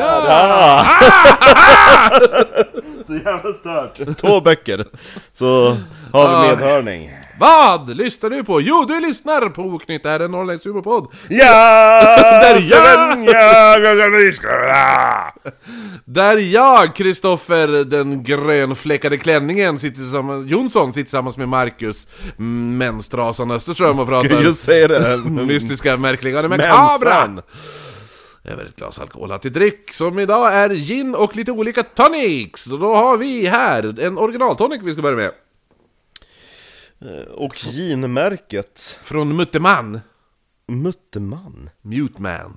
Ah! Så jävla stört. Två böcker. Så har vi medhörning. Vad lyssnar du på? Jo, du lyssnar på Oknytt, är en norrländsk humorpodd. Ja! Där så jag- den- ja, jag ska bli skola. Där jag, Kristoffer den grönfläckade klänningen, sitter tillsammans, Jonsson, sitter tillsammans med Marcus mm, Menstrasan Österström och Ska pratar just säga det. här. mystiska, märkliga och Mensan. makabra! Över ett glas alkoholhaltig dryck som idag är gin och lite olika tonics! Och då har vi här en originaltonic vi ska börja med. Och ginmärket. Från Mutteman. Mutteman. Muteman.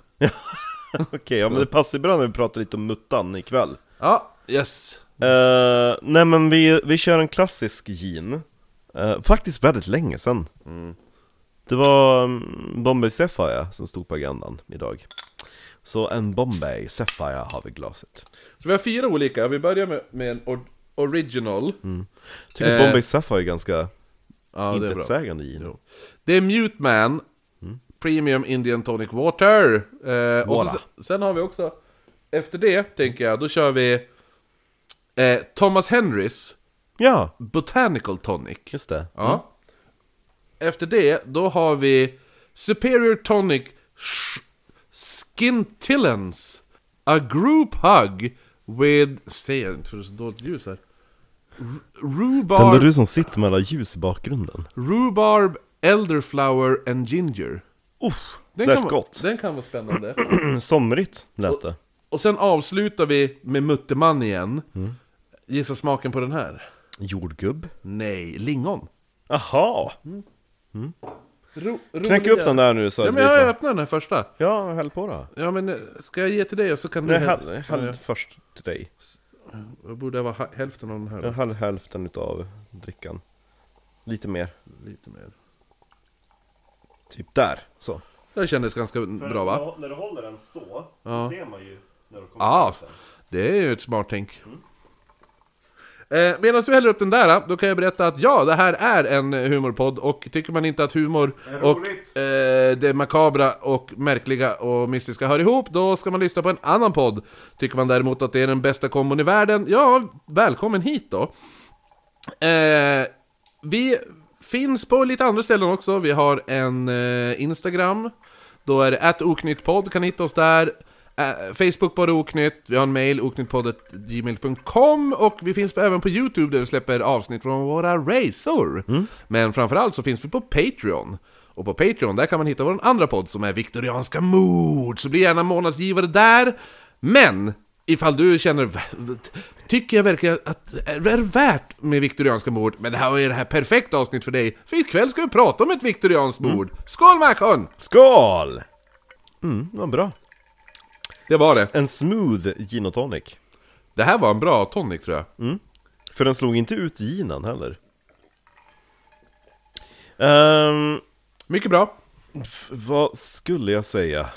Okej, ja men det passar ju bra när vi pratar lite om muttan ikväll. Ja, yes. Uh, nej men vi, vi kör en klassisk gin Eh, Faktiskt väldigt länge sedan Mm. Det var um, Bombay Sapphire som stod på agendan idag Så en Bombay Sapphire har vi i glaset Så vi har fyra olika, vi börjar med, med en or- original. Tycker Eh, Bombay Sapphire är ganska Ja, det är bra. intetsägande gin Jo. Det är Mute Man Premium Indian Tonic Water eh, och Voila. så, Sen har vi också Efter det, tänker jag, då kör vi eh, Thomas Henrys Ja, Botanical Tonic just det ja. Efter det, då har vi Superior Tonic Sh- Skintillance A Group Hug With... Säg jag inte för det är så dåligt ljus här R- Den där Rhubarb du som sitter med alla ljus i bakgrunden Rhubarb, Elderflower and Ginger. Uff, Den det är kan, vara, gott den kan vara spännande. Somrigt lät det Och sen avslutar vi med Mutterman igen. Mm. Gissa smaken på den här? Jordgubb Nej, lingon. Aha! Mm, Ro, Knäck upp den där nu så Ja, att vi men jag får... öppnar den här första. Ja, häll på då Ja, men eh, ska jag ge till dig och så kan Nej, du... häll, häll Ja, först till dig Då borde jag vara ha- hälften av den här. Jag höll hälften utav drickan. Lite mer. Lite mer. Typ där. Så. Det kändes ganska bra va? Ja, När du håller den så, Ja. ser man ju när du kommer ah, det är ju ett smart tänk. Eh, Medan du häller upp den där, eh, då kan jag berätta att ja, det här är en eh, humorpodd och tycker man inte att humor roligt? och eh, det makabra och märkliga och mystiska hör ihop, då ska man lyssna på en annan podd. Tycker man däremot att det är den bästa kombon i världen, ja, välkommen hit då. Eh, vi finns på lite andra ställen också. Vi har en eh, Instagram. Då är det att oknyttpodd, kan hitta oss där. Eh, Facebook bara oknytt. Vi har en mail, oknyttpodd.gmail.com. Och vi finns även på YouTube där vi släpper avsnitt från våra racer. Men framförallt så finns vi på Patreon. Och på Patreon, där kan man hitta vår andra podd som är Viktorianska mord. Så bli gärna månadsgivare där. Men Ifall du känner, "Va- va- tycker jag verkligen att det är värt med viktorianska mord? Men det här var ju det här perfekta avsnitt för dig, för ikväll ska vi prata om ett viktorianskt mord. Skål Macon! Skål! Mm, vad bra. Det var det. En smooth gin och tonic. Det här var en bra tonic tror jag. För den slog inte ut ginen heller. Ehm, Mycket bra. f- vad skulle jag säga?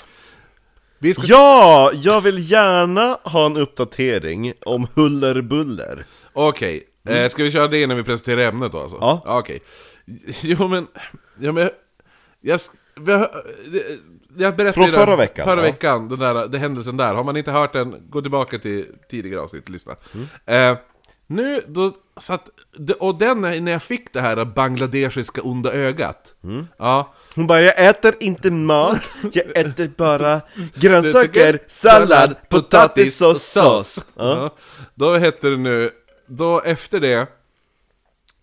Vi ska... Ja, jag vill gärna ha en uppdatering om huller buller. Okej, eh, ska vi köra det innan vi presenterar ämnet då alltså? Mm. Ja. Okej. Jo men, ja, men jag, sk- vi har- det- jag berättade Från ju den- förra veckan, Förra ja. veckan, den där den händelsen där. Har man inte hört den, gå tillbaka till tidigare avsnitt och lyssna. Mm. Eh, nu, då satt, och den när jag fick det här bangladeshiska onda ögat. Mm. Ja, Hon bara, jag äter inte mat, jag äter bara grönsaker, Grönsaker, sallad, potatis och sås. Ja. Ja. Då hette det nu, då efter det...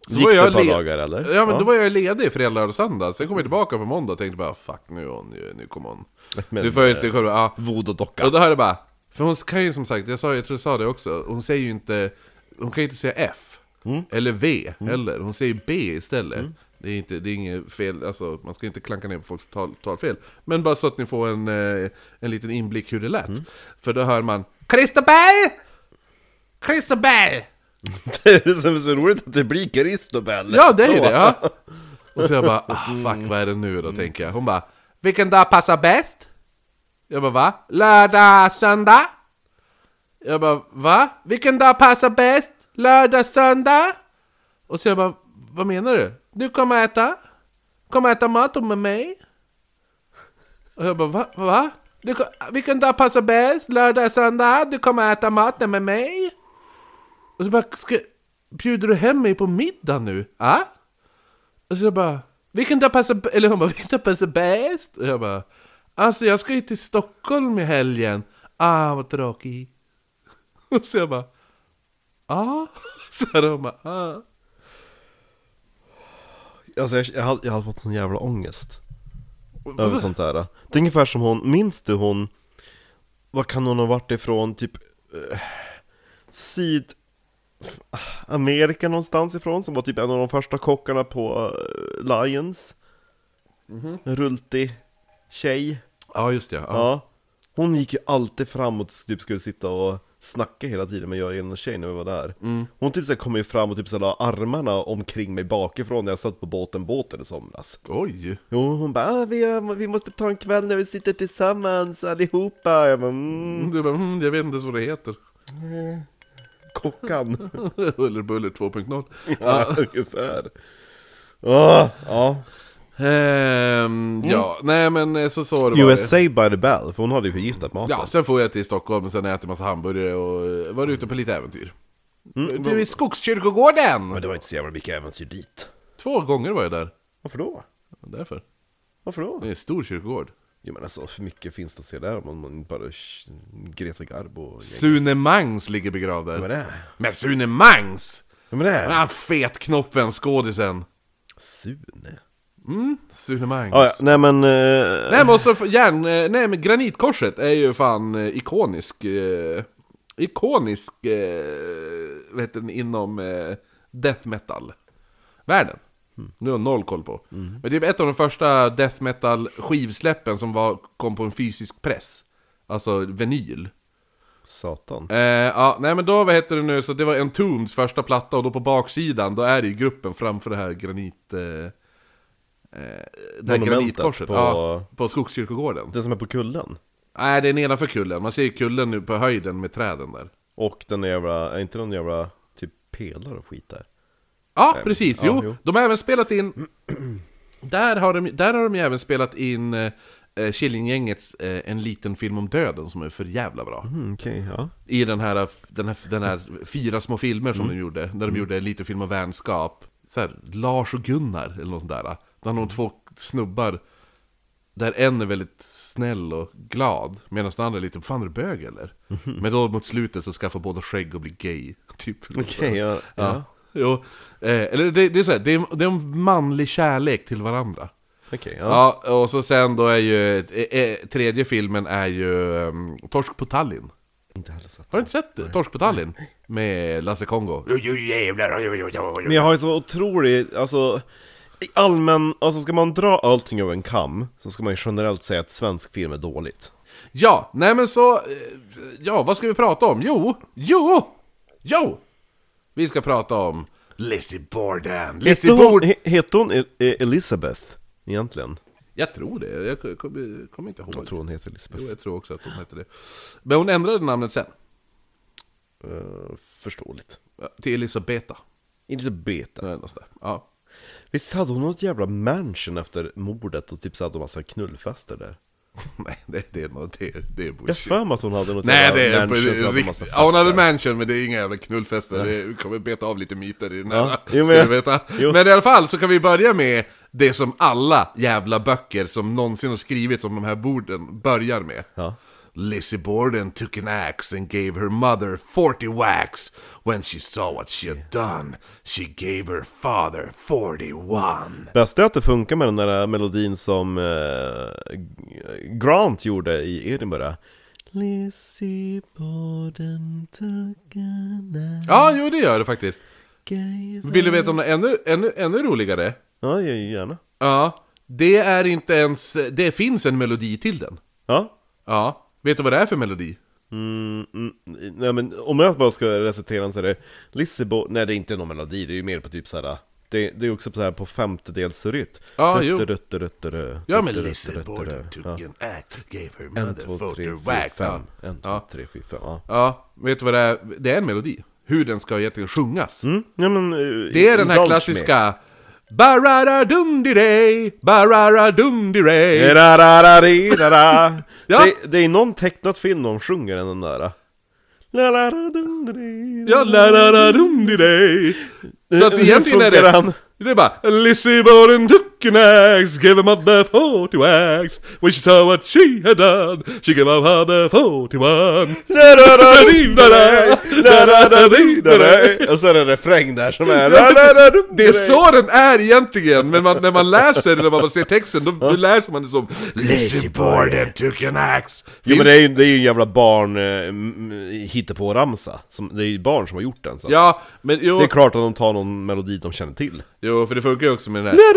så Gick var det jag ett par le- dagar eller? Ja men då var jag ledig fredag lördag, söndag, sen kom jag tillbaka på måndag och tänkte bara 'fuck nu är hon, nu kommer hon' Men, Du får ju inte själva, ja. Vod och docka. Och då hörde jag bara, för hon kan ju som sagt, jag, sa, jag tror jag sa det också, hon säger ju inte, hon kan ju inte säga F, eller V heller, hon säger B istället Det är, inte, det är inget fel, alltså man ska inte klanka ner på folks tal, talfel Men bara så att ni får en, eh, en liten inblick hur det lät För då hör man Kristoberg! Kristoberg! Det är som är så roligt att det blir Christobel. Ja, det är ju det! Ja. Och så jag bara, ah, fuck vad är det nu då, tänker jag. Hon bara, vilken dag passar bäst? Jag bara, va? Lördag, söndag? Jag bara, va? Vilken dag passar bäst? Lördag, söndag? Och så jag bara, vad menar du? Du kommer äta? Kommer äta mat med mig? Och jag bara, va? va? Du, ko- vilken dag passar bäst? Lördag, söndag? Du kommer äta maten med mig? Och så bara, ska, bjuder du hem mig på middag nu? Ja? Och så jag bara, vilken dag passar, b- eller hon bara, vilken dag passar bäst? Och jag bara, alltså jag ska ju till Stockholm i helgen. Ah, vad tråkigt. Och så jag bara, ah? Så här, hon bara, ah. Alltså jag, jag, hade, jag hade fått sån jävla ångest Över sånt där Det är ungefär som hon, minns du hon Vad kan hon ha varit ifrån, typ eh, Syd Amerika någonstans ifrån som var typ en av de första kockarna på eh, Lions En Rultig tjej Ja, just det, ja. ja. Ja Hon gick ju alltid fram och typ skulle sitta och snacka hela tiden med jag och en tjej när vi var där Hon typ så här kom ju fram och typ så här la armarna omkring mig bakifrån när jag satt på båten, båten i somras Oj. Jo, hon bara ah, vi, vi måste ta en kväll när vi sitter tillsammans allihopa Jag bara mm, Du bara, mm, jag vet inte ens vad det heter. kockan Huller Buller 2.0. Ja, ungefär Ah, Ja, Ehm, Mm. Ja, nej men eh, så så har det varit. USA by the bell, för hon hade ju förgiftat maten Ja, sen får jag till Stockholm och sen äter massa hamburgare och eh, var ute på lite äventyr. Du är i Skogskyrkogården! Men Mm. det var inte så jävla mycket äventyr dit Två gånger var jag där. Varför då? Därför. Varför då? Det är en stor kyrkogård. Jo men alltså, hur mycket finns det att se där om man- man bara sh- Greta Garbo och gäng? Sune Mangs ligger begravd Vem där. är det? Men Sune Mangs! Vem är det? Han fetknoppen, skådisen. Mm, Sune? Sune Mangs. Ah, ja, nej men... eh, Nej men också för järn... eh, Nej men granitkorset är ju fan eh, ikonisk... Eh, ikonisk... Eh, vad heter den? Inom eh, death metal-världen. Mm. Nu har jag noll koll på. Men det är ett av de första death metal-skivsläppen som var, kom på en fysisk press. Alltså vinyl. Satan. Eh, ja, nej men då, vad heter det nu, så det var Entombeds första platta och då på baksidan, då är det ju gruppen framför det här granit... Eh, eh, det här Monumentet granitkorset. på- Ja, på Skogskyrkogården. Den som är på kullen? Nej, det är nedanför kullen. Man ser ju kullen nu på höjden med träden där. Och den jävla, är inte någon jävla typ pelare och skit där? Ja, precis. ja, Jo, jo. de har även spelat in... Där har de, där har de ju även spelat in eh, eh, Killinggängets eh, En liten film om döden som är för jävla bra. Mm, okej, ja. I den här, den här, den här fyra små filmer som de gjorde, där de gjorde en liten film om vänskap. Så här, Lars och Gunnar, eller något sånt där. Där de två snubbar, där en är väldigt snäll och glad, medan den andra är lite, fan är du bög eller? Men då mot slutet så skaffar båda skägg och blir gay. Typ. Okej, ja. ja. Ja. Jo. Eh, eller det, det är så här, det är, det är en manlig kärlek till varandra. Okej, ja. Ja, och så sen då är ju, eh, eh, tredje filmen är ju ehm, Torsk på Tallinn. Inte heller sett. Har du inte sett det? Torsk på Tallinn? Med Lasse Kongo. Men jag har ju så otrolig, alltså i allmän, alltså ska man dra allting över en kam så ska man ju generellt säga att svensk film är dåligt. Ja, nej men så... eh, Ja, vad ska vi prata om? Jo! Jo! Jo! Vi ska prata om... Lizzie Borden! Lizzie Hette hon, Borden! he- hette hon E- E- Elizabeth egentligen? Jag Jag tror det, jag k- kommer kommer inte ihåg. Jag tror hon heter Jo, Elizabeth. jag tror också att hon hette det. Men hon ändrade namnet sen. Uh, förståeligt. Ja, eh, Till Elisabeta. Elisabeth. Eller något sånt där. Ja. Visst hade hon något jävla mansion efter mordet och typ så hade hon massa knullfester där? Nej, det, det är något... Det, det är Jag har bullshit. för mig att hon hade något Nej, jävla det är på mansion så hade hon massa riktigt. Ja, hon hade fester. mansion, men det är inga jävla knullfester. Det vi kommer beta av lite myter i den här. Ja, jo, ska men- du veta. jo. Men i alla fall så kan vi börja med det som alla jävla böcker som någonsin har skrivits om de här borden börjar med. Ja. Lizzie Borden took an axe and gave her mother 40 whacks. When she saw what she had done, she gave her father 41. Bästa är att det funkar med den där melodin som eh, G- Grant gjorde i Edinburgh Lizzie Borden took an Ja, jo det gör det faktiskt. gave Vill du veta om något ännu, ännu, ännu roligare? Ja, jag gärna Ja, det är inte ens... Det finns en melodi till den. Ja Ja, vet du vad det är för melodi? Mm, mm, nej men om jag bara ska recitera den så är det Lizzie Borden, nej det är inte någon melodi, det är ju mer på typ såhär det, det är också på, så här på femtedelsrytm Ja, jo. Ja, men Lizzie Lizzie Borden took an act, gave her 1, mother 2, 3, voter 4, whack. 5 1, 2, Ja. 3, 4, 5 Ja, ja, vet du vad det är? Det är en melodi. Hur den ska egentligen sjungas. Mm, ja men, eh, Det är den indulge här me. klassiska... Barara-dum-di-day, barara-dum-di-day. Rarararirara. Ja. det, det är någon tecknat film de sjunger den där. Lalaradundri. Ja, la-la-la-dum-di-day. Så att Hur egentligen är funkar det... han? Det är bara Lizzie Borden took an axe, gave a mother 40 whacks When she saw what she had done, she gave her mother 41 Lararadundri. Och så är det en refräng där som är Lararadundri. Det är så den är egentligen, men man, när man läser den, när man ser texten, då, då läser man det som Lizzie Borden took an axe Jo men det är ju, det är ju en jävla barn eh, m- hittepå-ramsa. Som- Det är ju barn som har gjort den så. Ja, men jo, Det är klart att de tar någon melodi de känner till. jo, för det funkar ju också med den här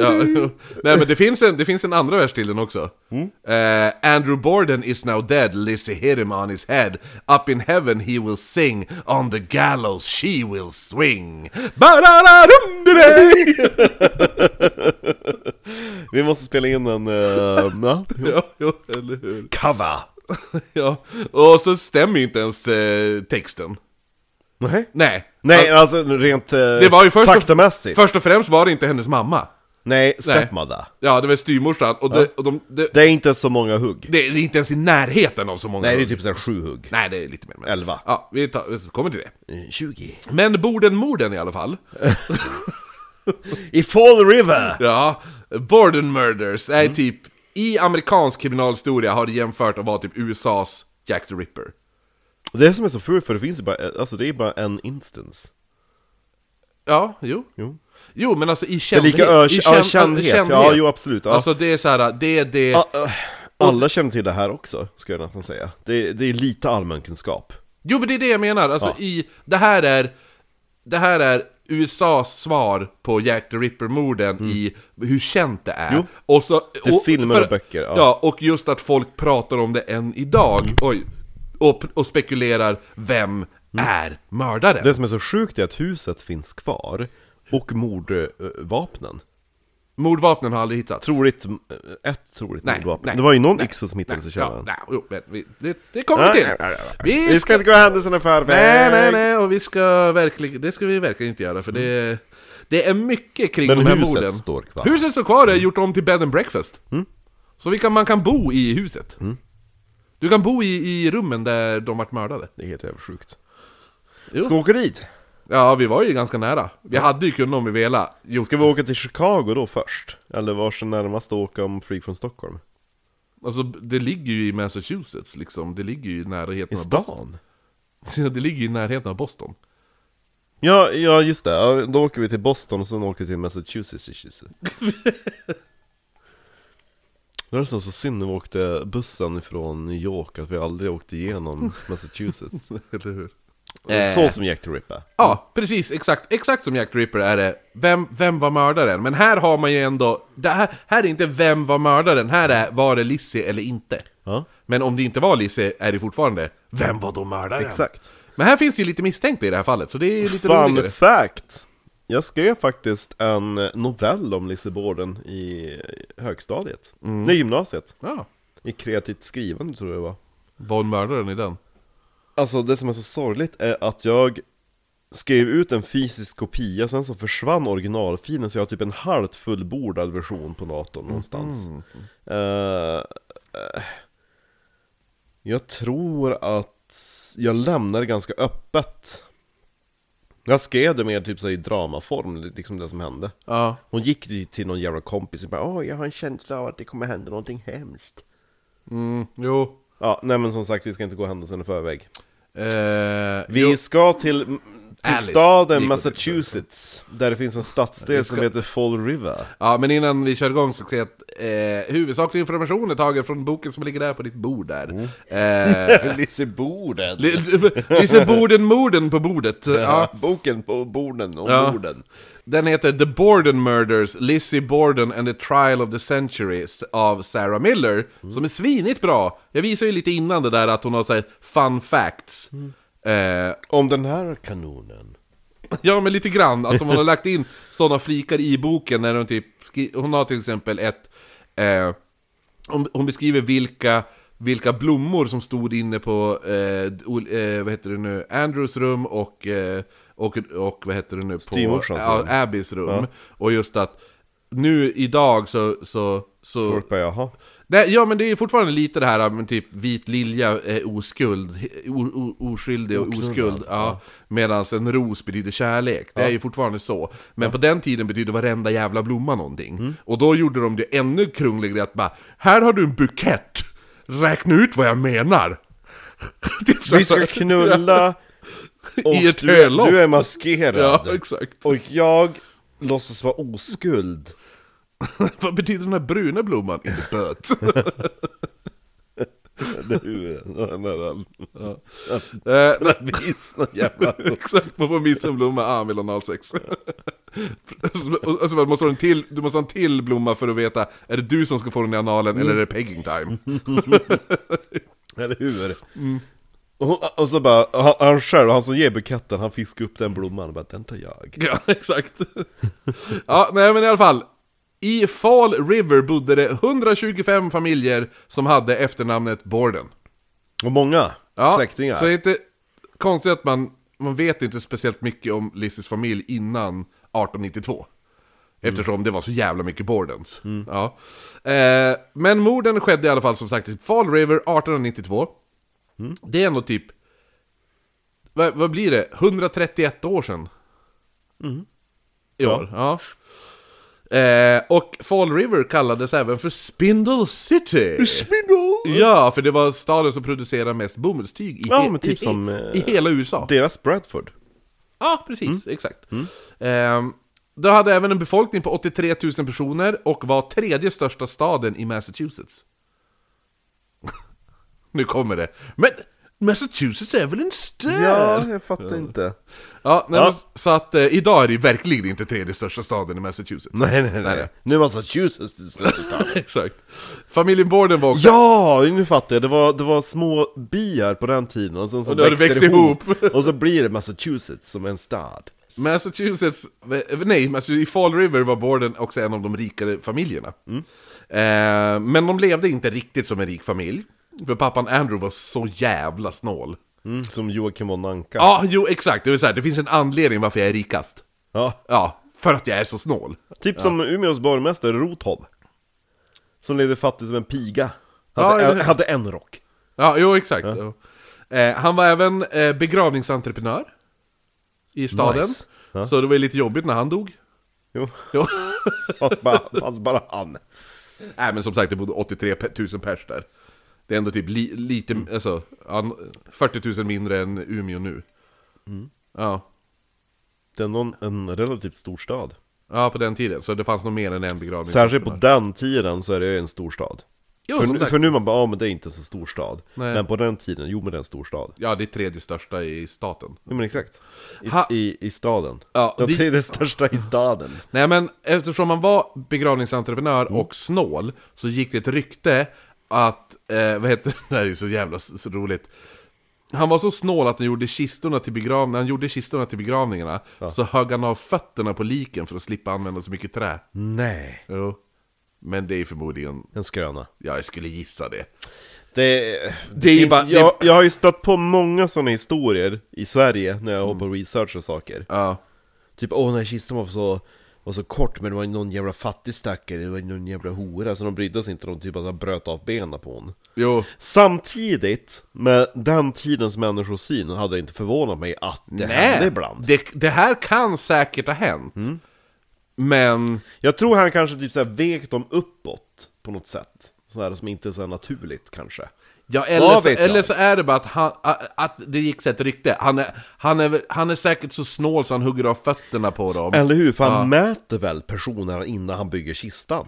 Ja. Nej men det finns, en, det finns en andra vers till den också. Mm. Eh, Andrew Borden is now dead, Lizzie hit him on his head. Up in heaven he will sing, on the gallows she will swing. Ba-da-da-dum-di-day! Vi måste spela in en... Uh, ja. ja, jo, eller hur. Cover! Ja. Och så stämmer ju inte ens eh, texten. Nej. Nej. Nej, Ja, alltså rent eh, det var ju först faktamässigt. och, först och främst var det inte hennes mamma. Nej, stepmother. Ja, det var styrmorsan. Och, det, och de, det, Det är inte så många hugg. det är inte ens i närheten av så många. Nej, det är typ såhär sju hugg. Nej, det är lite mer. men- Elva. Ja, vi, tar, vi kommer till det. Tjugo. Men Borden-morden i alla fall. I Fall River! Ja, Borden Murders är Mm. typ... I amerikansk kriminalhistoria har det jämfört att vara typ USAs Jack the Ripper. Det som är så fult, för det finns ju bara, alltså det är bara en instance. Ja, jo. Jo. Jo, men alltså i Det är kändhet. lika ö- i ö- kändhet. Ja, jo absolut. Ja. Alltså det är såhär, det är det... Ja, ö, alla känner till det här också, ska jag nästan säga. Det, det är lite allmänkunskap. Jo, men det är det jag menar. Alltså i... Det här är... Det här är USAs svar på Jack the Ripper-morden i hur känt det är. Mm. Jo. Och så, Det är filmer och böcker, Ja. ja. Mm. och just att folk pratar om det än idag. Oj. Och, och spekulerar, vem är mördaren? Det som är så sjukt är att huset finns kvar, och mordvapnen. Mordvapnen har aldrig hittats. Troligt, eh, ett troligt Nej, mordvapen. nej, det var ju någon yxa som hittades i ja, källaren. nej, jo, men vi, det, det kommer vi till. Vi ska inte gå händelserna i förväg! Nej, nej, nej, och vi ska verkligen, det ska vi verkligen inte göra för det, det är mycket kring Men de här huset morden. står kvar. Mm. Huset står kvar, det är gjort om till bed and breakfast. Så vi kan, man kan bo i huset. Mm. Du kan bo i, i rummen där de vart mördade. Det är helt jävla sjukt. Jo. Ska vi åka dit? Ja, vi var ju ganska nära. Vi hade ju kunnat om vi velat. Jo, Ska vi åka till Chicago då först? Eller vars är närmast att åka om flyg från Stockholm? alltså, det ligger ju i Massachusetts liksom. Det ligger ju i närheten I av Boston. stan? Ja, det ligger ju i närheten av Boston. Ja, ja just det. Ja, Då åker vi till Boston och sen åker vi till Massachusetts. Det var nästan så synd när vi åkte bussen från New York att vi aldrig åkte igenom Massachusetts. Eller hur? Eh. Så som Jack the Ripper. Ja, precis. Exakt, exakt som Jack the Ripper är det. Vem, vem var mördaren? Men här har man ju ändå... Det här, här är inte vem var mördaren, här är var det Lizzie eller inte. Ja, Men om det inte var Lizzie är det fortfarande vem var då mördaren? exakt. Men här finns ju lite misstänkta i det här fallet, så det är ju lite roligare. Fun fact! Jag skrev faktiskt en novell om Lisseborden i högstadiet. Mm. Nej, gymnasiet. Ja. I kreativt skrivande tror jag det var. Var hon mördaren i den? Alltså det som är så sorgligt är att jag skrev ut en fysisk kopia, sen så försvann originalfilen så jag har typ en halvt fullbordad version på datorn någonstans. Eh, eh, jag tror att jag lämnade ganska öppet. Jag skrev det mer typ så här i dramaform, liksom det som hände. Ja. Hon gick ju till någon jävla kompis och bara Åh, jag har en känsla av att det kommer hända någonting hemskt. Mm, jo. Ja, nej men som sagt, vi ska inte gå händelserna i förväg. Eh, Vi jo. ska till, till Alice. staden Gick Massachusetts, där det finns en stadsdel som heter Fall River. Ja, men innan vi kör igång så ska jag att eh, huvudsaklig information är tagen från boken som ligger där på ditt bord där. Mm. Eh, Lisseborden! Lise Borden-morden på bordet. Ja. Boken på borden, om Ja. borden. Den heter The Borden Murders, Lizzie Borden and the Trial of the Century s- av Sarah Miller, som är svinigt bra. Jag visade ju lite innan det där att hon har så här fun facts. Eh, Om den här kanonen. ja, men lite grann. Att hon har lagt in sådana flikar i boken när hon typ... skri- Hon har till exempel ett... Eh, hon, hon beskriver vilka, vilka blommor som stod inne på eh, ol- eh, vad heter det nu? Andrews rum och, eh, och, och vad heter det nu? På Styvmorsans ja, rum. Abbys rum. Och just att nu idag så... så, så Folk bara jaha. Nej, ja men det är fortfarande lite det här med typ vit lilja är oskuld, o, o, oskyldig och Oknullad, oskuld. Ja, Medan en ros betyder kärlek. Det är ju fortfarande så. Men på den tiden betyder varenda jävla blomma någonting. Mm. Och då gjorde de det ännu krångligare att bara, här har du en bukett! Räkna ut vad jag menar! Typ så Vi ska här. knulla och I ett du, är- höloft. du är Ja, maskerad. exakt. och jag låtsas vara oskuld. Vad betyder den här bruna blomman? Inte böt. Det är ju en annan Eh, vis, någon jävla... Exakt, man får missa en blomma, ah, han vill ha analsex. och, och så bara, måste du, ha en till, du måste ha en till blomma för att veta, är det du som ska få den i analen eller är det pegging time? Eller hur? Mm. Och, och så bara, han, han själv, han som ger buketten, han fiskar upp den blomman och bara 'Den tar jag' ja, exakt. ja, nej men i alla fall. I Fall River bodde det 125 familjer som hade efternamnet Borden. Och många Ja, släktingar Så det är inte konstigt att man, man vet inte speciellt mycket om Lizzies familj innan 1892. Eftersom det var så jävla mycket Bordens. Ja. Eh, men morden skedde i alla fall som sagt i Fall River 1892. Det är ändå typ... Vad, vad blir det? 131 år sedan? Mm. I år, ja. Eh, och Fall River kallades även för Spindle City. Spindle! Ja, för det var staden som producerade mest bomullstyg i, Ja, he- men typ i, som, eh, i hela USA. Deras Bradford Ja, precis, Mm. exakt. Ehm, det hade även en befolkning på 83 000 personer och var tredje största staden i Massachusetts. nu kommer det. Men Massachusetts är väl en stad? jag fattar inte Ja, nej, Ja. men Så att eh, idag är det verkligen inte tredje största staden i Massachusetts. Nej nej Nej, nej. nej, nu är Massachusetts till slut exakt. Familjen Borden var också... Ja, nu fattar jag! Det var, det var små byar på den tiden, och sen så Och då har det växt Och så blir det Massachusetts som en stad Massachusetts, eh, nej, Massachusetts- i Fall River var Borden också en av de rikare familjerna. Mm. Eh, men de levde inte riktigt som en rik familj, för pappan Andrew var så jävla snål. mm. Som Joakim von Anka Ja, jo exakt, det vill säga, det finns en anledning varför jag är rikast. Ja. Ja, för att jag är så snål. Typ som Umeås borgmästare Rothob Som levde fattig som en piga Hade, Ja, eller en, hur? hade en rock Ja, jo exakt. Ja. Eh, han var även eh, begravningsentreprenör i staden. Nice. Ja. Så det var ju lite jobbigt när han dog. Jo, Jo. fanns bara, fanns bara han Nej men som sagt, det bodde 83 pe- 000 pers där. Det är ändå typ li, lite, Mm. alltså, an- 40 000 mindre än Umeå nu. Mm. Ja. Det är någon, en relativt stor stad ja, på den tiden. Så det fanns nog mer än en begravning. Särskilt på den tiden så är det ju en stor stad Jo, för, som nu- sagt. för nu man bara, ja men det är inte så stor stad Nej. Men på den tiden, jo men det är en stor stad Ja, det är tredje största i staten. Jo men exakt I, Ha- i, i staden Ja, Den det- tredje största i staden Nej men eftersom man var begravningsentreprenör Mm. och snål så gick det ett rykte att, eh, vad heter det, det här är ju så jävla s- så roligt Han var så snål att han gjorde kistorna till, begrav... när han gjorde kistorna till begravningarna Så högg han av fötterna på liken för att slippa använda så mycket trä Mm. Nej Jo. Men det är förmodligen, En skröna ja jag skulle gissa det. Det, Det är ju bara- jag, jag har ju stött på många sådana historier i Sverige när jag håller på och researchar saker Mm. Ja. Typ åh den här kistan var så, var så kort men det var ju någon jävla fattig stackare, det var ju någon jävla hora Så de brydde sig inte, de typ bara bröt av benen på hon Jo. Samtidigt med den tidens människosyn hade det inte förvånat mig att det hände ibland Mm. Det, det här kan säkert ha hänt. Men, Jag tror han kanske typ såhär vek dem uppåt på något sätt Sådär som inte är så här naturligt kanske ja, eller, Vad så, vet jag? eller så är det bara att, han, att- att det gick så ett rykte. Han är, han, är, väl- han är säkert så snål så han hugger av fötterna på dem. Eller hur? För han mäter väl personerna innan han bygger kistan?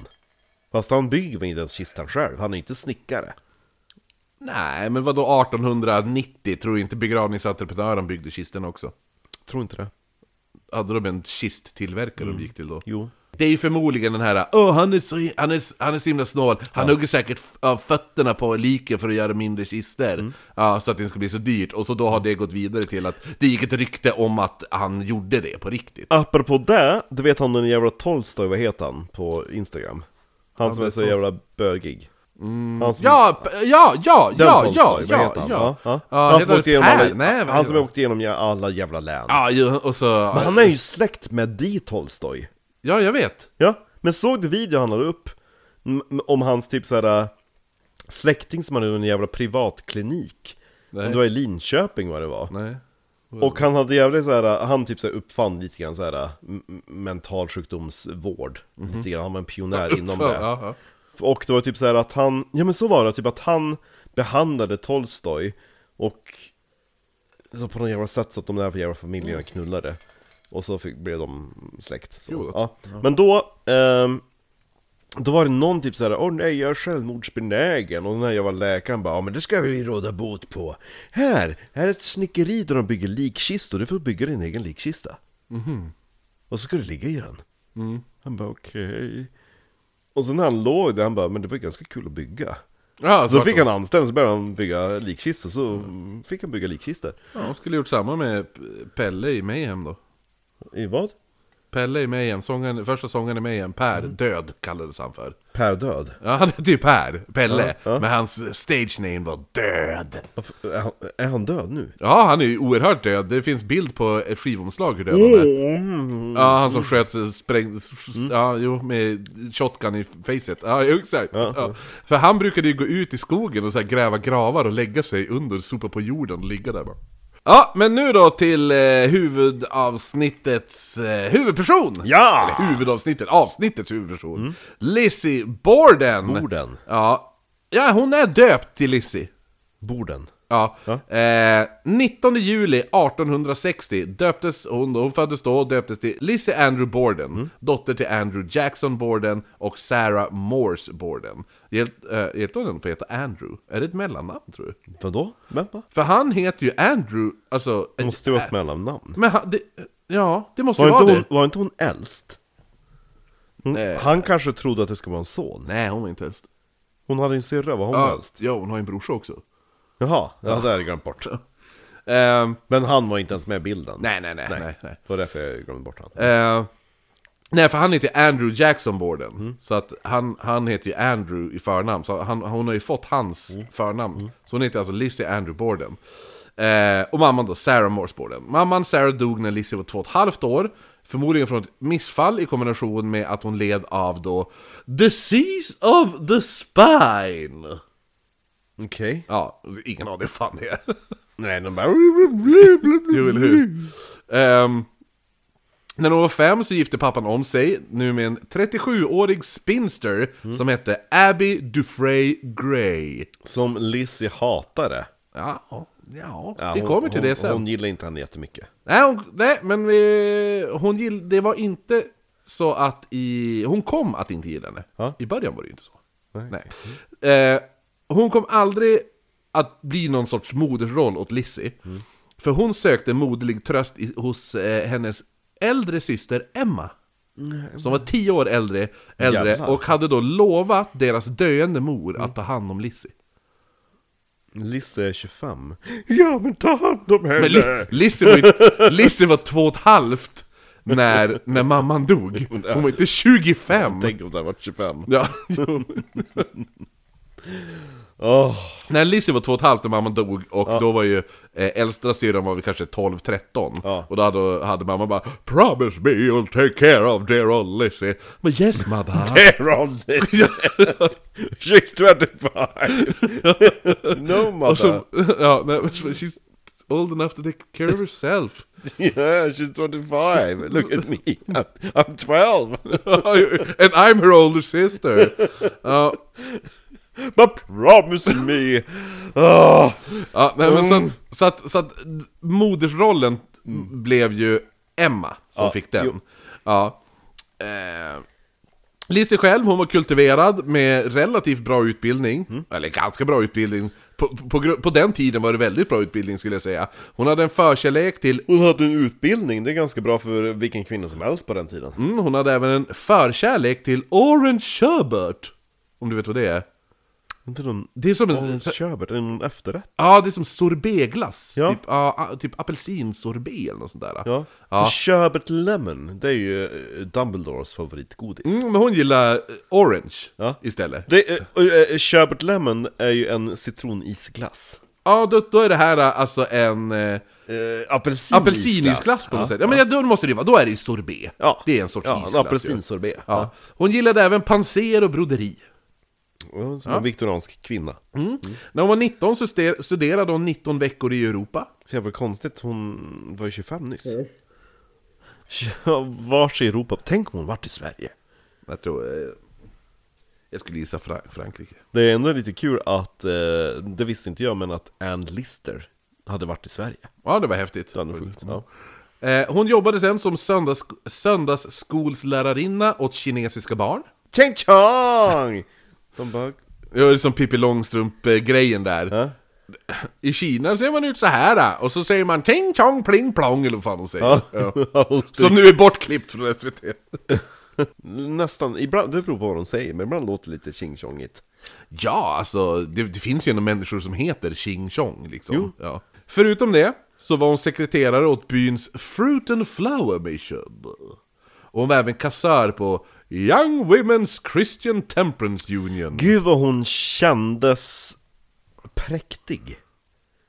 Fast han bygger väl inte ens kistan själv, han är ju inte snickare Nej, men vad då 1890? Tror du inte begravningsentreprenören byggde kisten också? Tror inte det Hade de en kisttillverkare de gick till då? Mm. Jo Det är ju förmodligen den här Åh, han är så, han är, han är så himla snål Han hugger säkert f- av fötterna på liken för att göra mindre kister Mm. ja, Så att det inte ska bli så dyrt Och så då har det gått vidare till att Det gick ett rykte om att han gjorde det på riktigt Apropå det, du vet han den jävla Tolstoj, vad heter han på Instagram? Han som är så jävla bögig Han som, Mm. Ja, p- ja, ja, den ja, ja, Tolstoj, vad ja, heter han? ja. ja. Ja, han heter som, det åkte igenom Per? alla, Nej, vad han som heter det? åkte igenom alla jävla län. Ja, ju- och så... Men han är ju släkt med Di Tolstoj. Ja, jag vet. Ja, men såg du videon han la upp? M- m- Om hans typ såhär släkting som hade en jävla privatklinik. Nej. Om det var i Linköping vad det var. Nej. Mm. Och han hade jävligt såhär, han typ såhär uppfann lite grann såhär m- m- mental sjukdomsvård. Lite grann, han var en pionjär inom Fan, det. Mhm. Ja, ja. Och det var typ så här att han, ja men så var det, typ att han behandlade Tolstoj och så på något jävla sätt så att de där jävla familjerna knullade. Och så fick, blev de släkt. Jo. Så. Ja. Men då, ehm, då var det någon typ såhär, åh nej jag är självmordsbenägen Och den här jävla läkaren bara, ja men det ska vi råda bot på Här, här är ett snickeri där de bygger likkistor, du får bygga din egen likkista Och så ska du ligga i den Mhm. Mm. Han bara okej Och sen när han låg där, han bara, men det var ganska kul att bygga ja Så då så fick han anställning, så började han bygga likkistor, så Mm. fick han bygga likkistor Ja, de skulle gjort samma med P- Pelle i Mayhem då. I vad? Pelle i Mayhem, sången, första sången i Mayhem, Per Mm. Död kallades han för. Per död? Ja, han hette ju Per, Pelle, Ja, ja. men hans stage name var Död. Varför- Är han, är han död nu? Ja, han är ju oerhört död. Det finns bild på ett skivomslag hur död han är. Mm. Ja, han som sköt, eh, spräng, ja, jo, med shotgun i facet. Ja, jo, exakt. Ja. För han brukade ju gå ut i skogen och så här gräva gravar och lägga sig under, sopa på jorden och ligga där bara. Ja, men nu då till eh, huvudavsnittets eh, huvudperson! Ja! Mm. Eller huvudavsnittet, avsnittets huvudperson. Lizzie Borden! Borden. Ja. ja, hon är döpt till Lizzie. Borden? Ja. Eh, 19 juli 1860 döptes hon, hon föddes då och döptes till Lizzie Andrew Borden, Mm. dotter till Andrew Jackson Borden och Sarah Morse Borden. Hjälpte eh, hjälpte hon henne att få heta Andrew? Är det ett mellannamn tror du? Vadå? Men va? För han heter ju Andrew, alltså... Det måste ju vara ett mellannamn. Men han, det, ja, det måste Var ju vara inte, det. hon, var inte hon äldst? Hon, Nej. han kanske trodde att det skulle vara en son. Nej, hon var inte äldst. Hon hade ju en syrra, var hon Ja, äldst? ja, hon har ju en brorsa också. Jaha, ja, det hade jag glömt bort. Ehm, Men han var inte ens med i bilden. nej, nej, nej, nej, nej. Det var därför jag glömde bort honom. Eh, nej, för han heter ju Andrew Jackson Borden. Så att han, han heter ju Andrew i förnamn. Så han, hon har ju fått hans förnamn. Så hon heter alltså Lizzie Andrew Borden. Eh, och mamman då, Sarah Morse Borden. Mamman Sarah dog när Lizzie var två och ett halvt år. Förmodligen från ett missfall i kombination med att hon led av då Disease of the spine! Okej. Ja, ingen aning vad fan det är. Nej, de bara... Jo, eller hur? Ehm, när hon var fem så gifte pappan om sig, nu med en 37-årig spinster Mm. som hette Abby Dufray Gray. Som Lizzie hatade. Ja, ja, Ja, vi hon- kommer till hon, det sen. Hon gillar inte henne jättemycket. Nej, hon, nej men vi, hon gill, det var inte så att i... Hon kom att inte gilla henne. Ja. I början var det ju inte så. Nej. Eh, hon kom aldrig att bli någon sorts modersroll åt Lizzie. Mm. För hon sökte moderlig tröst i, hos eh, hennes äldre syster Emma. Som var tio år äldre, äldre Mm, Jävlar. och hade då lovat deras döende mor att ta hand om Lizzie. Lizzie är 25. Ja, men ta hand om henne! Men Li- Lizzie var, ju- Lizzie var två och ett halvt när, när mamman dog. Hon var inte 25! Tänk om det hade varit 25. Ja. Åh. När Lizzie var två och ett halvt när mamman dog och då var ju eh, äldsta syrran var väl kanske 12-13 Ja. Och då hade, hade mamma bara 'Promise me you'll take care of dear old Lizzie' Men yes mamma! They're on this! She's 25! no mother! och så, Alltså, ja, nej, men she's old enough to take care of herself Yeah, she's 25. Look at me. I'm, I'm 12. And I'm her older sister! Ja, But promise me. Oh. Ja, nej, men så, att, så, att, så att modersrollen blev ju Emma som Ja, fick den. jo. Ja. Eh, Lizzie själv, hon var kultiverad med relativt bra utbildning, eller ganska bra utbildning. På, på, gru- på den tiden var det väldigt bra utbildning skulle jag säga. Hon hade en förkärlek till Hon hade en utbildning, det är ganska bra för vilken kvinna som helst på den tiden. Mm, hon hade även en förkärlek till orange sherbet. Om du vet vad det är? Inte någon Det är som en... Adolf Sherbert, eller någon efterrätt Ja, det är som sorbetglass. Ja. Typ, ja, a- typ apelsinsorbet eller något sånt där. Ja, Ja. För Sherbert Lemon, det är ju eh, Dumbledores favoritgodis Mm, men hon gillar eh, orange Ja. istället. det, eh, och, eh, Sherbert Lemon är ju en citronisglass Ja, då, då är det här eh, alltså en eh, eh, Apelsinisglass apelsinisglass på något ja. sätt. Ja, men ja, då måste det ju vara, då är det ju sorbet. Ja. Det är en sorts Ja, isglass. en ju. apelsinsorbet Ja. Hon gillade även panser och broderi. Ja, Som en viktoriansk kvinna Mm. När hon var 19 så ste- studerade hon 19 veckor i Europa. Så jävla konstigt, hon var ju 25 nyss Mm. Ja, vars i Europa? Tänk om hon vart i Sverige Jag tror... Eh, jag skulle gissa Fra- Frankrike. Det är ändå lite kul att, eh, det visste inte jag, men att Ann Lister hade varit i Sverige Ja, det var häftigt. Det hade varit sjukt ja. Eh, hon jobbade sen som söndags, söndagsskolslärarinna åt kinesiska barn. Ching chong! De bara... Ja, det är som Pippi Långstrump-grejen där. Ja. I Kina ser man ut så här ah, och så säger man ting tjong pling plong eller vad fan de säger. Ja. Som nu är bortklippt från SVT. Nästan, ibland, det beror på vad de säger, men ibland låter det lite ching chongigt Ja, alltså det, det finns ju ändå människor som heter Ching Chong liksom. Jo. Ja. Förutom det så var hon sekreterare åt byns Fruit and Flower Mission. Och hon var även kassör på Young Women's Christian Temperance Union. Gud vad hon kändes präktig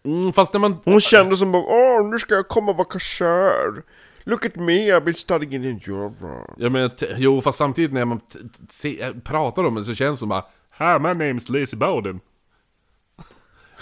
Mm, fast när man... Hon kände som bara, åh nu ska jag komma och vara kassör Look at me, I've been studying in Europe Jag menar, t- jo, fast samtidigt när man t- t- se, äh, pratar om det så känns det som bara Hi, my name's Lizzie Bowden.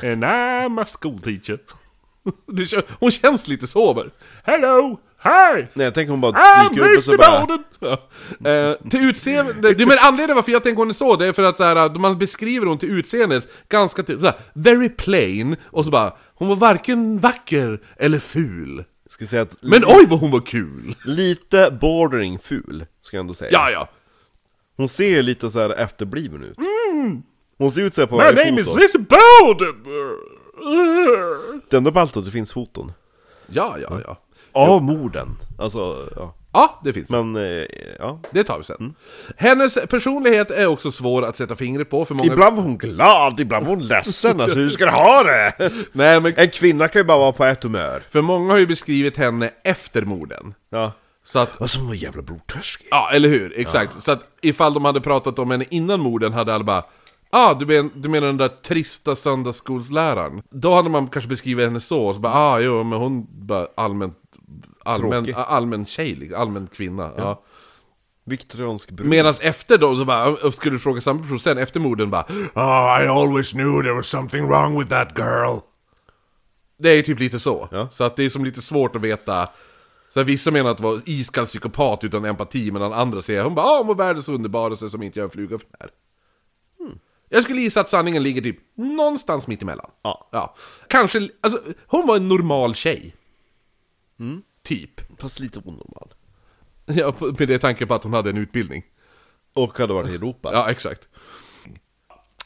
And I'm a school teacher. Det kän- Hon känns lite sober. Hello! Hi! Nej jag tänker hon bara I'm dyker upp och Lizzie så bara Bowden! Ja. Eh, till utseende... Det, men anledningen varför jag tänker hon är så, det är för att så här, man beskriver hon till utseendet ganska typ så här, very plain, och så bara Hon var varken vacker eller ful. Ska säga att, Men oj vad hon var kul! lite bordering ful, ska jag ändå säga Ja, ja. Hon ser ju lite så här efterbliven ut Mm. Hon ser ut så här på My name varje is foto Lizzie Bowden! Det enda ballt att det finns foton Ja, ja, ja. Av morden, alltså ja Ja, det finns. Men, Mm. eh, ja Det tar vi sen. Hennes personlighet är också svår att sätta fingret på för många... Ibland var hon glad, ibland var hon ledsen, alltså hur ska du ha det? Nej, men En kvinna kan ju bara vara på ett humör för många har ju beskrivit henne efter morden. Ja Så att... Alltså hon var jävla blodtörstig Ja, eller hur? Exakt. Så att ifall de hade pratat om henne innan morden hade alla bara Ah, du, men, du menar den där trista söndagsskolsläraren? Då hade man kanske beskrivit henne så, och så bara ah, jo, men hon bara allmänt... Allmän, Tråkig. allmän tjej, liksom. allmän kvinna. Ja. Viktoriansk brud Medan efter då, så bara, och skulle du fråga samma person sen efter morden bara Oh, I always knew there was something wrong with that girl. Det är ju typ lite så. Ja. Så att det är som lite svårt att veta. Så här, vissa menar att det var iskall psykopat utan empati, medan andra säger hon bara ah hon var världens underbaraste som inte gör en fluga för det här. Hmm. Jag skulle gissa att sanningen ligger typ någonstans mitt emellan. Ja. ja. Kanske, alltså hon var en normal tjej. Mm. Typ. Fast lite onormal Ja, på- med det tanke på att hon hade en utbildning. Och hade varit i Europa Ja, exakt.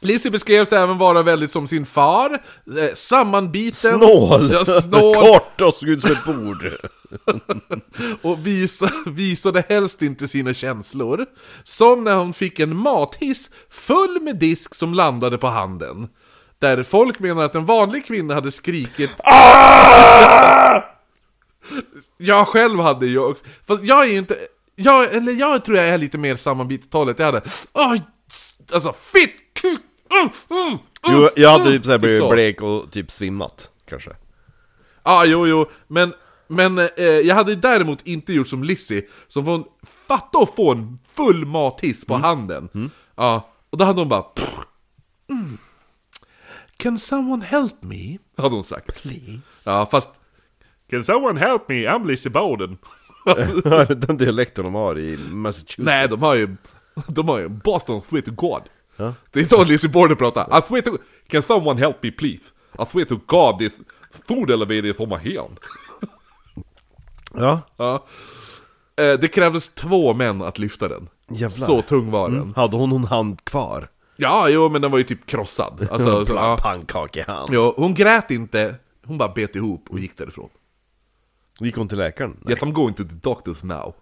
Lizzie beskrevs även vara väldigt som sin far, eh, sammanbiten, Snål! Ja, snål Kort och såg ut som ett bord och visa, visade helst inte sina känslor. Som när hon fick en mathiss full med disk som landade på handen. Där folk menar att en vanlig kvinna hade skrikit Jag själv hade ju också, fast jag är ju inte, jag, eller jag tror jag är lite mer sammanbitet hållet, jag hade Aj! Alltså fitt, kuk, mm, mm, Jo, mm, jag hade mm, typ såhär så. blivit blek och typ svimmat, kanske Ja, jo, jo, men, men eh, jag hade ju däremot inte gjort som Lizzie, som var en, fatta att få en full mathiss på handen. Ja, och då hade hon bara... Pff, mm. Can someone help me? Hade hon sagt. Please. Ja, fast... Can someone help me? I'm Lizzie Bowden. Den dialekten de har i Massachusetts Nej, de har ju... De har ju Boston swear to God. Det är inte vad Lizzie Borden pratar. I swear to... Can someone help me please? I swear to God this food elevator is on my hand. Ja, Ja. Eh, det krävdes två män att lyfta den. Jävlar. Så Mm. tung var den. hade hon någon hand kvar? Ja, jo, men den var ju typ krossad. Mm. Alltså, så, ja. Pannkakehand jo, hon grät inte, hon bara bet ihop och gick därifrån. Gick hon till läkaren? Yes, I'm going to the doctors now.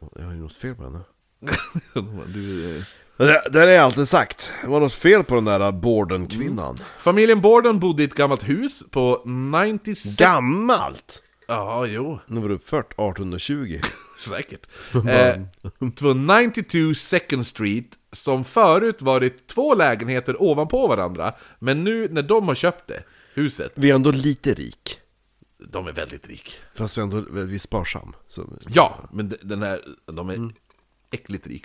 Jag har ju något fel på henne Hon bara, du, eh, Det, det har jag alltid sagt. Det var något fel på den där Borden-kvinnan. Mm. Familjen Borden bodde i ett gammalt hus på 96... Gammalt! Ja, jo. Den var uppfört 1820. Säkert. Eh, på 92 Second Street, som förut varit två lägenheter ovanpå varandra, men nu när de har köpt det, huset, Vi är ändå lite rik. de är väldigt rik. Fast vi är ändå vi är sparsam. Så. Ja, men d- den här, de är Mm. äckligt rik,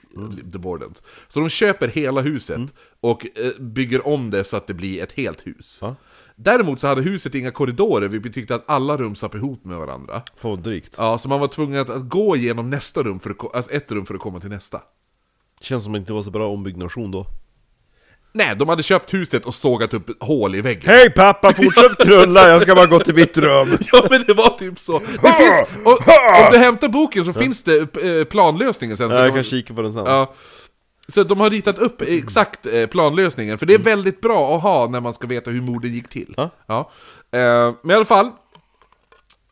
The Bordens. Så de köper hela huset Mm. och eh, bygger om det så att det blir ett helt hus. Ja. Däremot så hade huset inga korridorer, vi tyckte att alla rum satt ihop med varandra. Få drygt. Ja, så man var tvungen att, att gå igenom nästa rum, för att, ko- alltså ett rum för att komma till nästa. Känns som att det inte var så bra ombyggnation då. Nej, de hade köpt huset och sågat upp ett hål i väggen. Hej pappa, fortsätt knulla, jag ska bara gå till mitt rum! Ja men det var typ så! Det finns, och, om du hämtar boken så finns det eh, planlösningen sen. så Ja, jag kan man- kan kika på den sen. Ja. Så de har ritat upp exakt eh, planlösningen, för det är väldigt bra att ha när man ska veta hur morden gick till. Ja. Eh, Men i alla fall,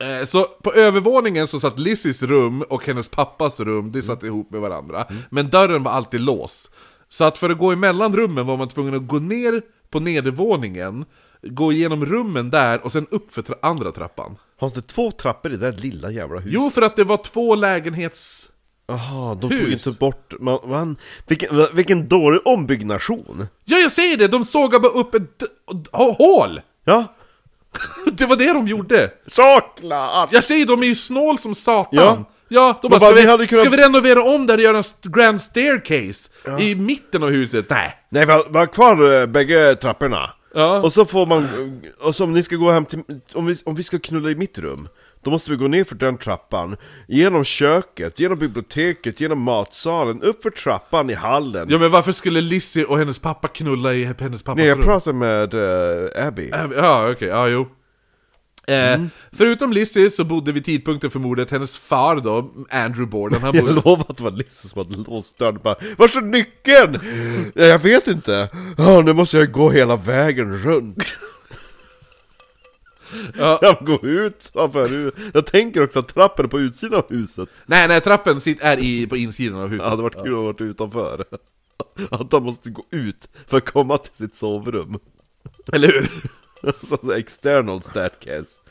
eh, så på övervåningen så satt Lizzies rum och hennes pappas rum, det satt ihop med varandra. Men dörren var alltid låst. Så att för att gå emellan rummen var man tvungen att gå ner på nedervåningen, gå igenom rummen där och sen upp för tra- andra trappan. Fanns det två trappor i det där lilla jävla huset? Jo, för att det var två lägenhets... Jaha, de tog Hus. inte bort... Man, man, vilken, vilken dålig ombyggnation! Ja, jag säger det! De sågade bara upp ett d- h- hål! Ja, Det var det de gjorde! såklart! Jag säger, de är ju snål som satan! Ja, Ja. de bara, Men ska, bara, vi vi, hade kunnat- ska vi renovera om där och göra en st- grand staircase i mitten av huset? Nej! Nej, vi har, vi har kvar eh, bägge trapporna. Ja. Och så får man... Och så om ni ska gå hem till... Om vi, om vi ska knulla i mitt rum, då måste vi gå ner för den trappan, genom köket, genom biblioteket, genom matsalen, upp för trappan i hallen. Ja men varför skulle Lizzie och hennes pappa knulla i hennes pappas Nej, jag rum? pratar med eh, Abby. Äh, Ja, okej, ja jo. Eh, Mm. Förutom Lizzie så bodde vid tidpunkten för mordet hennes far då, Andrew Borden, han bodde... Jag lovar att det var Lisse som hade låst dörren bara Vart är nyckeln? Ja, jag vet inte. Ja, nu måste jag gå hela vägen runt. Ja. Jag går ut framför huset. Jag tänker också att trappen är på utsidan av huset. Nej, nej, trappen sitt är i, på insidan av huset. Det hade varit kul om han varit utanför. Att han måste gå ut för att komma till sitt sovrum. Eller hur? Så att säga, external staircase.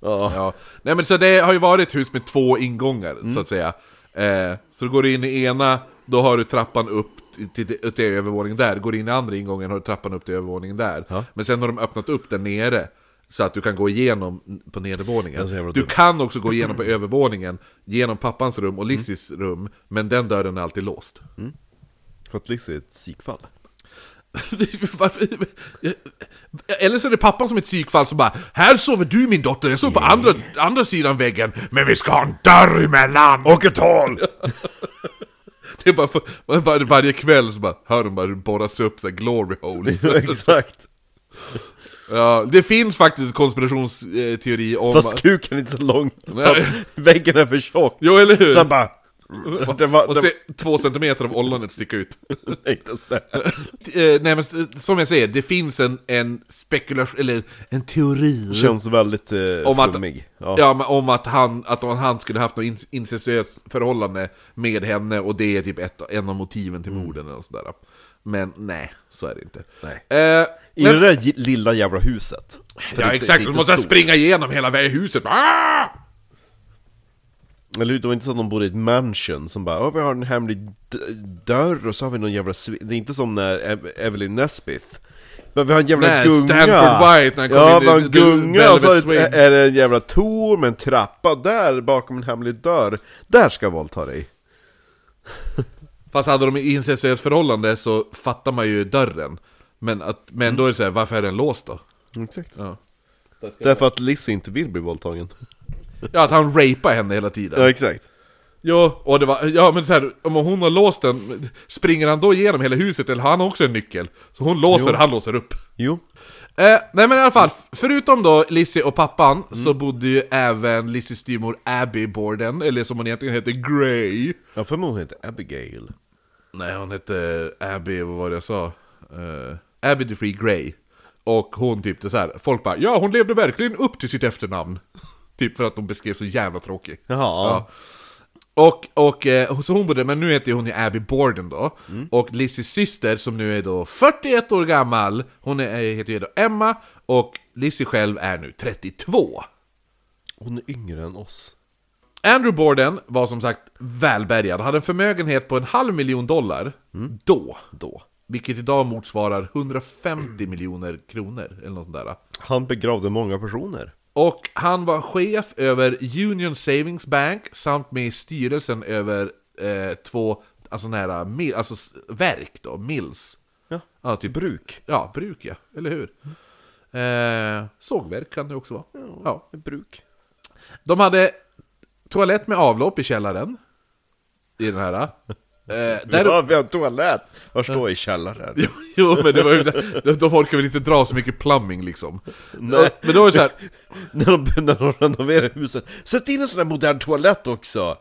Ja. Mm. Ja, nej men så det har ju varit ett hus med två ingångar så att säga. Eh, så går du in i ena, då har du trappan upp till, till, till övervåningen där. Går du in i andra ingången har du trappan upp till övervåningen där. Ja. Men sen har de öppnat upp där nere. Så att du kan gå igenom på är så jävla nedervåningen. Du dumt. kan också gå igenom på övervåningen, genom pappans rum och Lizzies rum, men den dörren är alltid låst. För att Lisse är ett psykfall. Varför- Eller så är det pappan som är ett psykfall som bara Här sover du min dotter, jag sover på andra, andra sidan väggen Men vi ska ha en dörr emellan! Och ett hål! Det är bara för, var, varje kväll så bara hör de bara hur det borras upp så här glory holes. Exakt. ja, det finns faktiskt konspirationsteori om... Fast kuken är inte så lång så att Nej. väggen är för tjock. Jo, eller hur? Så han bara... Det var, och det se, två centimeter av ollonet sticka ut. var inte ens det. Eh, Nej men s- som jag säger, det finns en, en spekulation, eller en teori Känns väldigt eh, om att, flummig. ja. Ja. men om att han, att om han skulle haft något in- incestuöst förhållande med henne och det är typ ett, en av motiven till morden och sådär. Men nej, så är det inte. Mm. Nej. Eh, I men- det där j- lilla jävla huset. För ja det är inte- det är exakt, då inte måste jag stort. springa igenom hela vägen i huset. Ah! Eller hur, det var inte så att de bodde i ett mansion som bara oh, vi har en hemlig d- dörr och så har vi någon jävla svi-" Det är inte som när Ev- Evelyn Nesbith men vi har en jävla Nej, gunga! Stanford White när han kom ja, in i vi har en The- The gunga och så är Velvet det- är det en jävla tor med en trappa där bakom en hemlig dörr. Där ska jag våldta dig. Fast hade de incestuöst förhållande så fattar man ju dörren. Men, att, men Mm. då är det så här, varför är den låst då? Exakt. Ja, Därför att Lizzie inte vill bli våldtagen. ja att han rapar henne hela tiden. Ja, exakt. Ja, och det var, ja men så här, om hon har låst den, springer han då igenom hela huset eller har han också en nyckel? Så hon låser, Jo. han låser upp. Jo. Eh, nej men i alla fall, förutom då Lizzie och pappan så bodde ju även Lizzies styvmor Abby Borden, eller som hon egentligen heter, Grey. Jag för mig hon heter Abigail. Nej hon hette Abby, vad var det jag sa? Eh, Abby the Free Grey. Och hon typ det så här. folk bara ja hon levde verkligen upp till sitt efternamn. Typ för att de beskrev så jävla tråkig. Jaha. Ja. Och, och eh, så hon bodde, men nu heter ju hon ju Abby Borden då. Och Lizzies syster som nu är då 41 år gammal, hon är, eh, heter ju då Emma, och Lizzie själv är nu 32. Hon är yngre än oss. Andrew Borden var som sagt välbärgad, hade en förmögenhet på en halv miljon dollar då, då. Vilket idag motsvarar 150 miljoner kronor, eller något sånt där. Han begravde många personer. Och han var chef över Union Savings Bank samt med i styrelsen över eh, två, alltså nära, mil, alltså s- verk då, mills. Ja. Ja, typ, Bruk. ja, bruk ja, eller hur? Eh, sågverk kan det också vara. Ja. Bruk. De hade toalett med avlopp i källaren. I den här. Eh, där, Ja, vi har en toalett! Vars då? I källaren? Jo, jo, men det var ju, de, de orkar väl inte dra så mycket plumbing liksom. Nej. Men då var det så här, när, de, när de renoverar huset. Sätt in en sån där modern toalett också!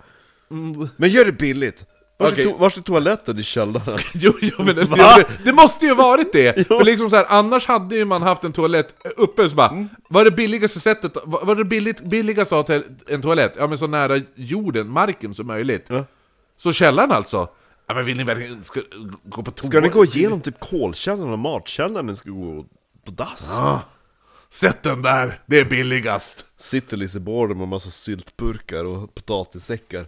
Men gör det billigt! Vars, Okej. är, to- vars är toaletten i källaren? Jo, jo men det, Va? det, det måste ju varit det! För liksom så här, annars hade ju man haft en toalett eh, uppe, så bara, Mm. vad är det billigaste sättet, vad vad är det billigt, billigaste att ha till- en toalett? Ja men så nära jorden, marken som möjligt. Ja. Så källaren alltså? Ja men vill ni verkligen ska, gå på toa? Ska ni gå igenom typ kolkällaren och matkällaren? Ni ska gå på dass? Ah, Sätt den där, det är billigast! Sitter Lise Bården med massa syltburkar och potatissäckar.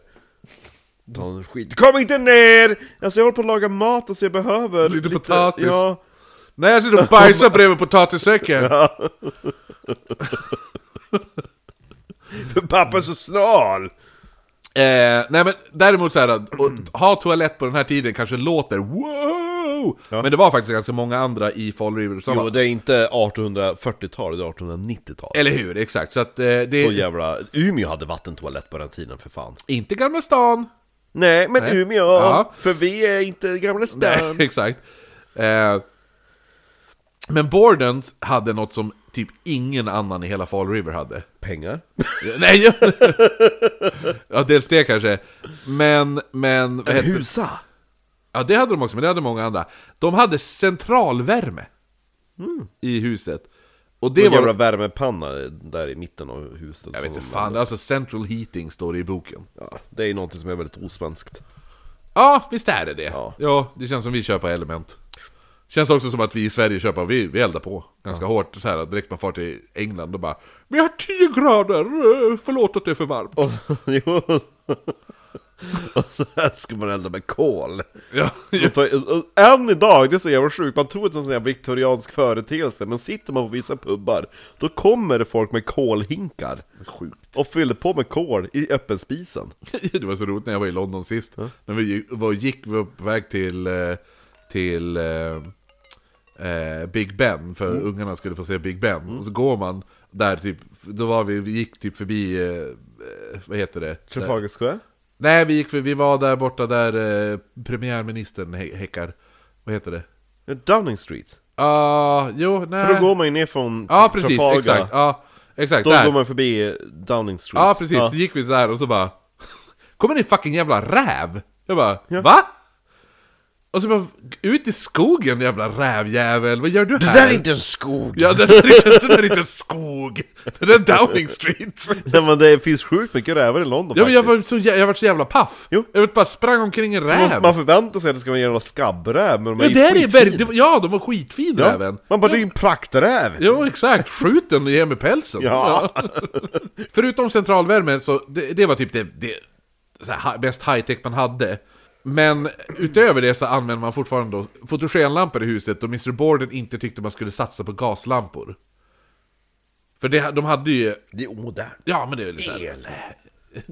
Ta en skit. Kom inte ner! Alltså jag håller på att laga mat och så jag behöver Lite potatis. Ja, Nej jag sitter och bajsar bredvid potatissäcken! för pappa är så snål! Eh, nej men däremot så här, att ha toalett på den här tiden kanske låter wow! Men det var faktiskt ganska många andra i Fall River som Jo, det är inte 1840-tal, det är 1890-tal. Eller hur, exakt. Så att eh, det är Så jävla... Umeå hade vattentoalett på den tiden för fan. inte Gamla stan. Nej, men Nej. Umeå! Ja. För vi är inte Gamla Nej, stan. exakt. Eh, men Bordens hade något som typ ingen annan i hela Fall River hade. Pengar? Nej! ja, dels det kanske. Men, men... Vad heter, Husa! ja, det hade de också, men det hade många andra. De hade centralvärme i huset. Och det Det var var... jävla värmepanna där i mitten av huset. Jag som vet inte de fan, alltså central heating står det i boken. Ja, det är ju någonting som är väldigt osvenskt. Ja, visst är det det. Ja. Ja. det känns som vi köper element. Känns också som att vi i Sverige köper, vi, vi eldar på ganska hårt så här, direkt man far till England och bara Vi har 10 grader, eh, förlåt att det är för varmt. Och, jo, och så här ska man elda med kol. Ja, Så ta- och Än idag, det är så jävla sjukt, man tror att det är en sån här viktoriansk företeelse, men sitter man på vissa pubbar, då kommer det folk med kolhinkar. sjukt. Och fyller på med kol i öppenspisen. Det var så roligt när jag var i London sist. När vi gick- var, gick vi var på väg till, eh, till eh, eh, Big Ben, Mm. för ungarna skulle få se Big Ben. Och så går man där typ, då var vi, vi gick typ förbi, eh, eh, vad heter det? Trafalgar Square? Nej, vi, gick för, vi var där borta där eh, premiärministern hä- häckar. Vad heter det? Downing Street. Ja, jo, nej. För då går man ju ner från Äh. ja, precis, Trafalgar. exakt. Ja, exakt. Då där. går man förbi Downing Street. ja, precis. Så gick vi där och så bara... Kommer ni fucking jävla räv? Jag bara, va? Och så bara, ut i skogen jävla rävjävel, vad gör du här? Det där är inte en skog! Ja, det där är inte, det där är inte skog! Det där är Downing Street! Nej men det finns sjukt mycket rävar i London Ja, men jag faktiskt. var så, jä- jag var så jävla paff! Jo. Jag bara sprang omkring en Man- räv! Man förväntar sig att det ska vara en jävla skabbräv, men de Ja, är det ju är ju skitfina. väldigt, det var- ja, de var skitfina Ja. även. Man bara, det är ju en prakträv! Jo, exakt. Skjut den och ge mig pälsen. Ja. Förutom centralvärme, så det, det var typ det, det så här, hi- bäst high-tech man hade. Men utöver det så använder man fortfarande då fotogenlampor i huset och Mr. Borden inte tyckte man skulle satsa på gaslampor. För det, de hade ju... Det är omodernt. Ja, men det är väl lite... El.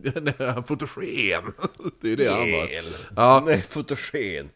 Fotogen. Det är det han var. El. Ja. Nej, fotogen.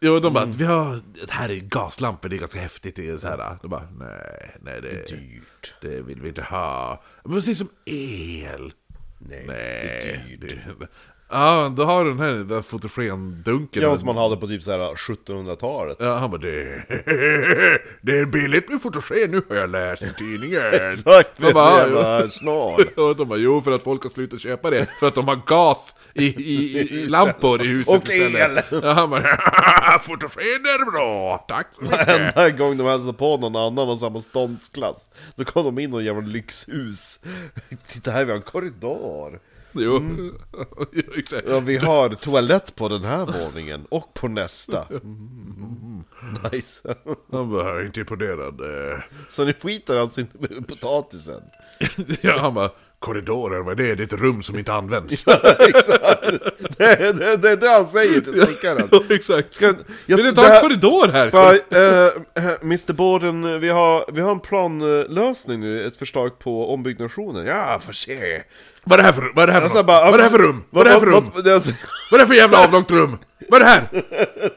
Jo, de bara Mm. vi har, det här är gaslampor, det är ganska häftigt. Det är så här. De bara nej, nej det, är dyrt. Det vill vi inte ha. Men precis som el. Nej, Nej. Det är dyrt. Ja, då har du den här den där fotogendunken. Ja, som man hade på typ såhär 1700-talet. Ja, han bara det, det är billigt med fotogen, nu har jag läst i tidningen. Exakt, för Jag jag bara, är "Ja, så jo." jävla snål. Och de bara jo, för att folk har slutat köpa det, för att de har gas i, i, i, i lampor i huset Och istället. el. Ja, han bara fotogen är bra, tack så mycket. Varenda gång de hälsade på någon annan av samma ståndsklass, då kom de in i någon jävla lyxhus. Titta här, vi har en korridor. Jo. Jo, exakt. Mm. Ja, vi har toalett på den här våningen och på nästa. Nice. Han var inte imponerad. eh. Så ni skiter alltså inte med potatisen? Ja, han bara, korridorer, vad är det? Det är ett rum som inte används. Exakt. Det, det, det är det han säger till snickaren. Ja, exakt. Ska- jag- Vill du det ta här- en korridor här? Bara, eh, eh, Mr Borden, vi har, vi har en planlösning nu, ett förslag på ombyggnationen. Ja, får se. Vad är det här för, vad är det här för, Alltså, något? bara, vad är det här för rum? Vad är det här för rum? vad- alltså, Vad är det för jävla avlångt rum? Vad är det här?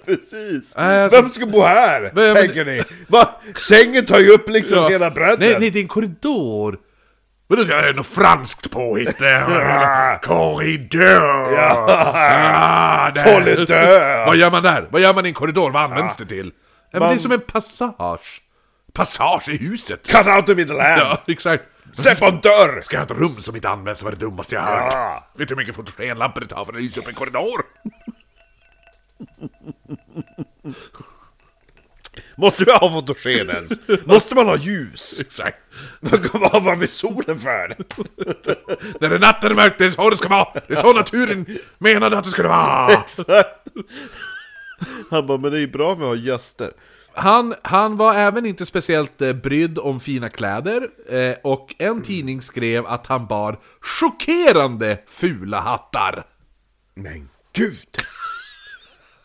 Precis. Äh, Vem ska bo här? Vem- tänker ni? Va? Sängen tar ju upp liksom Ja. hela bredden. Nej, nej, det är en korridor. Vadå, det är något franskt påhitt där. korridor! Ah, där. Korridor. Vad gör man där? Vad gör man i en korridor? Vad används det till? Ja, men det är Man- som en passage. Passage i huset! Cut out the middle hand! Ja, exakt. Sätt på en dörr! Ska jag ha ett rum som inte används var det dummaste jag hört. Ja. Vet du hur mycket fotogenlampor det tar för att lysa upp en korridor? Måste vi ha fotogen ens? Måste man ha ljus? Exakt. Vad var vi solen för? När det är natt är det mörkt, det är så det ska vara! Det är så naturen menade att det skulle vara! Han bara, men det är ju bra om vi har gäster. Han, han var även inte speciellt eh, brydd om fina kläder, eh, och en tidning skrev att han bar chockerande fula hattar. Men gud!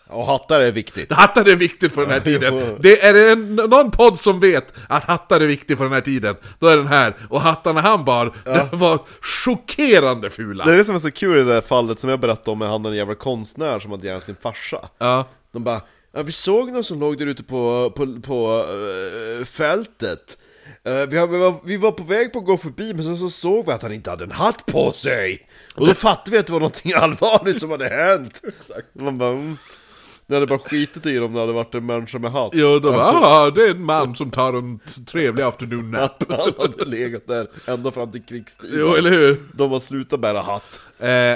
Och hattar är viktigt. Hattar är viktigt på den här tiden. Det är det en, någon podd som vet att hattar är viktigt på den här tiden, då är den här. Och hattarna han bar, de var chockerande fula. Det är det som är så kul i det här fallet som jag berättade om med han den jävla konstnären som hade ihjäl sin farsa. Ja. De bara, ja, vi såg någon som låg där ute på, på, på eh, fältet. Eh, vi, har, vi, var, vi var på väg på att gå förbi, men sen så såg vi att han inte hade en hatt på sig! Och då fattade vi att det var någonting allvarligt som hade hänt! Man bara, mm. Det hade bara skitit i dem när det hade varit en människa med hatt. Jo, då var ah, det är en man som tar en t- trevlig afternoon nap. Han hade legat där ända fram till krigstid. Jo, eller hur? De har slutat bära hatt. Eh,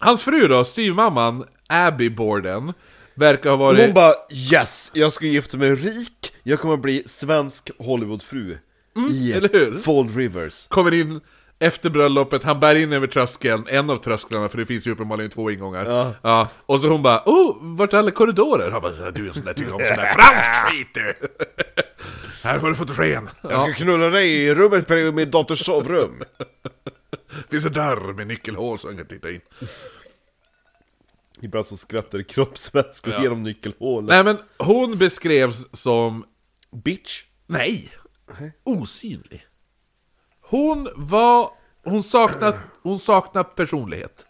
hans fru då, styvmamman, Abby Borden, verkar ha varit... Hon bara 'Yes! Jag ska gifta mig rik, jag kommer bli svensk Hollywoodfru' I Mm, eller hur? Fall Rivers. kommer in efter bröllopet, han bär in över tröskeln, en av trösklarna, för det finns ju uppenbarligen två ingångar. Ja. Och så hon bara oh, vart är alla korridorer? Han bara, du är en sån där tycker om sån där fransk skit du! Här får du fotogen! Jag Ja, ska knulla dig i rummet bredvid min dotters sovrum. det finns en dörr med nyckelhål så han kan titta in. Ibland så skvätter kroppsvätskor Ja. genom nyckelhålet. Nej men, hon beskrevs som Bitch. Nej! Osynlig. Hon var... Hon saknade, hon saknade personlighet.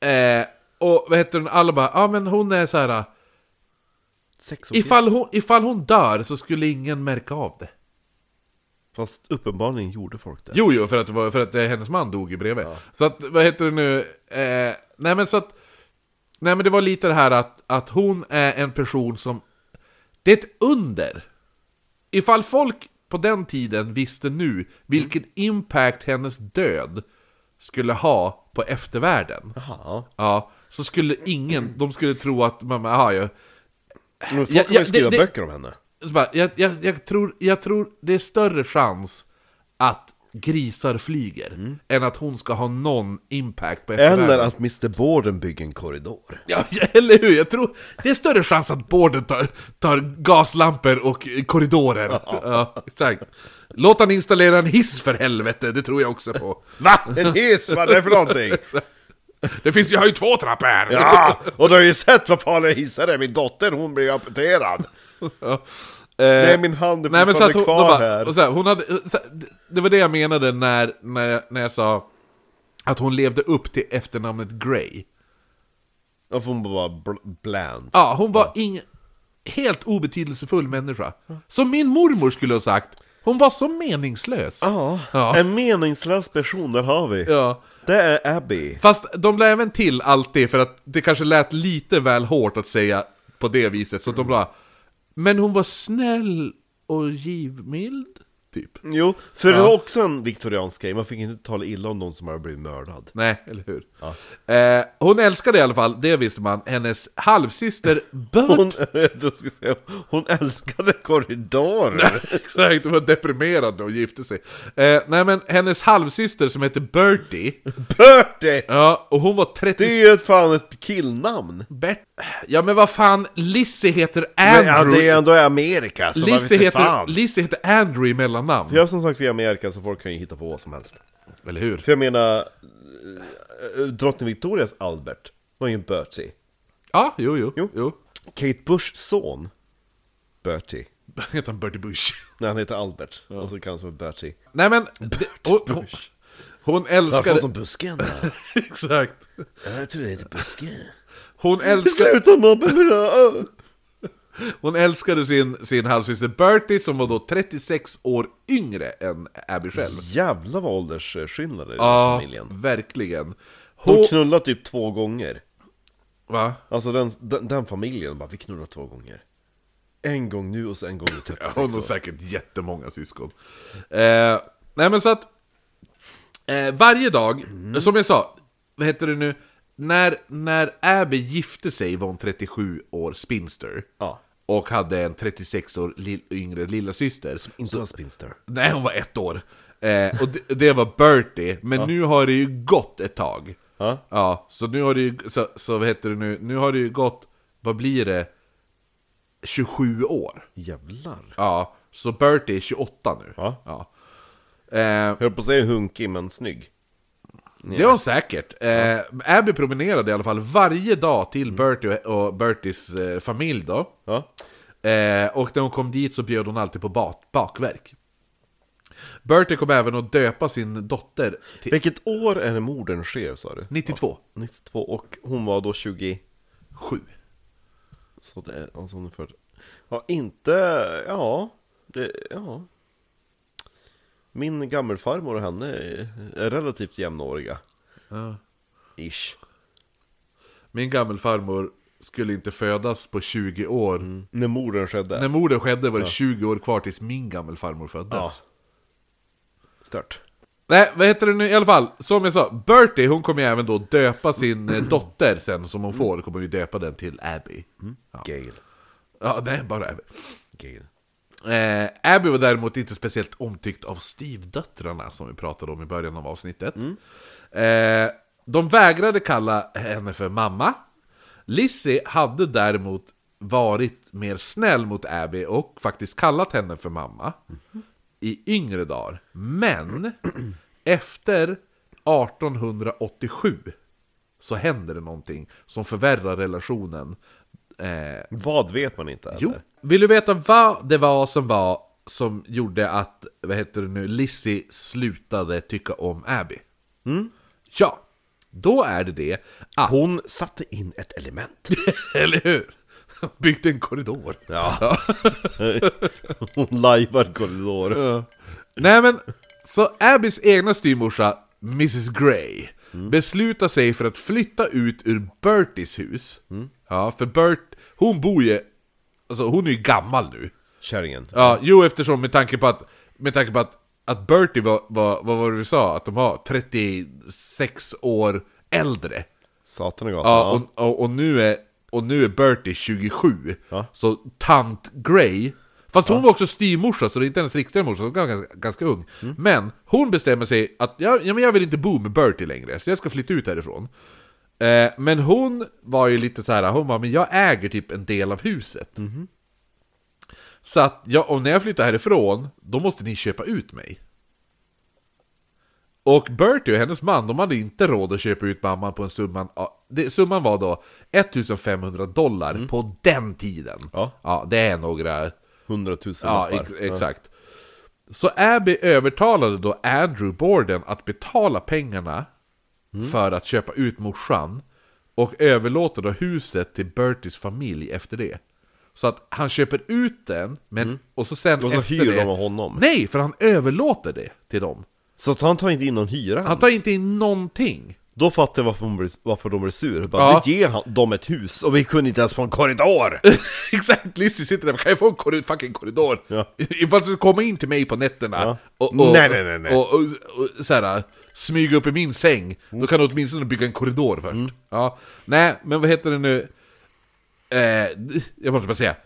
Eh, och vad heter hon? Alla bara, ja ah, men hon är så här. Sex och Ifall hon, ifall hon dör så skulle ingen märka av det. Fast uppenbarligen gjorde folk det. Jo, jo, för att, det var- för att eh, hennes man dog ju bredvid. Så att, vad heter det nu? Eh, nej men så att... Nej men det var lite det här att, att hon är en person som... Det är ett under! Ifall folk på den tiden visste nu vilken impact hennes död skulle ha på eftervärlden. Jaha. Ja, så skulle ingen, de skulle tro att man, aha, jag, Men folk Ja, kommer ja, ju skriva det- det- böcker om henne. så bara, jag, jag, jag, tror, jag tror det är större chans att grisar flyger än att hon ska ha någon impact på eftervärlden. Mm. Eller att Mr Borden bygger en korridor. Ja, ja, eller hur? Jag tror det är större chans att borden tar, tar gaslampor och korridorer. ja, exakt. Låt han installera en hiss för helvete, det tror jag också på. Va? En hiss? Vad är det för någonting? Det finns ju, jag har ju två trappor här! Ja! Och du har ju sett vad farliga hissar är. Min dotter hon blir amputerad. Ja. Nej min hand är Eh, Nej, men så Eh, att fortfarande hon, kvar de bara, här. Och så här, hon hade, så här, det- det var det jag menade när, när, jag, när jag sa att hon levde upp till efternamnet Grey. Ja, för hon bara bl- bland. Ja, hon var ingen helt obetydelsefull människa. Som min mormor skulle ha sagt, hon var så meningslös. Ja. En meningslös person, där har vi. Ja. Det är Abby. Fast de la även till alltid, för att det kanske lät lite väl hårt att säga på det viset, så att de la Men hon var snäll och givmild typ. Jo, för det Ja. var också en viktoriansk grej, man fick inte tala illa om någon som hade blivit mördad. Nej, eller hur? Ja. Eh, hon älskade i alla fall, det visste man, hennes halvsyster Bert. Hon, jag ska säga, hon älskade korridorer! Exakt, hon var deprimerad när hon gifte sig. Eh, nej men hennes halvsyster som heter Bertie, Bertie! ja, och hon var 30... Det är ju ett fan ett killnamn! Bert... Ja men vad fan, Lizzie heter Men, ja, det Andrew. är ändå i Amerika, så man vet Lizzie, inte heter, fan! Lizzie heter Andrew i mellannamn. Jag som sagt, vi är i Amerika så folk kan ju hitta på vad som helst. Eller hur? För jag menar, eh, drottning Victorias Albert var ju en Bertie. Ja, jo, jo. jo. Jo. Kate Bushs son, Bertie. Heter han Bertie Bush? Nej, han heter Albert, och så kallas han för Bertie. Nej men... Det, hon, hon, hon älskade... busken? Exakt. Jag tror det heter busken. Hon älskade... Sluta mobba mig! Hon älskade sin, sin halvsyster Bertie som var då 36 år yngre än Abby själv. Jävla vad åldersskillnader i den här Ja, familjen. verkligen. Hon... De knullade typ två gånger. Va? Alltså den, den, den familjen bara, vi knullar två gånger. En gång nu och så en gång i Ja, Hon 36 har år. säkert jättemånga syskon. Eh, nej men så att... Eh, varje dag, Mm. som jag sa, vad heter det nu? När, när Abby gifte sig var hon 37 år spinster. Ja. Och hade en 36 år lill, yngre lilla syster. Inte en spinster. Nej, hon var ett år. Eh, och det, det var Bertie, men nu har det ju gått ett tag. Ja. så nu har det ju, så, så vad heter det nu, nu har det ju gått, vad blir det, 27 år. Jävlar. Ja, så Bertie är 28 nu. Ja. Eh, Jag höll på att säga hunkig men snygg. det är hon säkert. Eh, Abby promenerade i alla fall varje dag Mm. till Bertie och, och Berties eh, familj då. Ja. Eh, och när hon kom dit så bjöd hon alltid på ba- bakverk. Bertie kom även att döpa sin dotter till Vilket år är det morden sker sa du? 92. 92 och hon var då 20... 7. Så det är, alltså hon är född... Ja, inte... Ja. Det, ja. Min gammelfarmor och henne är är relativt jämnåriga. Ish. Min gammelfarmor skulle inte födas på 20 år. När morden skedde. När morden skedde var det 20 år kvar tills min gammelfarmor Ja. föddes. Stört. Nej, vad heter det nu i alla fall? Som jag sa, Bertie hon kommer ju även då döpa sin eh, dotter sen som hon får, kommer ju döpa den till Abby. Ja. Gail. ja, nej, bara Abby. Gail. Eh, Abby var däremot inte speciellt omtyckt av Steve-döttrarna som vi pratade om i början av avsnittet. Eh, de vägrade kalla henne för mamma. Lizzie hade däremot varit mer snäll mot Abby och faktiskt kallat henne för mamma i yngre dagar. Men efter 1887 så händer det någonting som förvärrar relationen eh, Vad vet man inte Jo. eller? Vill du veta vad det var som var som gjorde att, vad heter det nu, Lizzie slutade tycka om Abby? Mm. Ja, då är det det att, Hon satte in ett element. eller hur? Byggde en korridor. Ja. Hon lajvar korridorer. Nej men, så Abbys egna styvmorsa, Mrs Grey, beslutar sig för att flytta ut ur Berties hus. Ja, för Bert, hon bor ju, alltså hon är ju gammal nu. Kärringen. Ja, jo eftersom med tanke på att, med tanke på att, att Bertie var, var, vad var det vi sa, att de var 36 år äldre. Satan och gatan. Ja, Ja, och, och, och nu är, och nu är Bertie 27. Ja. Så tant Grey, fast hon var också styvmorsa så det är inte hennes riktiga morsa, hon var ganska, ganska ung. Mm. Men hon bestämmer sig att, ja, ja men jag vill inte bo med Bertie längre, så jag ska flytta ut härifrån. Eh, men hon var ju lite så här, hon var men jag äger typ en del av huset. Mhm. Så att, ja, och när jag flyttar härifrån, då måste ni köpa ut mig. Och Bertie och hennes man, de hade inte råd att köpa ut mamman på en summan, ja, det, summan var då 1500 dollar på den tiden. Mm. Ja. det är några, 100 000 ja, lappar. ex- exakt. Så Abby övertalade då Andrew Borden att betala pengarna Mm. för att köpa ut morsan och överlåter då huset till Berties familj efter det. Så att han köper ut den, men, och så sen Mm. Och så efter hyr det, de av honom. Nej, för han överlåter det till dem. Så att han tar inte in någon hyra Han tar inte in någonting. Då fattar jag varför, hon blir, varför de blir sur. Bara, Ja. Du ger han, dem ett hus och vi kunde inte ens få en korridor! Exakt, Lizzie sitter där, kan jag få en korri- fucking korridor? Ja. Ifall du ska komma in till mig på nätterna Ja. och, och, Nej, nej, nej, nej. och, och, och så här, smyga upp i min säng, då kan du åtminstone bygga en korridor först. Mm. Ja. Nej, men vad heter det nu? Eh, jag måste bara säga,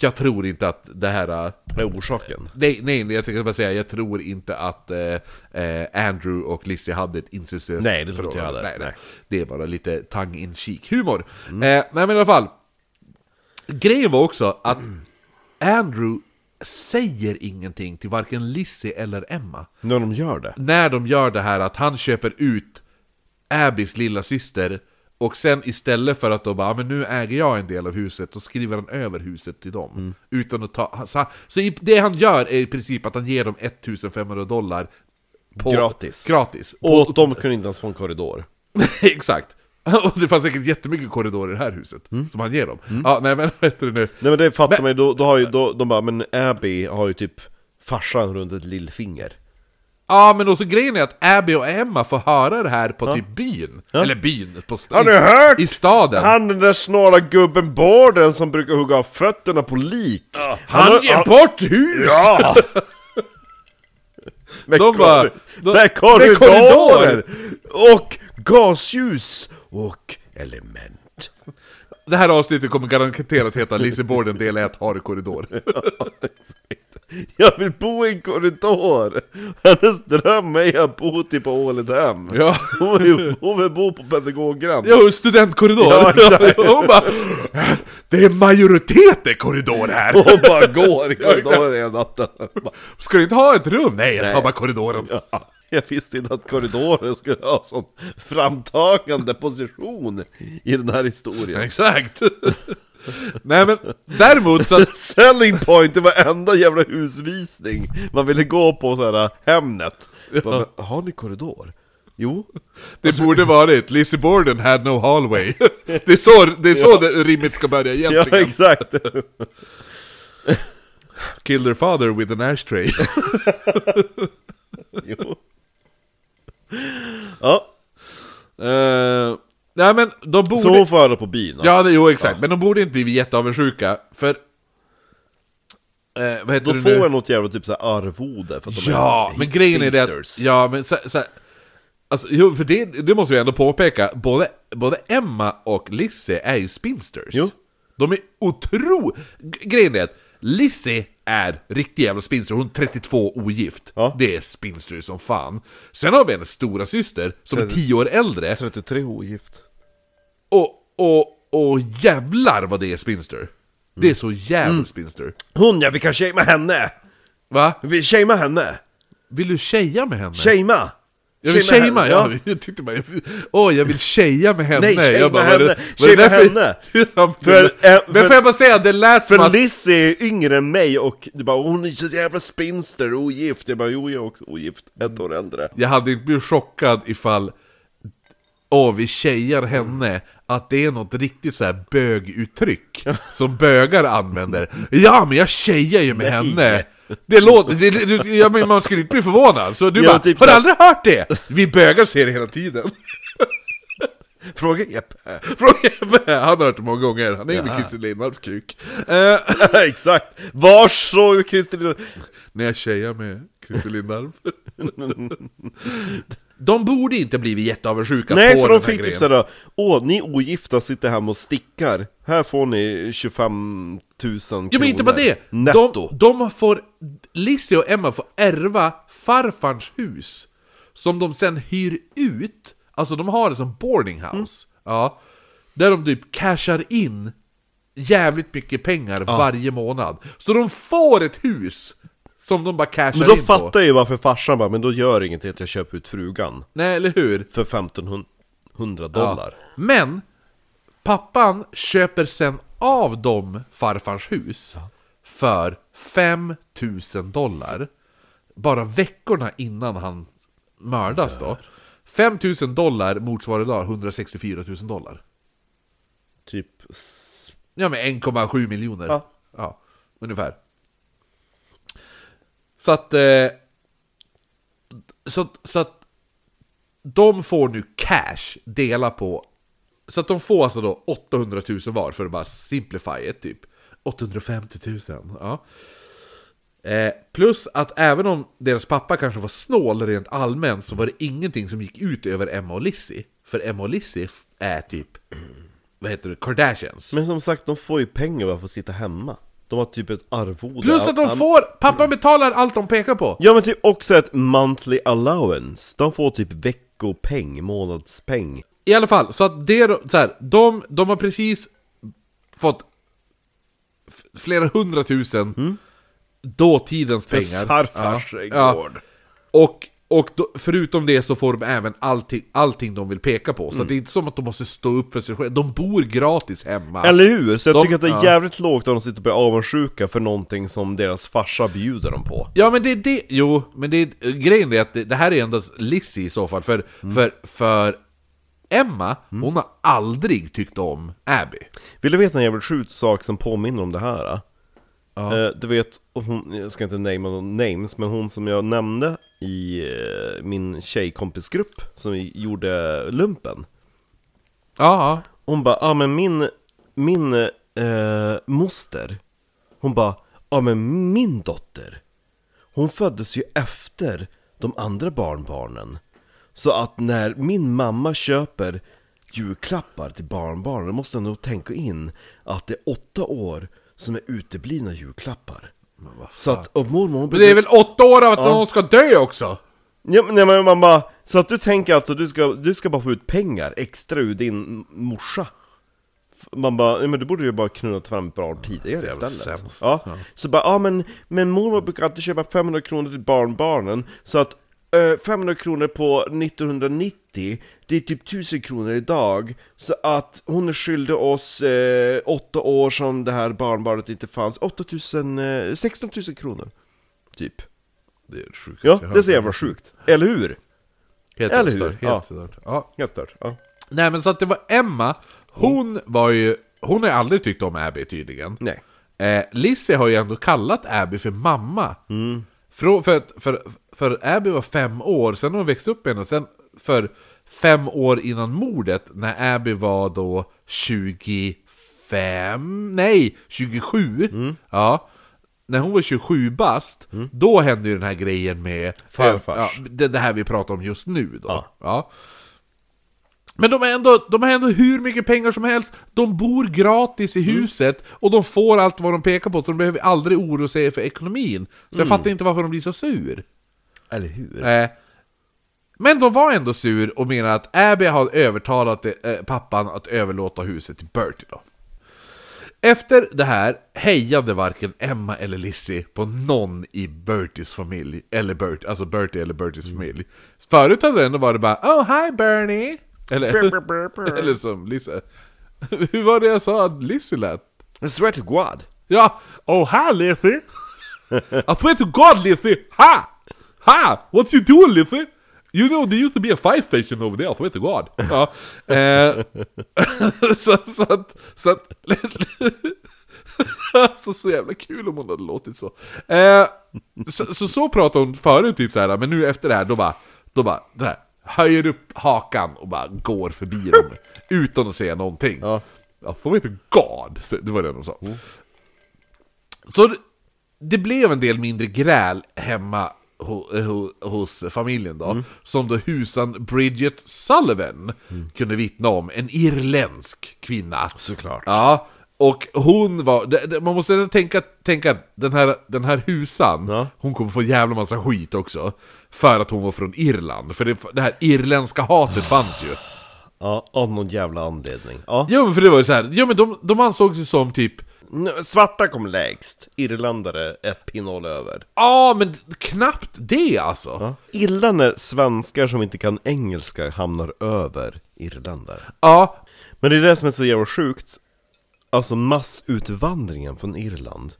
jag tror inte att det här... eh, Vad är orsaken? Nej, nej, jag tänkte bara säga, jag tror inte att eh, eh, Andrew och Lizzie hade ett incestuöst Nej, Mm. det tror inte jag förhållande. heller. Nej, nej. Det är bara lite tang in cheek humor. Eh, nej, men i alla fall. Grejen var också att Andrew säger ingenting till varken Lizzie eller Emma. När de gör det? När de gör det här att han köper ut Abbys lilla syster och sen istället för att då bara "Ah, men nu äger jag en del av huset, då skriver han över huset till dem. Mm. Utan att ta, så, så i- det han gör är i princip att han ger dem 1500 dollar på, Gratis. gratis. Och åt dem kunde inte ens få en korridor. Exakt. Och det fanns säkert jättemycket korridorer i det här huset, Mm. som han ger dem. Ja, nej men vad heter det nu? Nej men det fattar man ju, då, då har ju då, de bara, men Abby har ju typ farsan runt ett lillfinger. Ja, men också grejen är att Abby och Emma får höra det här på typ byn. Eller byn, på st- Har ni i- hört? i staden. Han den där snåla gubben Borden som brukar hugga av fötterna på lik. Han, har- han- bort hus! Ja! med De kor- bara- de- med med korridorer! korridorer. Och gasljus! Och element. Det här avsnittet kommer garanterat heta Lizzie Borden del 1 har korridor. Jag vill bo i en korridor! Hennes dröm är att bo typ på Ålidhem. Ja. Hon vill, ju- hon vill bo på pedagoggrand. Jo, studentkorridor! Ja, exakt. Hon bara, det är majoritet i korridor här! Hon bara går i korridoren hela natten. Ska du inte ha ett rum? Nej, jag tar Nej. bara korridoren. Jag visste inte att korridoren skulle ha sån framtagande position i den här historien. Exakt! Nej men, däremot så att Selling point i varenda jävla husvisning man ville gå på så här äh, Hemnet. Bara, "Men Har ni korridor? Jo. det borde varit Lizzie Borden had no hallway. Det är så, det är så det rimmet ska börja Ja, egentligen. exakt. Kill their father with an ashtray. Jo. Ja, Eh, nej men, de borde... så hon får höra på byn. Ja, det, jo exakt. Men de borde inte blivit jätteavundsjuka, för... Eh, vad heter Då det får nu? jag något jävla typ så här arvode för att de Ja, är men grejen är det att... hipsters. Ja, men så, så, alltså, jo, för det, det måste vi ändå påpeka, både, både Emma och Lizzie är ju spinsters. Jo. De är otro... g- Grejen är att Lizzie är riktig jävla spinster, hon är 32 ogift. Ja. Det är spinster som fan. Sen har vi hennes stora syster som är 10 år äldre, 33 ogift. och, och, och jävlar vad det är spinster. Det är så jävla Mm. spinster. Hon ja, vi kan shamea henne! Va? Vi shamea henne! Vill du tjeja med henne? Shamea! Jag vill shamea, henne. ja. jag tyckte bara... jag- Åh, jag vill tjeja med henne! Nej, shamea jag bara, vad är det- henne. vad är det Shamea för- ja, men, För, eh, men för- får jag bara säga, det lät som För att... Lizzie är ju yngre än mig och du bara 'Hon är så jävla spinster, ogift' Jag bara 'Jo, jag är också ogift, ett år äldre' Jag hade inte blivit chockad ifall... Åh, vi tjejar henne. Att det är något riktigt så här böguttryck som bögar använder. Ja, men jag tjejar ju med Nej. henne! Det låter... Det, det, det- jag menar, man skulle inte bli förvånad. Så du Ja, bara, typ har du så- aldrig hört det? Vi bögar ser det hela tiden. Fråga Jeppe Från Jeppe, han har hört det många gånger, han är ju med Christer Lindvalls kuk. Eh, Exakt! Var såg Kristin när jag tjejar med Christer Lindvalv. De borde inte blivit jätteavundsjuka Nej, på den för de här fick grejen. typ såhär 'Åh, ni ogifta sitter hemma och stickar, här får ni 25 000 kronor Ja men inte bara det! Netto! De, de får, Lizzie och Emma får ärva farfarns hus Som de sen hyr ut, alltså de har det som boarding Mm. house ja, Där de typ cashar in jävligt mycket pengar varje månad Så de får ett hus som de bara cashar Men då in på fattar jag ju varför farsan bara 'Men då gör det ingenting att jag köper ut frugan' Nej eller hur? För 1500 dollar Men pappan köper sen av dem farfars hus för 5000 dollar. Bara veckorna innan han mördas då. 5000 dollar motsvarar idag 164 000 dollar. Typ s- Ja men 1,7 miljoner. Ja. ja. Ungefär. Så att... eh, Så, så att De får nu cash dela på. Så att de får alltså då 800 000 var för att bara simplify it typ. 850 000. Ja. Eh, plus att även om deras pappa kanske var snål rent allmänt så var det ingenting som gick ut över Emma och Lizzie. För Emma och Lizzie f- är typ, vad heter det, Kardashians. Men som sagt, de får ju pengar bara för att sitta hemma De har typ ett arvode Plus att de Han- får, pappa betalar allt de pekar på. Ja men typ också ett monthly allowance De får typ veckopeng, månadspeng I alla fall, så att det då- så här, de, de har precis fått f- flera hundratusen Mm. dåtidens pengar. farfars gård. Och, och då, förutom det så får de även allting, allting de vill peka på. Mm. Så det är inte som att de måste stå upp för sig själva. De bor gratis hemma. Eller hur? Så jag De- tycker att det är ja. jävligt lågt om de sitter och blir avundsjuka för någonting som deras farsa bjuder dem på Ja men det är det, jo, men det är, grejen är att det, det här är ändå Lizzie i så fall, för, Mm. för, för Emma, hon har aldrig tyckt om Abby. Vill du veta en jävligt sjuk sak som påminner om det här? Eh, du vet, och hon, jag ska inte namea någon names, men hon som jag nämnde i eh, min tjejkompisgrupp som vi gjorde lumpen Ja, Hon bara, ja ah, men min, min eh, moster Hon bara, ja ah, men min dotter Hon föddes ju efter de andra barnbarnen Så att när min mamma köper julklappar till barnbarnen Då måste hon nog tänka in att det är åtta år som är uteblivna julklappar Så att, och mormor hon men det är väl åtta år av att någon ska dö också? Ja, men, nej, men man bara, så att du tänker alltså du ska, du ska bara få ut pengar extra ur din morsa F- Man bara, nej, men du borde ju bara knullat fram ett par år tidigare jävla istället sämst. ja. Så bara, ja men, men mormor brukar alltid köpa 500 kronor till barnbarnen Så att eh, 500 kronor på 1990, det är typ 1000 kronor idag Så att hon är skyldig oss eh, åtta år som det här barnbarnet inte fanns, 8000, eh, 16 000 kronor Typ Det är sjukt. Ja, det är så jävla sjukt, eller hur? Helt Eller stört, hur? Helt Ja. stört. Ja. Helt stört, ja. Nej men så att det var Emma, hon var ju, hon har ju aldrig tyckt om Abby tydligen. Nej. Eh, Lizzie har ju ändå kallat Abby för mamma. Frå, för, att- för, för Abby var fem år, sen när hon växte upp igen, och sen för fem år innan mordet, när Abby var då 25, nej 27, ja. När hon var 27 bast, då hände ju den här grejen med Farfars. Ja, det, det här vi pratar om just nu då. Ja. Men de, är ändå, de har ändå hur mycket pengar som helst, de bor gratis i Mm. huset och de får allt vad de pekar på så de behöver aldrig oroa sig för ekonomin. Så jag fattar inte varför de blir så sur. Mm. Eller hur? Eh, men de var ändå sur och menar att Abby har övertalat eh, pappan att överlåta huset till Bertie då. Efter det här hejade varken Emma eller Lizzie på någon i Berties familj, eller Bert, alltså Bertie eller Berties familj. Förut hade det ändå varit bara Oh hi Bernie! Eller, eller som Lizzie. Hur var det jag sa att Lizzie lät? I swear to God. Ja, oh hi Lizzie! I swear to God Lizzie! Ha! Ha! What you doing Lizzie? You know there used to be a fire station over there, I swear to God. Ja, eh, så, så att... Så att alltså så jävla kul om hon hade låtit så. Eh, så, så så pratade hon förut typ så här, men nu efter det här då bara... Då bara det här, höjer upp hakan och bara går förbi dem utan att säga någonting. Ja. I swear to God, så- det var det de sa. Så det, det blev en del mindre gräl hemma ho, ho, hos familjen då, Mm. som då husan Bridget Sullivan Mm. kunde vittna om, en irländsk kvinna. Såklart. Ja, och hon var... det- det- Man måste ändå tänka, tänka att den här, den här husan, Ja. hon kommer få jävla massa skit också. För att hon var från Irland, för det, det här irländska hatet fanns ju. Ja, av någon jävla anledning. Ja. Jo men för det var ju så här, jo men de, de ansåg sig som typ N- Svarta kom lägst, irländare ett pinnhål över. Ja men knappt det alltså! Illa när svenskar som inte kan engelska hamnar över irländare. ja Men det är det som är så jävla sjukt. Alltså massutvandringen från Irland.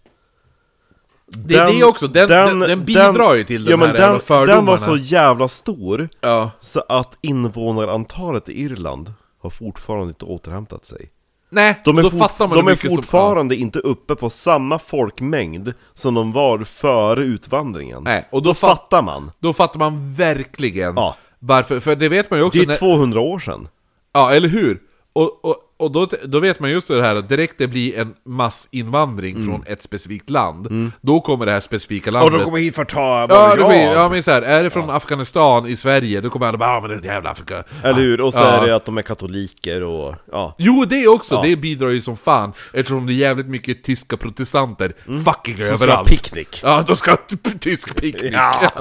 Det är det också, den, den, den, bidrar ju till den ja, men här jävla den, fördomarna. Den var så jävla stor, Ja. så att invånarantalet i Irland har fortfarande inte återhämtat sig. Nej, De är, då fort, fattar man hur de är mycket som- fortfarande inte uppe på samma folkmängd som de var före utvandringen. Nej, och då då fattar man. Ja, då fattar man verkligen Ja. Varför? För det vet man ju också Det är när- 200 år sedan. Ja, eller hur? Och, och, och då, då vet man just det här att direkt det blir en massinvandring Mm. från ett specifikt land, då kommer det här specifika Och landet... de kommer hit för att ta vad ja, vi det har. blir, ja, men så här, är det från Afghanistan i Sverige, då kommer alla bara ah, men det är en jävla Afrika. Eller hur? Och så Ja. är det att de är katoliker och ja. Jo, det också! Ja. Det bidrar ju som fan, eftersom det är jävligt mycket tyska protestanter fucking Mm. Så ska ha överallt. picknick. Ja, de ska ha t- tysk picknick! Ja.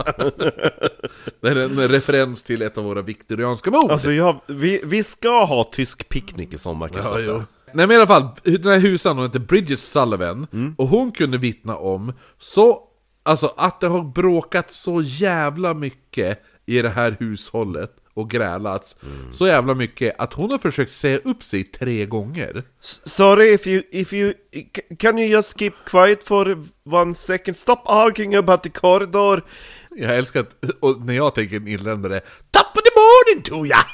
Det är en referens till ett av våra viktorianska mord! Alltså jag, vi, vi ska ha tysk picknick i sommar Ja, Kristoffer. jo. Nej men i alla fall, den här husan hon heter Bridget Sullivan, och hon kunde vittna om så, alltså att det har bråkat så jävla mycket i det här hushållet och grälats så jävla mycket att hon har försökt säga upp sig tre gånger. S- Sorry if you, if you, c- can you just keep quiet for one second? Stop arguing about the corridor! Jag älskar att, och när jag tänker en irländare, Top of the morning to ya!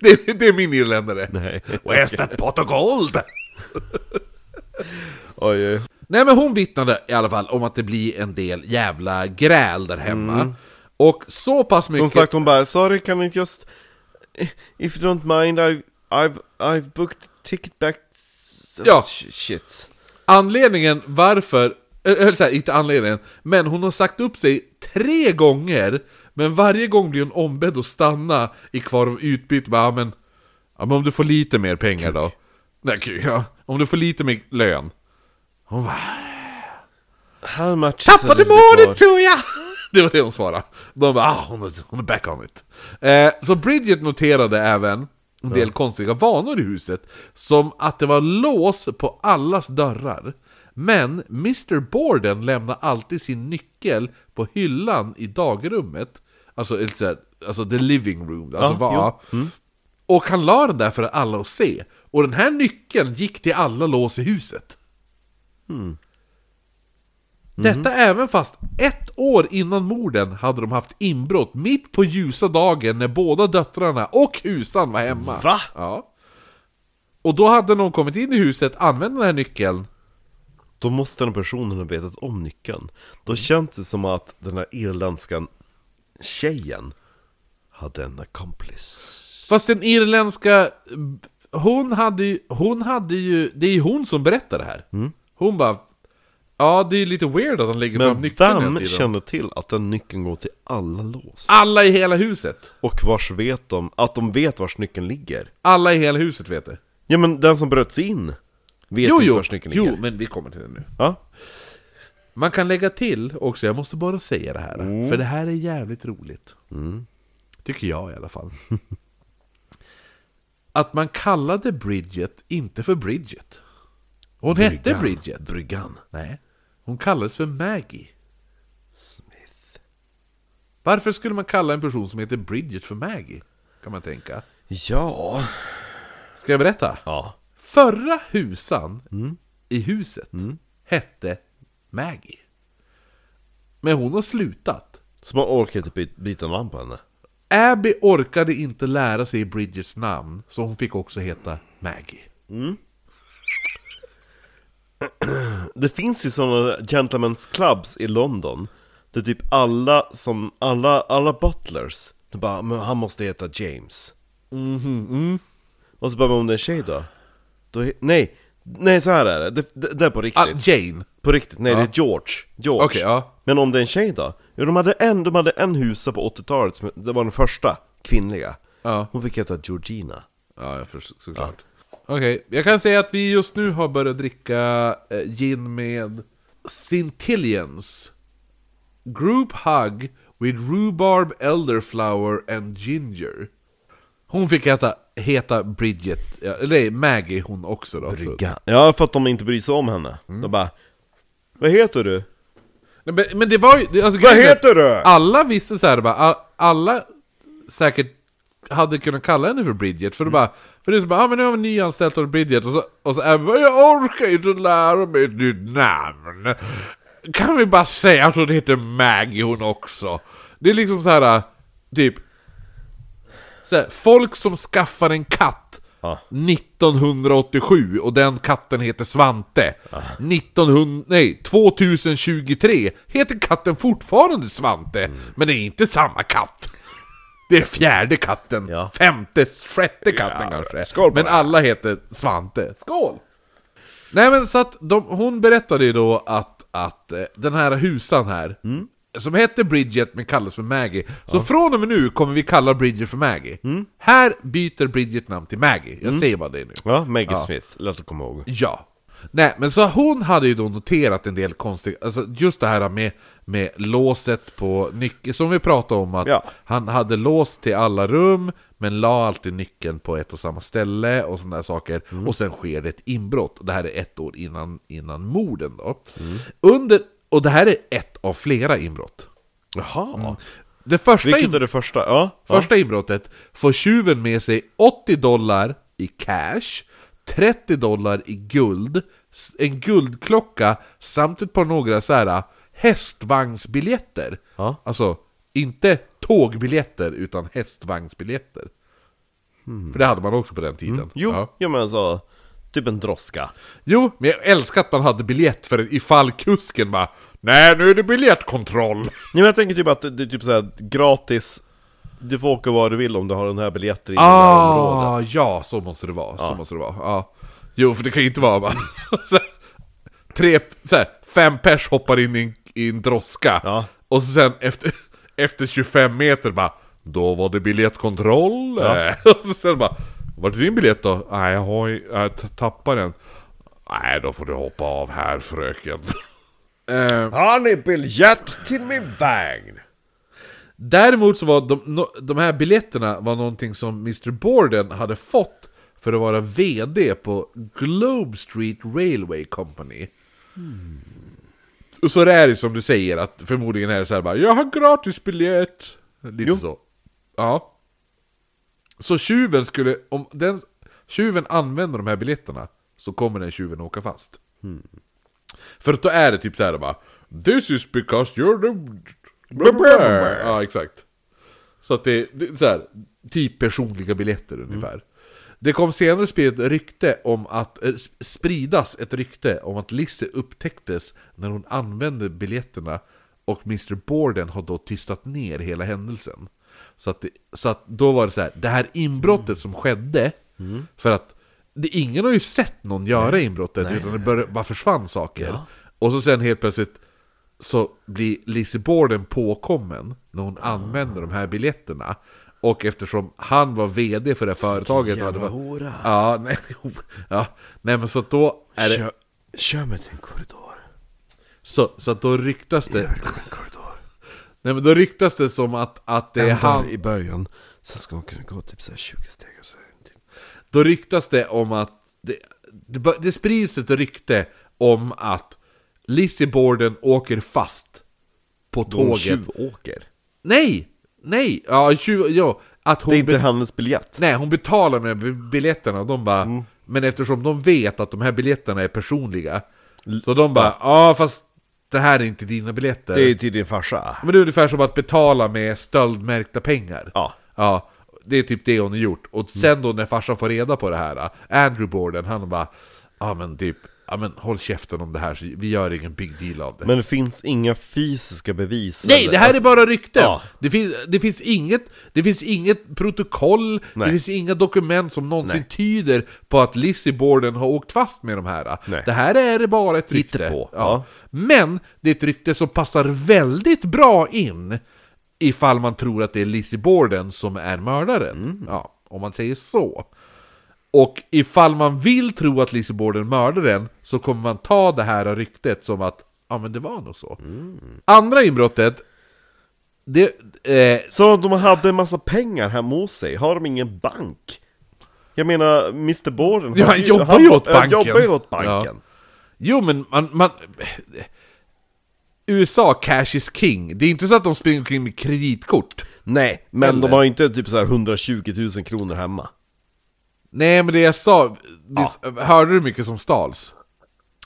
det, är- det är min irländare. Nej. Where's that pot of gold? Oj, oj. Nej men hon vittnade i alla fall om att det blir en del jävla gräl där hemma. Och så pass mycket... Mm. Som sagt hon bara, sorry can I just, if you don't mind I've, I've, I've booked ticket back... Ja. Sh- Shit. Anledningen varför... Eller eller så här, inte anledningen. Men hon har sagt upp sig tre gånger. Men varje gång blir hon ombedd att stanna i kvar av utbyte. Bara, "Ja, men, ja men om du får lite mer pengar då. Nej, gud, ja. Om du får lite mer lön. Hon bara, How much Tappade målet tror jag! Det var det hon svarade. De bara ah, hon, är, hon är back on it. Eh, så Bridget noterade även en del konstiga vanor i huset. Som att det var lås på allas dörrar. Men Mr Borden lämnade alltid sin nyckel på hyllan i dagrummet. Alltså, lite så här, alltså the living room. Alltså, Ja, va, Och han la den där för alla att se. Och den här nyckeln gick till alla lås i huset. Hmm. Detta även fast ett år innan morden hade de haft inbrott mitt på ljusa dagen när båda döttrarna och husan var hemma. Va? Ja. Och då hade någon kommit in i huset, använt den här nyckeln. Då måste den personen ha vetat om nyckeln. Då känns det som att den här irländska tjejen hade en accomplice. Fast den irländska... Hon hade ju... Hon hade ju det är ju hon som berättar det här. Mm. Hon bara... Ja, det är lite weird att han lägger fram Men nyckeln hela vem tiden. känner till att den nyckeln går till alla lås? Alla i hela huset! Och vars vet de, att de vet vars nyckeln ligger? Alla i hela huset vet det. Ja men den som bröt sig in vet Jo, inte jo, vars nyckeln jo, ligger. men vi kommer till det nu. Ja? Man kan lägga till också, jag måste bara säga det här, Mm. för det här är jävligt roligt. Tycker jag i alla fall. Att man kallade Bridget inte för Bridget. Hon hette Bridget. Bryggan. Nej. Hon kallades för Maggie. Smith. Varför skulle man kalla en person som heter Bridget för Maggie? Kan man tänka. Ja. Ska jag berätta? Ja. Förra husan Mm. i huset hette Maggie. Men hon har slutat. Så man orkar inte byta, byta namn på henne. Abby orkade inte lära sig Bridgets namn, så hon fick också heta Maggie. Det finns ju sådana gentlemen's clubs i London Där typ alla som, alla, alla butlers De bara, men han måste heta James Mhm, mm. Och så bara, men om det är en tjej då? då he- nej, nej så här är det, det, det, det är på Ah, riktigt Jane. På riktigt, nej det är George, George Okej, ja. Men om det är en tjej då? Jo de hade en, de hade en husa på 80-talet, som- det var den första kvinnliga Ja. Hon fick heta Georgina Ja, jag förstår såklart. Okej, jag kan säga att vi just nu har börjat dricka eh, gin med Scintillions Group Hug with Rhubarb Elderflower and Ginger. Hon fick heta, heta Bridget, ja, eller nej, Maggie hon också då. förut. Ja, för att de inte bryr sig om henne De bara, vad heter du? Nej, Men, men det var ju... Alltså, Vad grejen är att heter du? Alla visste så här, bara, all- alla säkert hade kunnat kalla henne för Bridget, Mm. för det bara... För det är så bara, ah, men nu har vi nyanställt hon Bridget, och så, och så Abby bara, jag orkar inte lära mig ett nytt namn. Kan vi bara säga att hon heter Maggie hon också? Det är liksom så här, äh, typ... Så här, folk som skaffar en katt Ja. 1987 och den katten heter Svante. 1900, nej, 2023 heter katten fortfarande Svante, men det är inte samma katt. Det är fjärde katten, Ja. femte, sjätte katten Ja, kanske. skål på Men det. alla heter Svante. Skål! Nej men så att de, hon berättade ju då att, att eh, den här husan här, Mm. som hette Bridget men kallas för Maggie. Så från och med nu kommer vi kalla Bridget för Maggie. Mm. Här byter Bridget namn till Maggie, jag säger bara det nu. Ja, Maggie Smith, låt oss komma ihåg. Ja. Nej, men så hon hade ju då noterat en del konstiga, alltså just det här med, med låset på nyckeln, som vi pratade om att Ja. han hade lås till alla rum, men la alltid nyckeln på ett och samma ställe och sådana där saker. Mm. Och sen sker det ett inbrott, och det här är ett år innan, innan morden då. Mm. Under, och det här är ett av flera inbrott. Jaha. Det första, in, Mm. Vilket är det första? Ja. första inbrottet får tjuven med sig 80 dollar i cash, 30 dollar i guld, s- en guldklocka samt ett par några så här äh, hästvagnsbiljetter. Ja. Alltså, inte tågbiljetter utan hästvagnsbiljetter. Hmm. För det hade man också på den tiden. Jo, Ja. ja. men alltså, typ en droska. jo, men jag älskar att man hade biljett för ifall kusken bara Nej, nu är det biljettkontroll! Nej men jag tänker typ att det det är typ såhär gratis, du får åka var du vill om du har den här biljetten i det här området. Ah, ja, så måste det vara. Så måste det vara. Ja. Jo, för det kan ju inte vara bara... så här, Tre, så här, fem pers hoppar in i en, i en droska. Ja. Och sen efter, efter 25 meter bara... Då var det biljettkontroll. Ja. Och så sen bara... Vart är din biljett då? Ah. Nej, jag har ju- jag t- tappade den. Nej, då får du hoppa av här fröken. Eh, Har ni biljett till min vagn? Däremot så var de, no- de här biljetterna var någonting som Mr. Borden hade fått för att vara VD på Globe Street Railway Company. Och så det är det som du säger, att förmodligen är det så här bara Jag har gratis biljett! Lite så. Ja. Så tjuven skulle, om den tjuven använder de här biljetterna så kommer den tjuven åka fast. För att då är det typ så här bara This is because you're the... Ja, exakt. Så att det, det är så här, typ personliga biljetter ungefär. Det kom senare sprid ett rykte om att, eh, sp- spridas ett rykte om att Lisse upptäcktes när hon använde biljetterna och Mr. Borden har då tystat ner hela händelsen. Så att, det, så att då var det så här, det här inbrottet som skedde, för att det, ingen har ju sett någon göra inbrottet utan det började, bara försvann saker. Och så sen helt plötsligt så blir Lizzie Borden påkommen när hon Ah. använder de här biljetterna. Och eftersom han var VD för det här företaget... och hade jävla varit- hora. Ja, nej, jo, ja, nej men så att då är det... Kör, kör mig till en korridor. Så, så att då ryktas det... En korridor. Nej men då ryktas det som att, att det är han... i början, sen ska man kunna gå typ såhär 20 steg och så till. Då ryktas det om att... Det, det, bör- det sprids ett rykte om att Lizzie Borden åker fast på tåget. åker. Nej! Nej! Ja, tjuv, ja att hon Det är inte hennes biljett. Nej, hon betalar med bi- biljetterna och de bara... Mm. Men eftersom de vet att de här biljetterna är personliga Så de bara, ja fast det här är inte dina biljetter Det är till din farsa. Men det är ungefär som att betala med stöldmärkta pengar Ja. Mm. Ja, det är typ det hon har gjort Och sen då när farsan får reda på det här Andrew Borden, han bara Ja men typ, ja men håll käften om det här så vi gör ingen big deal av det Men det finns inga fysiska bevis. Nej, eller- det här är bara rykten! Alltså, Ja. Det, finns, det, finns inget, det finns inget protokoll, Nej. det finns inga dokument som någonsin tyder på att Lizzie Borden har åkt fast med de här. Nej. Det här är bara ett rykte. på, Ja. ja. Men det är ett rykte som passar väldigt bra in ifall man tror att det är Lizzie Borden som är mördaren. Ja, om man säger så. Och ifall man vill tro att Lizzie Borden mördar den så kommer man ta det här ryktet som att ja men det var nog så. Andra inbrottet, det... Eh, Så de hade en massa pengar hemma hos sig, har de ingen bank? Jag menar, Mr Borden ja, har han jobbar ju åt banken! Han jobbar ju åt banken! Ja. Jo men man... man eh, USA, cash is king. Det är inte så att de springer omkring med kreditkort. Nej, men Eller? de har inte typ så här 120 000 kronor hemma. Nej men det jag sa, visst, hörde du mycket som stals?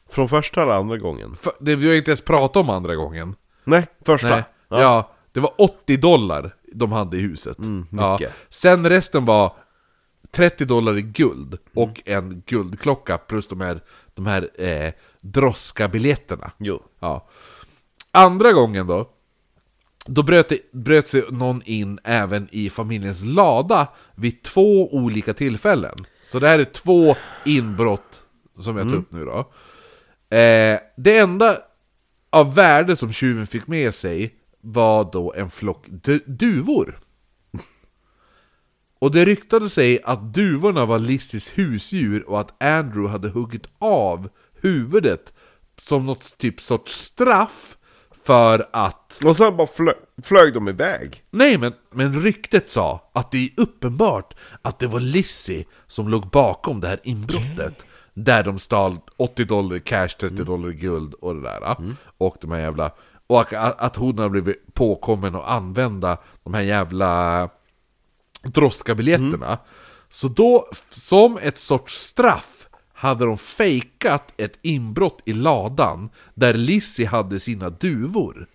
Från första eller andra gången? För, det vi har inte ens pratat om andra gången. Nej, första. Nej. Ja. det var 80 dollar de hade i huset. ja. mycket. Sen resten var 30 dollar i guld och en guldklocka plus de här, de här eh, droska biljetterna. Jo. Ja. Andra gången då, Då bröt, det, bröt sig någon in även i familjens lada vid två olika tillfällen. Så det här är två inbrott som jag tar upp nu då. Eh, det enda av värde som tjuven fick med sig var då en flock du- duvor. Och det ryktade sig att duvorna var Lissys husdjur och att Andrew hade huggit av huvudet som något typ sorts straff för att Och sen bara flög, flög de iväg. Nej, men, men ryktet sa att det är uppenbart att det var Lissy som låg bakom det här inbrottet. Där de stal 80 dollar i cash, 30 dollar i guld och det där. Och de här jävla... Och att- att hon har blivit påkommen att använda de här jävla droskabiljetterna. Så då, f- som ett sorts straff, hade de fejkat ett inbrott i ladan där Lissy hade sina duvor.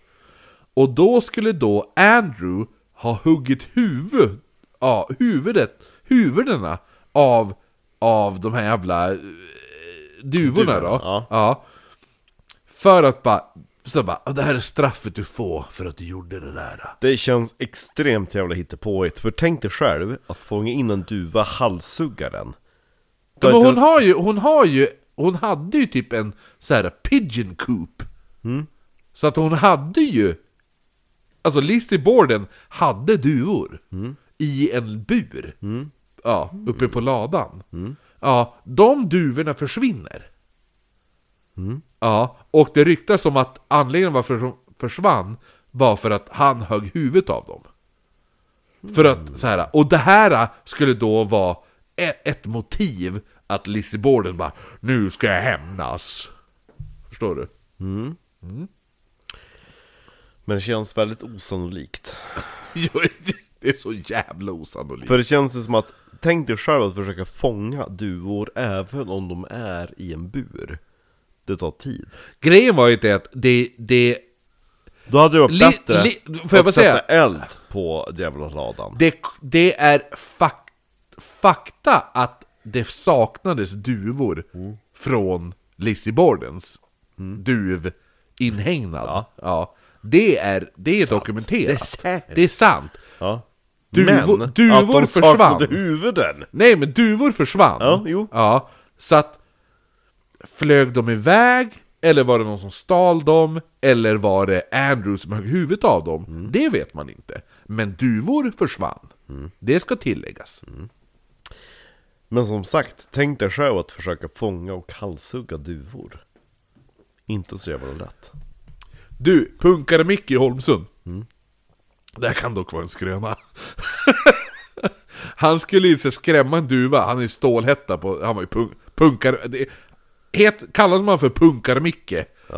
Och då skulle då Andrew ha huggit huvud, ja, huvudet, huvudena av, av de här jävla eh, duvorna då. ja. För att bara, så bara, "Ah, det här är straffet du får för att du gjorde det där. Det känns extremt jävla hittepåigt, för tänk dig själv att fånga in en duva, halshugga den Ja, Då är men inte- hon har ju, hon har ju, hon hade ju typ en så här pigeon coop. Mm. Så att hon hade ju, alltså Lizzie Borden hade duvor Mm. i en bur. Ja, uppe på ladan. Mm. Ja, de duvorna försvinner. Ja, och det ryktas om att anledningen varför de försvann var för att han högg huvudet av dem. För att så här, och det här skulle då vara ett, ett motiv att Lizzie Borden bara Nu ska jag hämnas. Förstår du? Men det känns väldigt osannolikt Jo, det är så jävla osannolikt. För det känns ju som att, tänk dig själv att försöka fånga duvor även om de är i en bur Det tar tid Grejen var ju det att det, det, Då hade det varit Li- bättre li- får jag bara att sätta säga? eld på jävla ladan det, det är fak, fakta att det saknades duvor från Lizzie Bordens duvinhägnad. Mm. Ja. Det är, det är dokumenterat. Det är sant. Det är sant. ja. Duvor- Men, att duvor de saknade försvann. huvuden! Nej men duvor försvann. Ja, jo. Ja, så att flög de iväg, eller var det någon som stal dem, eller var det Andrew som högg huvudet av dem? Mm. Det vet man inte. Men duvor försvann. Det ska tilläggas. Men som sagt, tänk dig själv att försöka fånga och halshugga duvor Inte så jävla lätt Du, punkare Micke i Holmsund. Det här kan dock vara en skröna. han skulle ju så skrämma en duva, han är stålhätta på... Han var ju punk, punkare... Det, het, kallas man för punkare Micke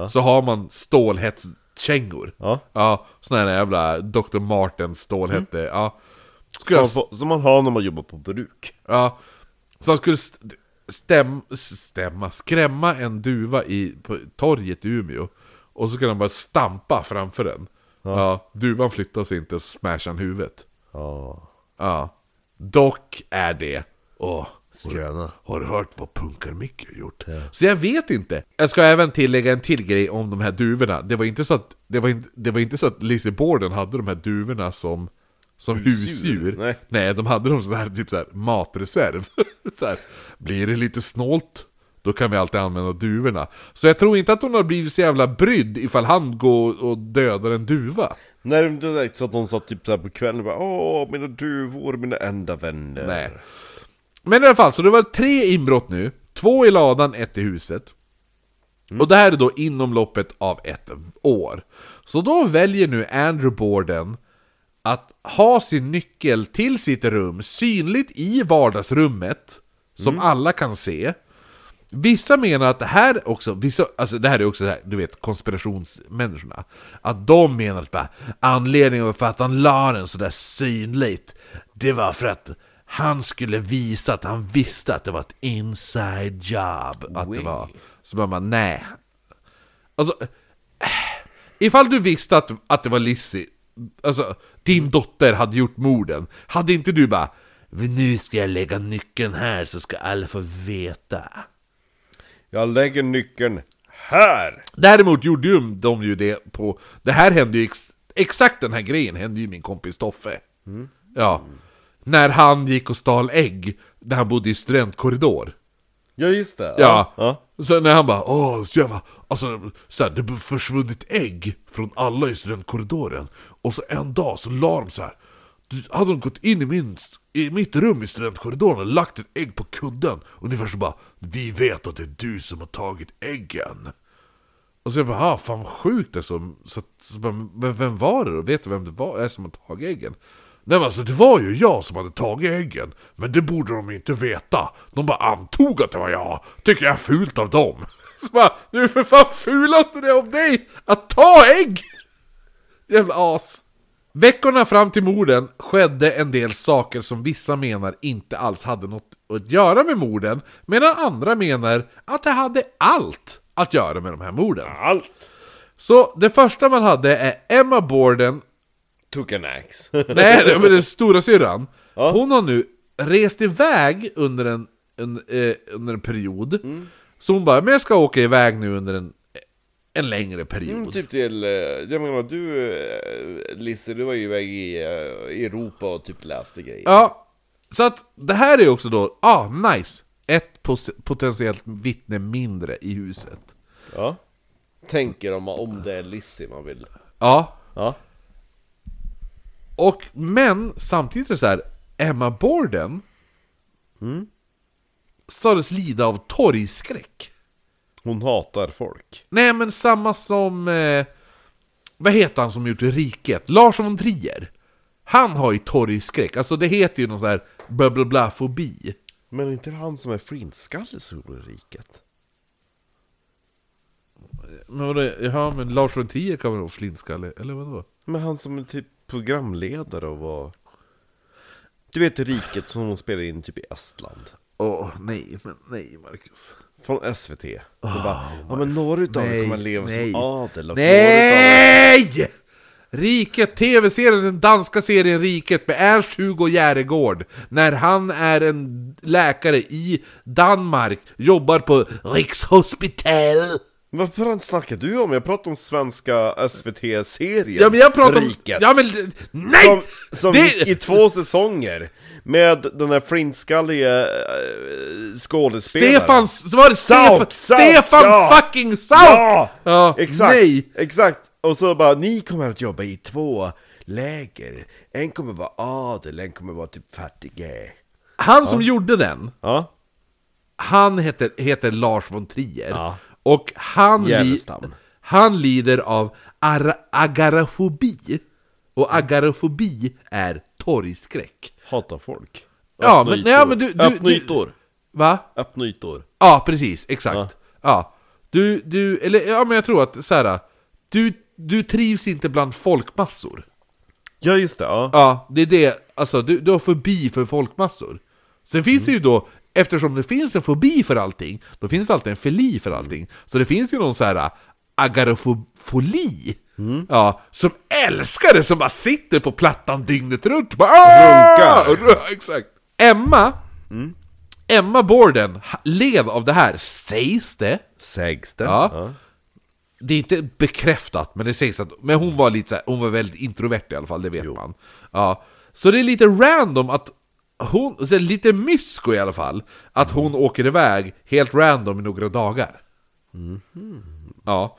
så har man stålhättskängor. Ja. ja såna här jävla Dr. Martens stålhätte. Ja. Som Skulle Mm. man, han, får, som man har när man jobbar på bruk ja. Så han skulle st- stäm, stämma, skrämma en duva i, på torget i Umeå. Och så kan han bara stampa framför den. Ja. duvan flyttar sig inte, så smashar han huvudet. Ja, Ja. Dock är det... Åh, skröna har du hört vad Punkar-Micke har gjort? Så jag vet inte. Jag ska även tillägga en till grej om de här duvorna. Det var inte så att, det var inte, det var inte så att Lizzie Borden hade de här duvorna som, som husdjur. Nej. de hade dem så här, typ så här matreserv. så här, blir det lite snålt, då kan vi alltid använda duvorna. Så jag tror inte att hon har blivit så jävla brydd ifall han går och dödar en duva. Nej det är inte direkt så att de satt typ såhär på kvällen och bara Åh mina duvor, mina enda vänner Nej. Men i alla fall, så det var tre inbrott nu. Två i ladan, ett i huset. Och det här är då inom loppet av ett år. Så då väljer nu Andrew Borden att ha sin nyckel till sitt rum synligt i vardagsrummet, som alla kan se. Vissa menar att det här också, vissa, alltså det här är också det här, du vet konspirationsmänniskorna. Att de menar att bara, anledningen för att han la den sådär synligt, det var för att han skulle visa att han visste att det var ett inside job. Att det var, så man bara, nej. Alltså, äh, ifall du visste att, att det var Lissy, alltså din dotter hade gjort morden, hade inte du bara nu ska jag lägga nyckeln här så ska alla få veta. Jag lägger nyckeln här! Däremot gjorde ju de ju det på... Det här hände ju ex, Exakt den här grejen hände ju min kompis Toffe. Ja. När han gick och stal ägg när han bodde i studentkorridor. Ja just det. Ja. ja. Så när han bara åh så jävla, alltså så här, det har försvunnit ägg från alla i studentkorridoren. Och så en dag så la de så här. du- hade de gått in i, min, i mitt rum i studentkorridoren och lagt ett ägg på kudden. Ungefär så bara, vi vet att det är du som har tagit äggen. Och så jag bara, ah, fan vad sjukt alltså. Så, att- så bara, men vem var det då? Vet du vem det var är som har tagit äggen? Nej men alltså det var ju jag som hade tagit äggen. Men det borde de inte veta. De bara antog att det var jag. Tycker jag är fult av dem. Så bara, det är ju för fan fulast det är av dig! Att ta ägg! Jävla as. Veckorna fram till morden skedde en del saker som vissa menar inte alls hade något att göra med morden, medan andra menar att det hade allt att göra med de här morden. Allt! Så det första man hade är Emma Borden, Took an axe. nej det var den stora syrran. Hon har nu rest iväg under en, en, eh, under en period. Så hon bara, men jag ska åka iväg nu under en, en längre period. Mm. typ till, eh, jag menar du eh, Lisse, du var ju iväg i eh, Europa och typ läste grejer. Ja, så att det här är också då, ah nice! Ett pos- potentiellt vittne mindre i huset. Ja. Tänker om, om det är Lisse man vill. Ja, Ja. och men samtidigt är det så här, Emma Borden sades lida av torgskräck. Hon hatar folk. Nej men samma som... Eh, vad heter han som gjort Riket? Lars von Trier. Han har ju torgskräck, alltså det heter ju någon sån här bla bla bla fobi. Men är inte det han som är flintskalle som gjorde riket? Men vadå, ja men Lars von Trier kan väl vara flintskalle, eller vadå? Men han som är typ programledare och var... Du vet riket som de spelade in typ i Estland. Åh, nej, men nej Marcus. Från SVT. Och bara, ja men några utav er Ah, nej, kommer leva nej. som adel och några utav er- Nej! Riket, tv-serien, den danska serien Riket med Ernst-Hugo Järegård. När han är en läkare i Danmark, jobbar på Rikshospital. Vad fan snackar du om? Jag pratar om svenska SVT-serien Ja men jag pratar om... Riket. Ja men... Nej! Som, som Det- gick i två säsonger Med den där flintskallige äh, skådespelaren Stefan... Så var det Stefan... Sauk, Sauk, Stefan ja. fucking Sauk! Ja! Ja, Exakt! Nej! Exakt! Och så bara, ni kommer att jobba i två läger En kommer vara adel, en kommer vara typ fattig Han som gjorde den, Ja, han heter, heter Lars von Trier. Ja. Och han, li, Jävelstam. han lider av ara, agarafobi. Och agarafobi är torgskräck. hatar folk Ja, Öppna men- ytor. nej, men du- du- Öppna du- ytor! Va? Öppna ytor! Ja, precis. Exakt. Ja. Du, du, eller ja men jag tror att så här. Du, du trivs inte bland folkmassor. Ja just det, ja Ja, det är det. Alltså, du, du har fobi för folkmassor. Sen finns det ju då, eftersom det finns en fobi för allting, då finns det alltid en fili för allting. Så det finns ju någon så här agarofoli. Ja, som älskar det, som bara sitter på plattan dygnet runt. Bara, "Aah!" Runkar. Ru- Exakt. Emma, Emma Borden ha- led av det här, sägs det. Sägs det? Ja. Det är inte bekräftat, men det sägs att Men hon var lite så här, hon var väldigt introvert i alla fall, det vet man. Ja. Så det är lite random att hon, så här, lite mysko i alla fall, att hon åker iväg helt random i några dagar. Ja.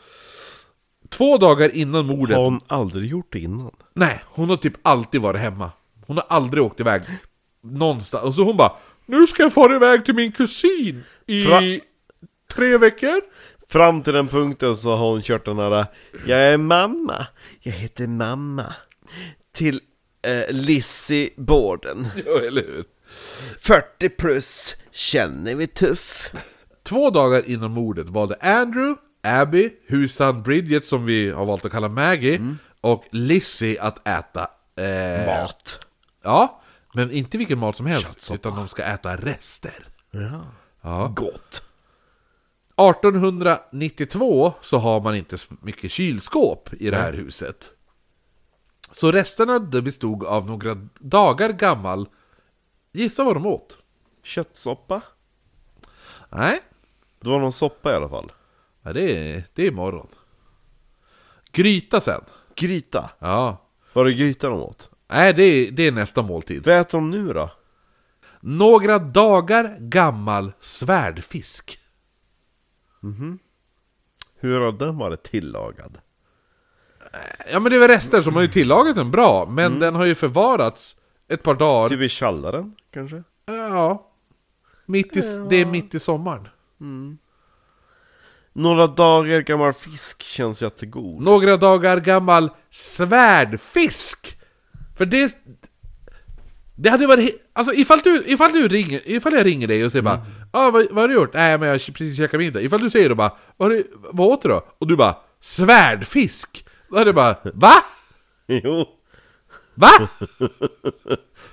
Två dagar innan mordet, Har hon aldrig gjort det innan? nej, hon har typ alltid varit hemma. Hon har aldrig åkt iväg någonstans. Och så hon bara, nu ska jag fara iväg till min kusin i Fra- tre veckor. Fram till den punkten så har hon kört den här Jag är mamma, jag heter mamma Till eh, Lissy Borden Ja, eller hur? 40 plus, känner vi tuff Två dagar innan mordet valde Andrew, Abby, husan Bridget som vi har valt att kalla Maggie och Lizzie att äta eh, Mat Ja, men inte vilken mat som helst utan de ska äta rester. ja. Ja. Gott 1892 så har man inte så mycket kylskåp i det här huset. Så resterna det bestod av några dagar gammal... Gissa vad de åt? Köttsoppa? Nej, Det var någon soppa i alla fall ja, det, är, det är imorgon. Gryta sen. Gryta. Ja. Var det gryta de åt? Nej, det är, det är nästa måltid. Vad äter de nu då? Några dagar gammal svärdfisk. Hur har den varit tillagad? Ja men det är väl rester som har ju tillagat den bra, men den har ju förvarats ett par dagar. Typ i källaren, kanske? Ja. Mitt i, Det är mitt i sommaren. Några dagar gammal fisk känns jättegod. Några dagar gammal svärdfisk! För det... Det hade varit... he- Alltså ifall du, ifall du ringer, ifall jag ringer dig och säger bara ah, vad, vad har du gjort? Nej men jag har precis käkat middag. Ifall du säger då bara vad, har du, vad åt du då? Och du bara svärdfisk! Då hade jag bara va? Jo. Va?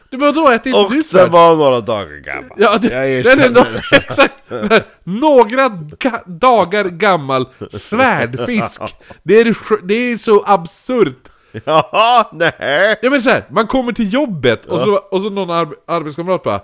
Du bara då äter inte Och du den svärd? var några dagar gammal. Ja, det, Jag den är erkänner no exakt, den är några ga dagar gammal svärdfisk. Det är, sj- det är så absurt. Jaha, nej. Jag menar så här, man kommer till jobbet och, så, och så någon arb arbetskamrat bara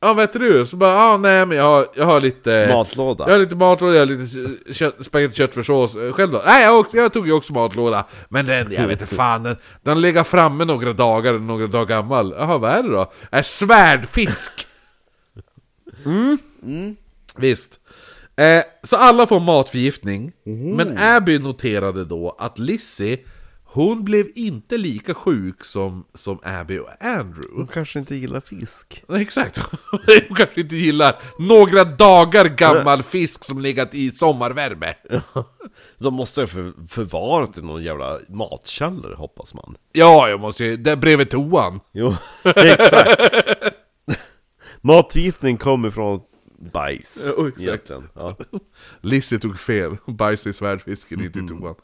Ja vad äter du? Så bara, ah, nej men jag har, jag har lite... Matlåda. Jag har lite matlåda, jag har lite kött, spagetti köttfärssås Eh, själv då. Nej jag, har också, jag tog ju också matlåda, men den, jag vet inte fan, den, den ligger framme några dagar, den är några dagar gammal. Jaha vad är det då? Är svärdfisk! Mm. Visst. Eh, så alla får matförgiftning, men Abby noterade då att Lizzie, hon blev inte lika sjuk som, som Abby och Andrew. De kanske inte gillar fisk. Nej, Exakt, hon kanske inte gillar några dagar gammal fisk som legat i sommarvärme. De måste ha för, förvarat i någon jävla matkällare, hoppas man. Ja, jag måste ju, där bredvid toan. Jo, exakt. Matförgiftning kommer från bajs. Ja, oj, exakt. egentligen. Ja. Lizzie tog fel, hon bajsade i svärdfisken, inte i toan.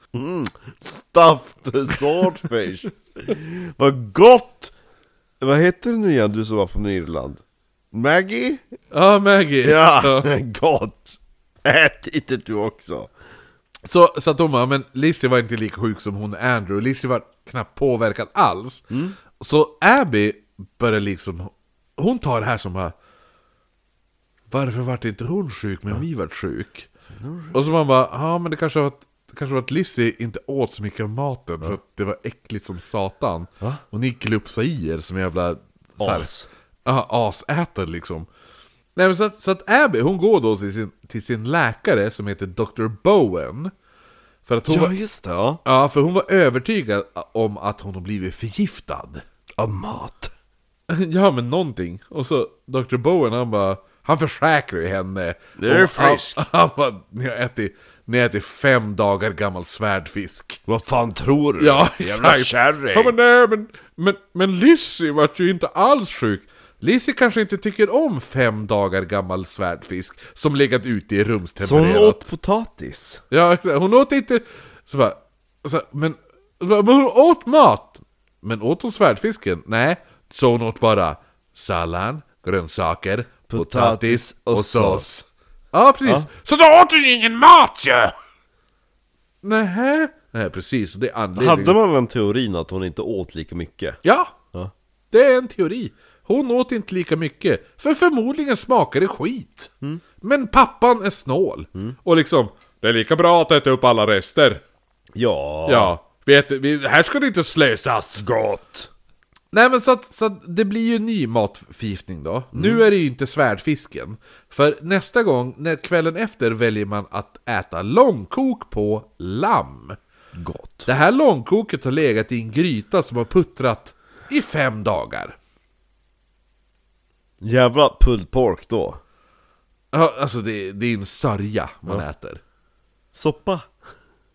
Stuffed swordfish. Vad gott! Vad heter det nu igen, du som var från Irland? Maggie? Ja, Maggie. Ja, gott! Ät inte du också? Så, så att de bara, men Lizzie var inte lika sjuk som hon Andrew, Lizzie var knappt påverkad alls. Så Abby börjar liksom, hon tar det här som bara, varför vart inte hon sjuk men vi vart sjuk? Och så man bara, ja men det kanske var att det kanske var att Lizzie inte åt så mycket av maten för att det var äckligt som satan. Och ni glupsade i er som jävla... så här- As. Ja, asätare liksom. Nej, men så, att, så att Abby, hon går då till sin, till sin läkare som heter Dr. Bowen. För att hon, var, just det. Ja. ja, för hon var övertygad om att hon har blivit förgiftad. Av mat. ja, men någonting. Och så Dr. Bowen, han bara... Han försäkrar ju henne. Det är Och frisk. Han, han bara, ni har ätit, ni har ätit fem dagar gammal svärdfisk. Vad fan tror du? Ja, Jävla exakt. Ja, men kärring! nej, men, men, men Lizzie vart ju inte alls sjuk. Lizzie kanske inte tycker om fem dagar gammal svärdfisk som legat ute i Så hon rumstempererat. åt potatis? Ja, exakt. hon åt inte... Så bara, så, men, så bara, men hon åt mat! Men åt hon svärdfisken? Nej. Så hon åt bara sallad, grönsaker, potatis, och, och sås. sås. Ja, precis. Så då åt hon ingen mat ju! Nähä? Nej, precis. Och det är anledningen. Hade man den teorin att hon inte åt lika mycket? Ja! Ja. Det är en teori. Hon åt inte lika mycket, för förmodligen smakar det skit. Men pappan är snål. Och liksom, det är lika bra att äta upp alla rester. Ja. Ja, vet, vi, här ska det inte slösas. Gott! Nej men så att, så att det blir ju ny matförgiftning då. Nu är det ju inte svärdfisken. För nästa gång, när kvällen efter, väljer man att äta långkok på lamm. Gott. Det här långkoket har legat i en gryta som har puttrat i fem dagar. Jävla pulled pork då. Ja, alltså det, det är en sörja man äter. Soppa.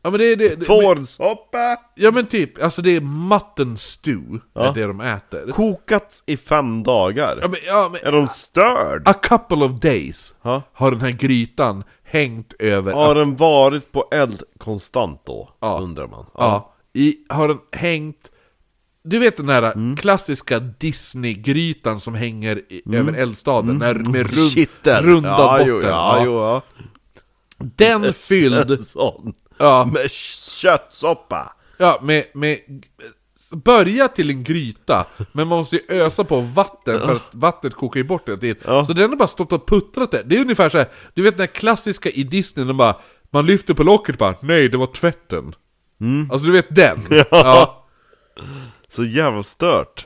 Ja men det är... Det, det, men, Fårsoppa! ja men typ, alltså det är mutton stew, är Ja. det de äter. Kokats i fem dagar. Ja men, ja, men Är de störd? a couple of days Ja. har den här grytan hängt över... Har den varit på eld konstant då? Ja. Undrar man. Ja. ja, i, har den hängt... Du vet den här Mm. klassiska Disney-grytan som hänger i, över eldstaden, när, med rund, Kittel. runda Mm. ja, botten. Jo, ja, jo, ja. Den fylld... En sån. ja, Med köttsoppa. Ja, med, med... Börja till en gryta, men man måste ju ösa på vatten för att vattnet kokar ju bort hela tiden. Ja. Så den har bara stått och puttrat där. Det är ungefär så här. du vet den här klassiska i Disney, de bara... Man lyfter på locket och bara, nej det var tvätten. Alltså du vet den? Ja. Ja. Så jävla stört.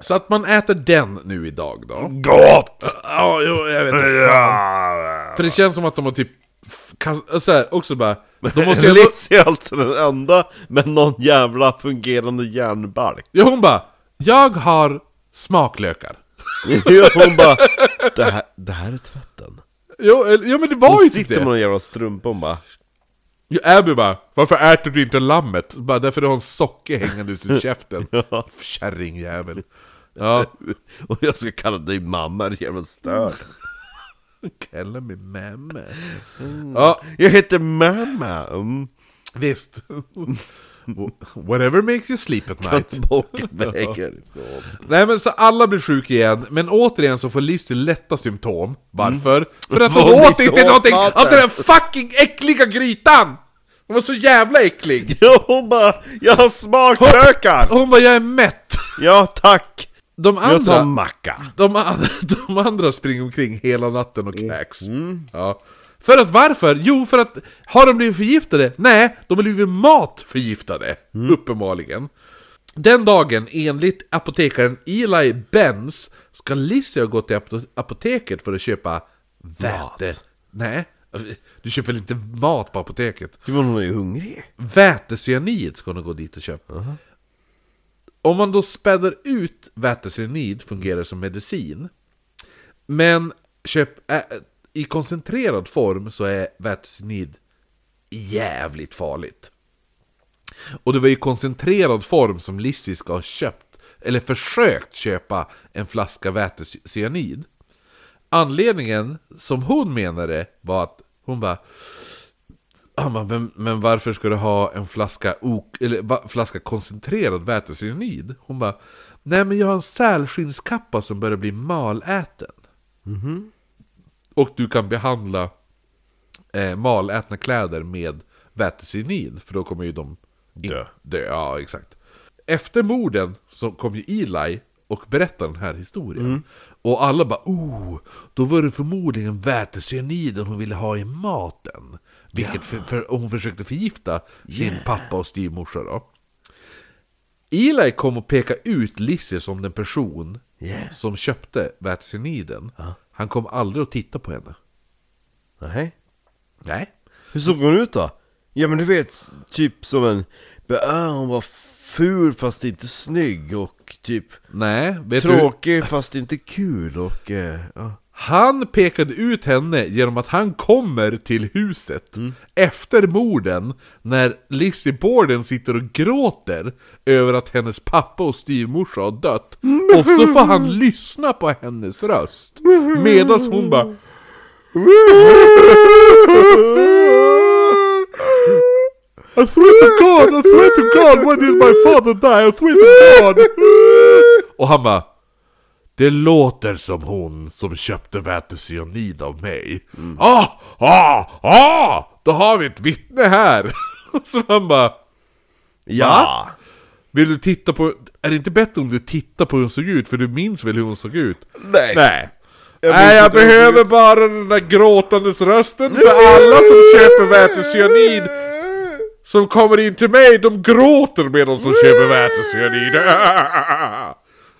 Så att man äter den nu idag då? Gott! Ja, jo, jag vet inte. Ja. För det känns som att de har typ... f- kast- Så här, också bara... De måste ju... ändå- Liz är alltså den enda med någon jävla fungerande järnbalk. Ja, hon bara... Jag har smaklökar. Hon bara, det här, det här är tvätten. Jo, eller- ja men det var Hon ju typ sitter med det. någon jävla strumpa och bara, Jo, Abby bara, varför äter du inte lammet? Bara, därför du har en socke hängande ut ur käften. Kärringjävel. Ja, och jag ska kalla dig mamma, det är jävla stört. kalla mig mamma. Ja, Jag heter mamma. Mm. visst. Whatever makes you sleep at night. Bocken väger ifrån. Nej men så alla blir sjuka igen, men återigen så får Lizzie lätta symptom. Varför? För att Vad Mm. hon åt ni inte åt någonting maten. av den där fucking äckliga grytan! Hon var så jävla äcklig! Ja, hon bara, jag har smaklökar! Hon bara 'Jag är mätt' Ja, tack! De Jag tar andra, macka. de, andra, de andra springer omkring hela natten och kräks. Ja. För att varför? Jo, för att har de blivit förgiftade? Nej, de har blivit matförgiftade. Uppenbarligen. Den dagen, enligt apotekaren Eli Benz, ska Lizzie ha gått till apo- apoteket för att köpa väte. Nej, du köper väl inte mat på apoteket? Men hon är ju hungrig. Vätecyanid ska hon gå dit och köpa. Om man då späder ut vätecyanid fungerar som medicin. Men köp, ä, i koncentrerad form så är vätecyanid jävligt farligt. Och det var i koncentrerad form som Lizzie ska ha köpt, eller försökt köpa, en flaska vätecyanid. Anledningen, som hon menade, var att hon bara han bara, men, men varför ska du ha en flaska, ok, eller, va, flaska koncentrerad vätecyanid? Hon bara, nej men jag har en sälskinnskappa som börjar bli maläten. Och du kan behandla eh, malätna kläder med vätecyanid, för då kommer ju de in- Dö. dö. Ja, exakt. Efter morden så kom ju Eli och berättade den här historien. Och alla bara oh, då var det förmodligen vätecyaniden hon ville ha i maten. Vilket för, för, och hon försökte förgifta sin pappa och styvmorsa då. Eli kom och pekade ut Lizzie som den person Yeah. som köpte vätecyaniden. Han kom aldrig att titta på henne. Nej. Nej. Hur såg hon ut då? Ja men du vet, typ som en... Äh, hon var ful fast inte snygg och typ Nej, vet du? tråkig fast inte kul och... eh, ja. Han pekade ut henne genom att han kommer till huset efter morden när Lizzie Borden sitter och gråter över att hennes pappa och styvmorsa har dött. Och så får han lyssna på hennes röst medan hon bara I swear to God, I swear to God, when did my father die? I swear to God! Och han bara det låter som hon som köpte vätecyanid av mig. Mm. Ah, ah, ah! Då har vi ett vittne här! Så man bara, Ja! vill du titta på... Är det inte bättre om du tittar på hur hon såg ut? För du minns väl hur hon såg ut? Nej. Nej. Jag, Jag Nej, minns jag inte hur hon såg behöver bara den där gråtandes rösten för alla som köper vätecyanid som kommer in till mig, de gråter medan de köper vätecyanid.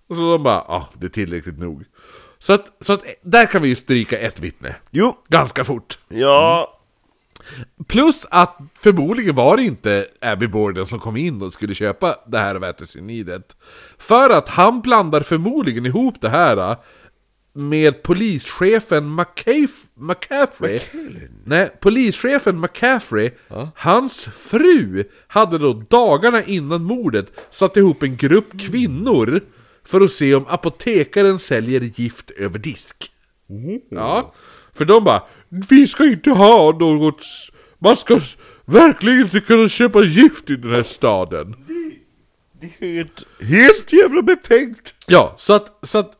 Och så de bara, ja, ah, det är tillräckligt nog. Så att, så att där kan vi ju stryka ett vittne. Jo! Ganska fort. Ja! Plus att förmodligen var det inte Abby Borden som kom in och skulle köpa det här vätecyanidet. För att han blandar förmodligen ihop det här äh, med polischefen McCaff- McCaffrey. Nej, polischefen McCaffrey, hans fru, hade då dagarna innan mordet satt ihop en grupp kvinnor för att se om apotekaren säljer gift över disk. Ja, för de bara Vi ska inte ha något s- Man ska s- verkligen inte kunna köpa gift i den här staden Det är helt, helt jävla befängt! Ja, så att, så att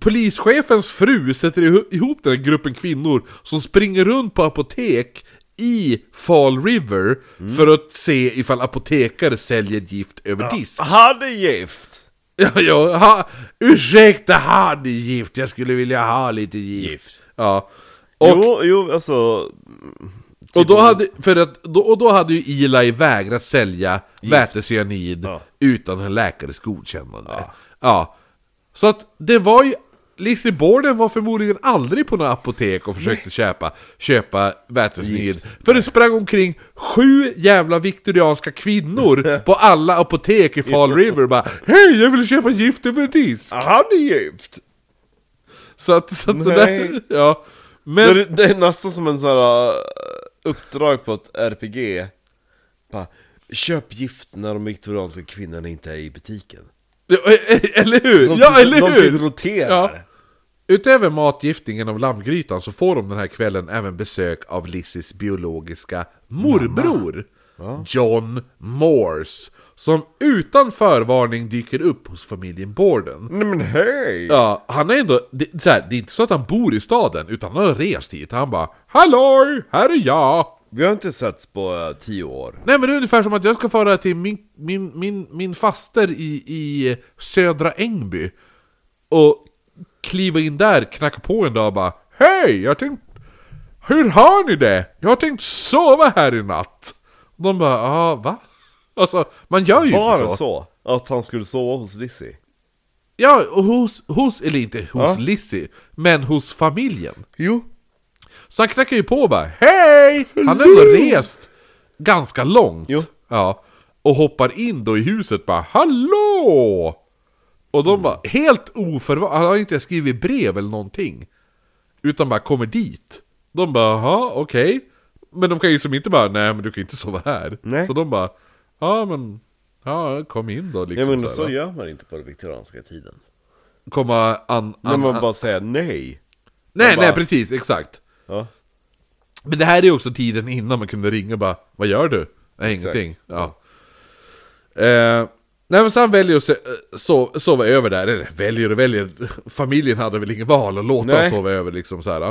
Polischefens fru sätter iho- ihop den här gruppen kvinnor Som springer runt på apotek I Fall River Mm. För att se ifall apotekare säljer gift över disk Han är gift! Ja, ja, ha, ursäkta, har ni gift? Jag skulle vilja ha lite gift, Ja, och Jo, jo, alltså... mm, Och då hade, för att, då, och då hade ju Eli vägrat sälja vätecyanid Ja. utan en läkares godkännande. Ja. Så att det var ju... Lizzie Borden var förmodligen aldrig på något apotek och försökte köpa, köpa vätecyanid. För det sprang omkring sju jävla viktorianska kvinnor på alla apotek i Fall River bara Hej, jag vill köpa gift över disk! Han är gift! Så att, så att det Nej. där... Ja. Men... Det, det är nästan som en sån här eh, uh, uppdrag på ett RPG Bara, köp gift när de viktorianska kvinnorna inte är i butiken. Ja, e- e- Eller hur? De, ja, eller de, hur? De roterar. Utöver matgiftningen av lammgrytan så får de den här kvällen även besök av Lizzies biologiska morbror John Morse Som utan förvarning dyker upp hos familjen Borden Nej men hej! Ja, han är ändå... Det, så här, det är inte så att han bor i staden, utan han har rest hit Han bara Halloj, här är jag! Vi har inte setts på uh, tio år. Nej men det är ungefär som att jag ska fara till min, min, min, min faster i, i södra Ängby Och kliva in där, knacka på en dag och bara Hej! Jag tänkt... Hur har ni det? Jag har tänkt sova här i natt! De bara ah, va? Alltså, man gör ju Var inte det så. så? Att han skulle sova hos Lizzie? Ja, och hos, hos, eller inte hos Lizzie, men hos familjen Jo. Så han knackar ju på och bara Hej! Han har ändå rest ganska långt. Ja. Och hoppar in då i huset bara Hallå! Och de bara Mm. helt oförvarande, han har inte skrivit brev eller någonting. Utan bara kommer dit. De bara jaha, okej. Men de kan ju som inte bara nej men du kan inte sova här. Nej. Så de bara ja men ja kom in då liksom. Ja men så så här, gör man inte på den viktorianska tiden. Komma an, När an, man an, bara säger nej. Nej bara- nej precis exakt. Ja. Men det här är också tiden innan man kunde ringa och bara Vad gör du? Nej, ingenting. Ja. Eh, nej men så han väljer att se- eh, so- sova över där. Eller väljer och väljer. Familjen hade väl ingen val att låta Nej. honom sova över liksom så här.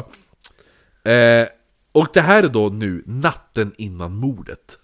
Eh, och det här är då nu natten innan mordet.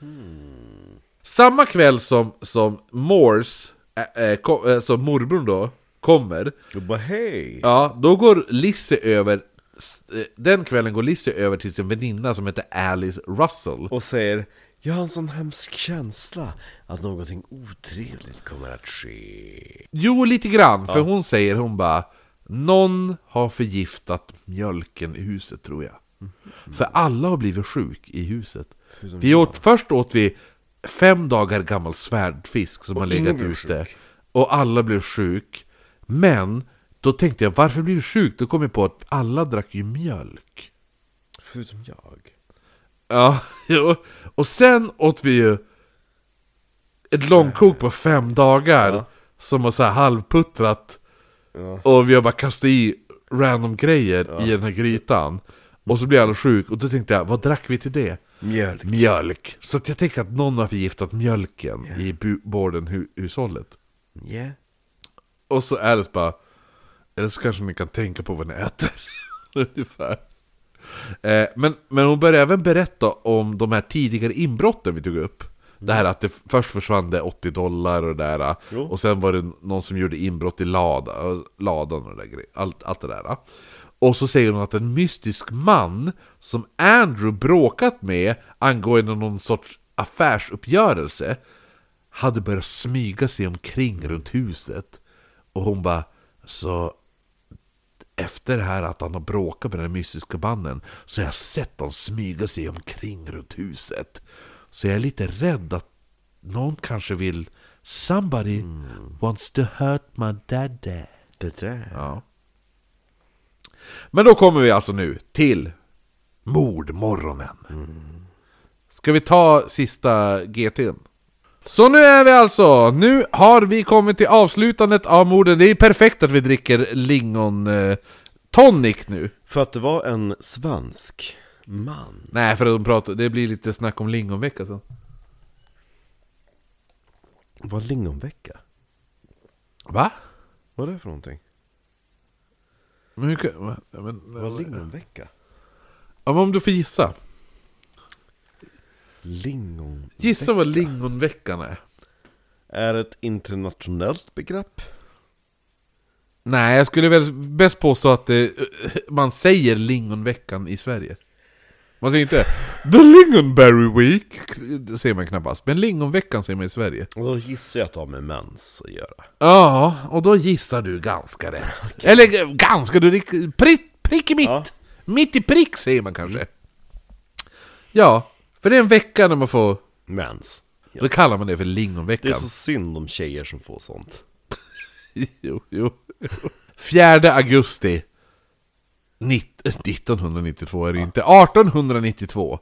Hmm. Samma kväll som, som Morse, eh, eh, kom, eh, som morbrorn då, kommer. Du bara hej! Ja, då går Lizzie över s- eh, Den kvällen går Lizzie över till sin väninna som heter Alice Russell Och säger Jag har en sån hemsk känsla att någonting otrevligt kommer att ske. Jo, lite grann, för hon säger hon bara Någon har förgiftat mjölken i huset tror jag För alla har blivit sjuk i huset vi åt, Först åt vi fem dagar gammal svärdfisk som har legat blev ute Och alla blev sjuk Men då tänkte jag, varför blir du sjuk? Då kom jag på att alla drack ju mjölk Förutom jag. Ja, jo. Och sen åt vi ju ett långkok på fem dagar som har så här halvputtrat. Och vi har bara kastat i random grejer i den här grytan. Och så blev alla sjuk och då tänkte jag, vad drack vi till det? Mjölk. Mjölk. Så att jag tänker att någon har förgiftat mjölken i bu- Borden-hushållet. Yeah. Och så Alice bara Eller så kanske ni kan tänka på vad ni äter Ungefär eh, men, men hon börjar även berätta om de här tidigare inbrotten vi tog upp Det här att det f- först försvann det 80 dollar och det där eh, Och sen var det någon som gjorde inbrott i lada, eh, ladan och det där, gre- allt, allt det där eh. Och så säger hon att en mystisk man Som Andrew bråkat med angående någon sorts affärsuppgörelse hade börjat smyga sig omkring runt huset. Och hon bara, så efter det här att han har bråkat med den här mystiska mannen så har jag sett han smyga sig omkring runt huset. Så jag är lite rädd att någon kanske vill Somebody wants to hurt my daddy. Det där. Ja. Men då kommer vi alltså nu till mordmorgonen. Ska vi ta sista GT'n? Så nu är vi alltså, nu har vi kommit till avslutandet av morden. Det är perfekt att vi dricker lingon eh, tonic nu. För att det var en svensk man. Nej, för att de pratar, det blir lite snack om lingonvecka sen. Var lingonvecka? Va? Vad är det för någonting? Men hur kan... va? Ja, Men, Var lingonvecka? ja, men om du får gissa. Lingon... Gissa vad lingonveckan är. Är ett internationellt begrepp? Nej, jag skulle väl bäst påstå att eh, man säger lingonveckan i Sverige. Man säger inte The Lingonberry Week, det säger man knappast. Men lingonveckan säger man i Sverige. Och då gissar jag att det har med mens att göra. Ja, och då gissar du ganska rätt. Eller eh, ganska, du rikt- prick, prick i mitt. Ja. Mitt i prick säger man kanske. Ja, för det är en vecka när man får, Mens. då kallar man det för Det är lingonveckan. så synd om tjejer som får sånt. Jo, jo. 4 augusti nitt- 1992 är det inte, 1892.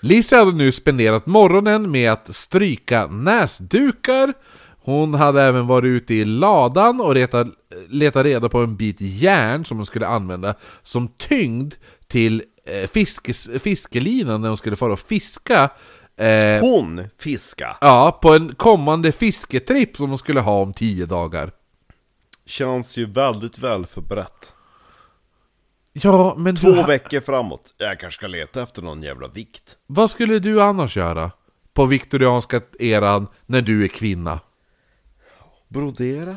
Lisa hade nu spenderat morgonen med att stryka näsdukar. Hon hade även varit ute i ladan och letat, letat reda på en bit järn som hon skulle använda som tyngd till eh, fiskes, fiskelinan när hon skulle fara och fiska. Eh, Hon fiska. ja, på en kommande fisketripp som hon skulle ha om tio dagar. Känns ju väldigt väl förberett. Ja, men du Två ha- veckor framåt. Jag kanske ska leta efter någon jävla vikt. Vad skulle du annars göra? På viktorianska eran, när du är kvinna? Brodera?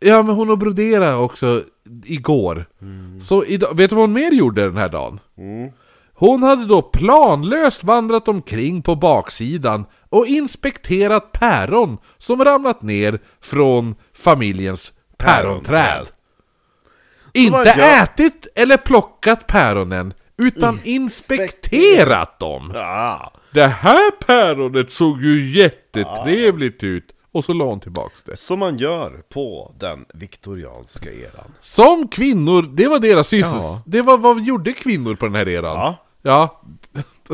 Ja, men hon och brodera också igår. Mm. Så idag, vet du vad hon mer gjorde den här dagen? Hon hade då planlöst vandrat omkring på baksidan och inspekterat päron som ramlat ner från familjens päronträd. Päronträd. vad Inte gör- ätit eller plockat päronen, utan inspekterat dem. Ja. Det här päronet såg ju jättetrevligt ut! Och så la hon tillbaks det. Som man gör på den viktorianska eran. Som kvinnor, det var deras syssels... Det var vad gjorde kvinnor på den här eran? Ja. Ja.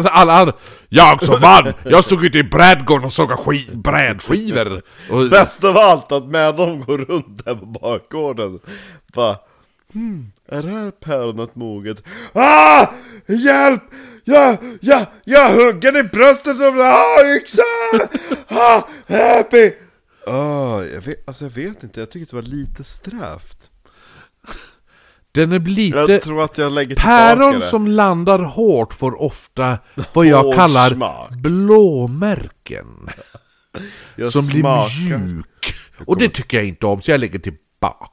Alla andra. Jag som man, jag stod ute i brädgården och såg ski, brädskivor! Och, Bäst av allt att med dem går runt där på bakgården. Bara, hmm, är det här päronet moget? Ah! Hjälp! Jag, jag, jag hugger i bröstet och ah, yxa! Ah, happy! Ah, jag vet, alltså jag vet inte, jag tycker det var lite strävt. den är Jag lite... tror att jag lägger tillbaka Päron det. som landar hårt får ofta vad jag Hård kallar smak. blåmärken. jag Som blir smakar. mjuk. Och det tycker jag inte om, så jag lägger tillbaka.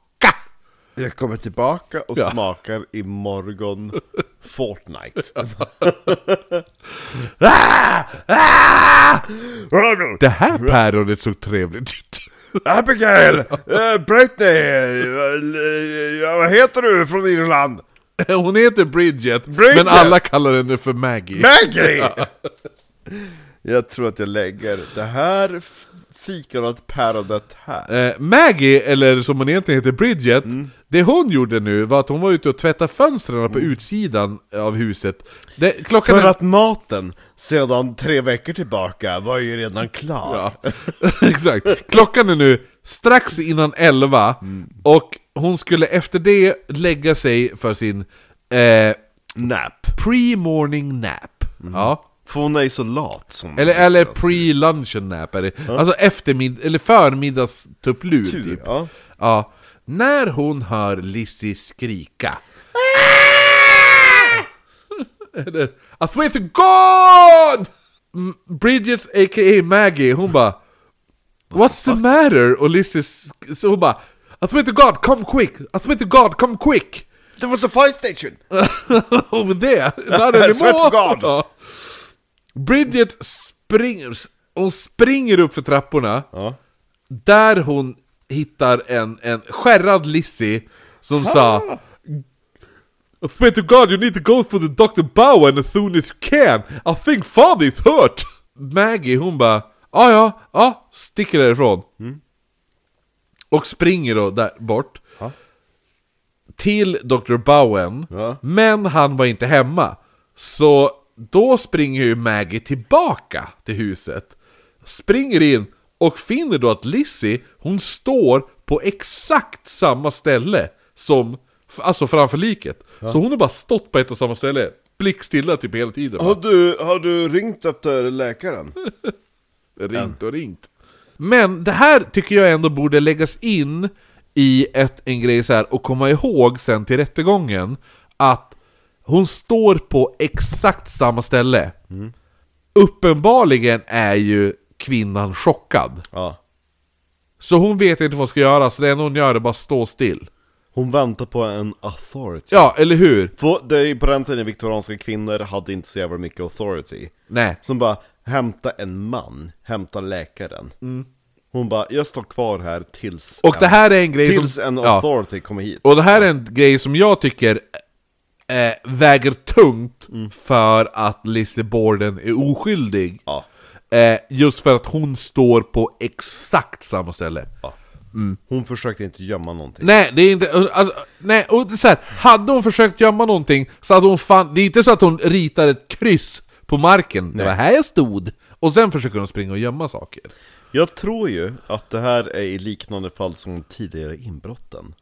Jag kommer tillbaka och smakar imorgon Fortnite. Ah! Ah! Det här päronet såg trevligt ut. Abigail! Uh, Britney! eh, eh, vad heter du från Irland? Hon heter Bridget, men Bridget! alla kallar henne för Maggie. Maggie! jag tror att jag lägger det här f- fikonet, päronet här. Eh, Maggie, eller som hon egentligen heter Bridget, Mm. det hon gjorde nu var att hon var ute och tvättade fönstren på utsidan av huset. Det, klockan För är- att maten sedan tre veckor tillbaka var ju redan klar. Ja, exakt. Klockan är nu strax innan 11 Mm. och hon skulle efter det lägga sig för sin eh, Nap. pre-morning nap. Mm. Ja. För hon är ju så lat som... Mm. Eller, eller pre-luncheon nap är det. Alltså eftermid eller förmiddagstupplur Tur, typ. ja. Ja. När hon hör Lizzie skrika. eller I swear to God! M- Bridget a.k.a. Maggie, hon bara What's the matter? Och Lizzie sk- så hon bara I swear to God, come quick! I swear to God, come quick! Det var så fire station! Over there! Not I swear to anymore! God. Ja. Bridget springer, hon springer upp för trapporna Ja. Där hon hittar en, en skärrad Lizzie Som sa I swear to God you need to go for the Dr. Bowen as soon as you can I think father is hurt Maggie hon bara Ja ja, ja, sticker därifrån Och springer då där bort till Dr. Bowen, Ja. men han var inte hemma. Så då springer ju Maggie tillbaka till huset, springer in och finner då att Lizzie, hon står på exakt samma ställe som, f- alltså framför liket. Så hon har bara stått på ett och samma ställe, blickstilla typ hela tiden. Har du, har du ringt efter läkaren? Mm. Ringt och ringt. Men det här tycker jag ändå borde läggas in i ett, en grej så här och komma ihåg sen till rättegången att hon står på exakt samma ställe. Mm. Uppenbarligen är ju kvinnan chockad. Ja. Så hon vet inte vad hon ska göra, så det enda hon gör är bara stå still. Hon väntar på en authority. Ja, eller hur? För det är ju på den tiden viktorianska kvinnor hade inte så jävla mycket authority. Nej. Som bara, hämta en man, hämta läkaren. Hon bara, jag står kvar här tills Mm. Och en, det här är en grej tills som... en ja. authority kommer hit. Och det här är en grej som jag tycker eh, väger tungt för att Lizzie Borden är oskyldig. Ja. Eh, just för att hon står på exakt samma ställe. Hon försökte inte gömma någonting. Nej, det är inte... Alltså, nej, och det är så här, hade hon försökt gömma någonting så hade hon fan... Det är inte så att hon ritar ett kryss på marken. Det var här jag stod. Och sen försöker hon springa och gömma saker. Jag tror ju att det här är i liknande fall som de tidigare inbrotten.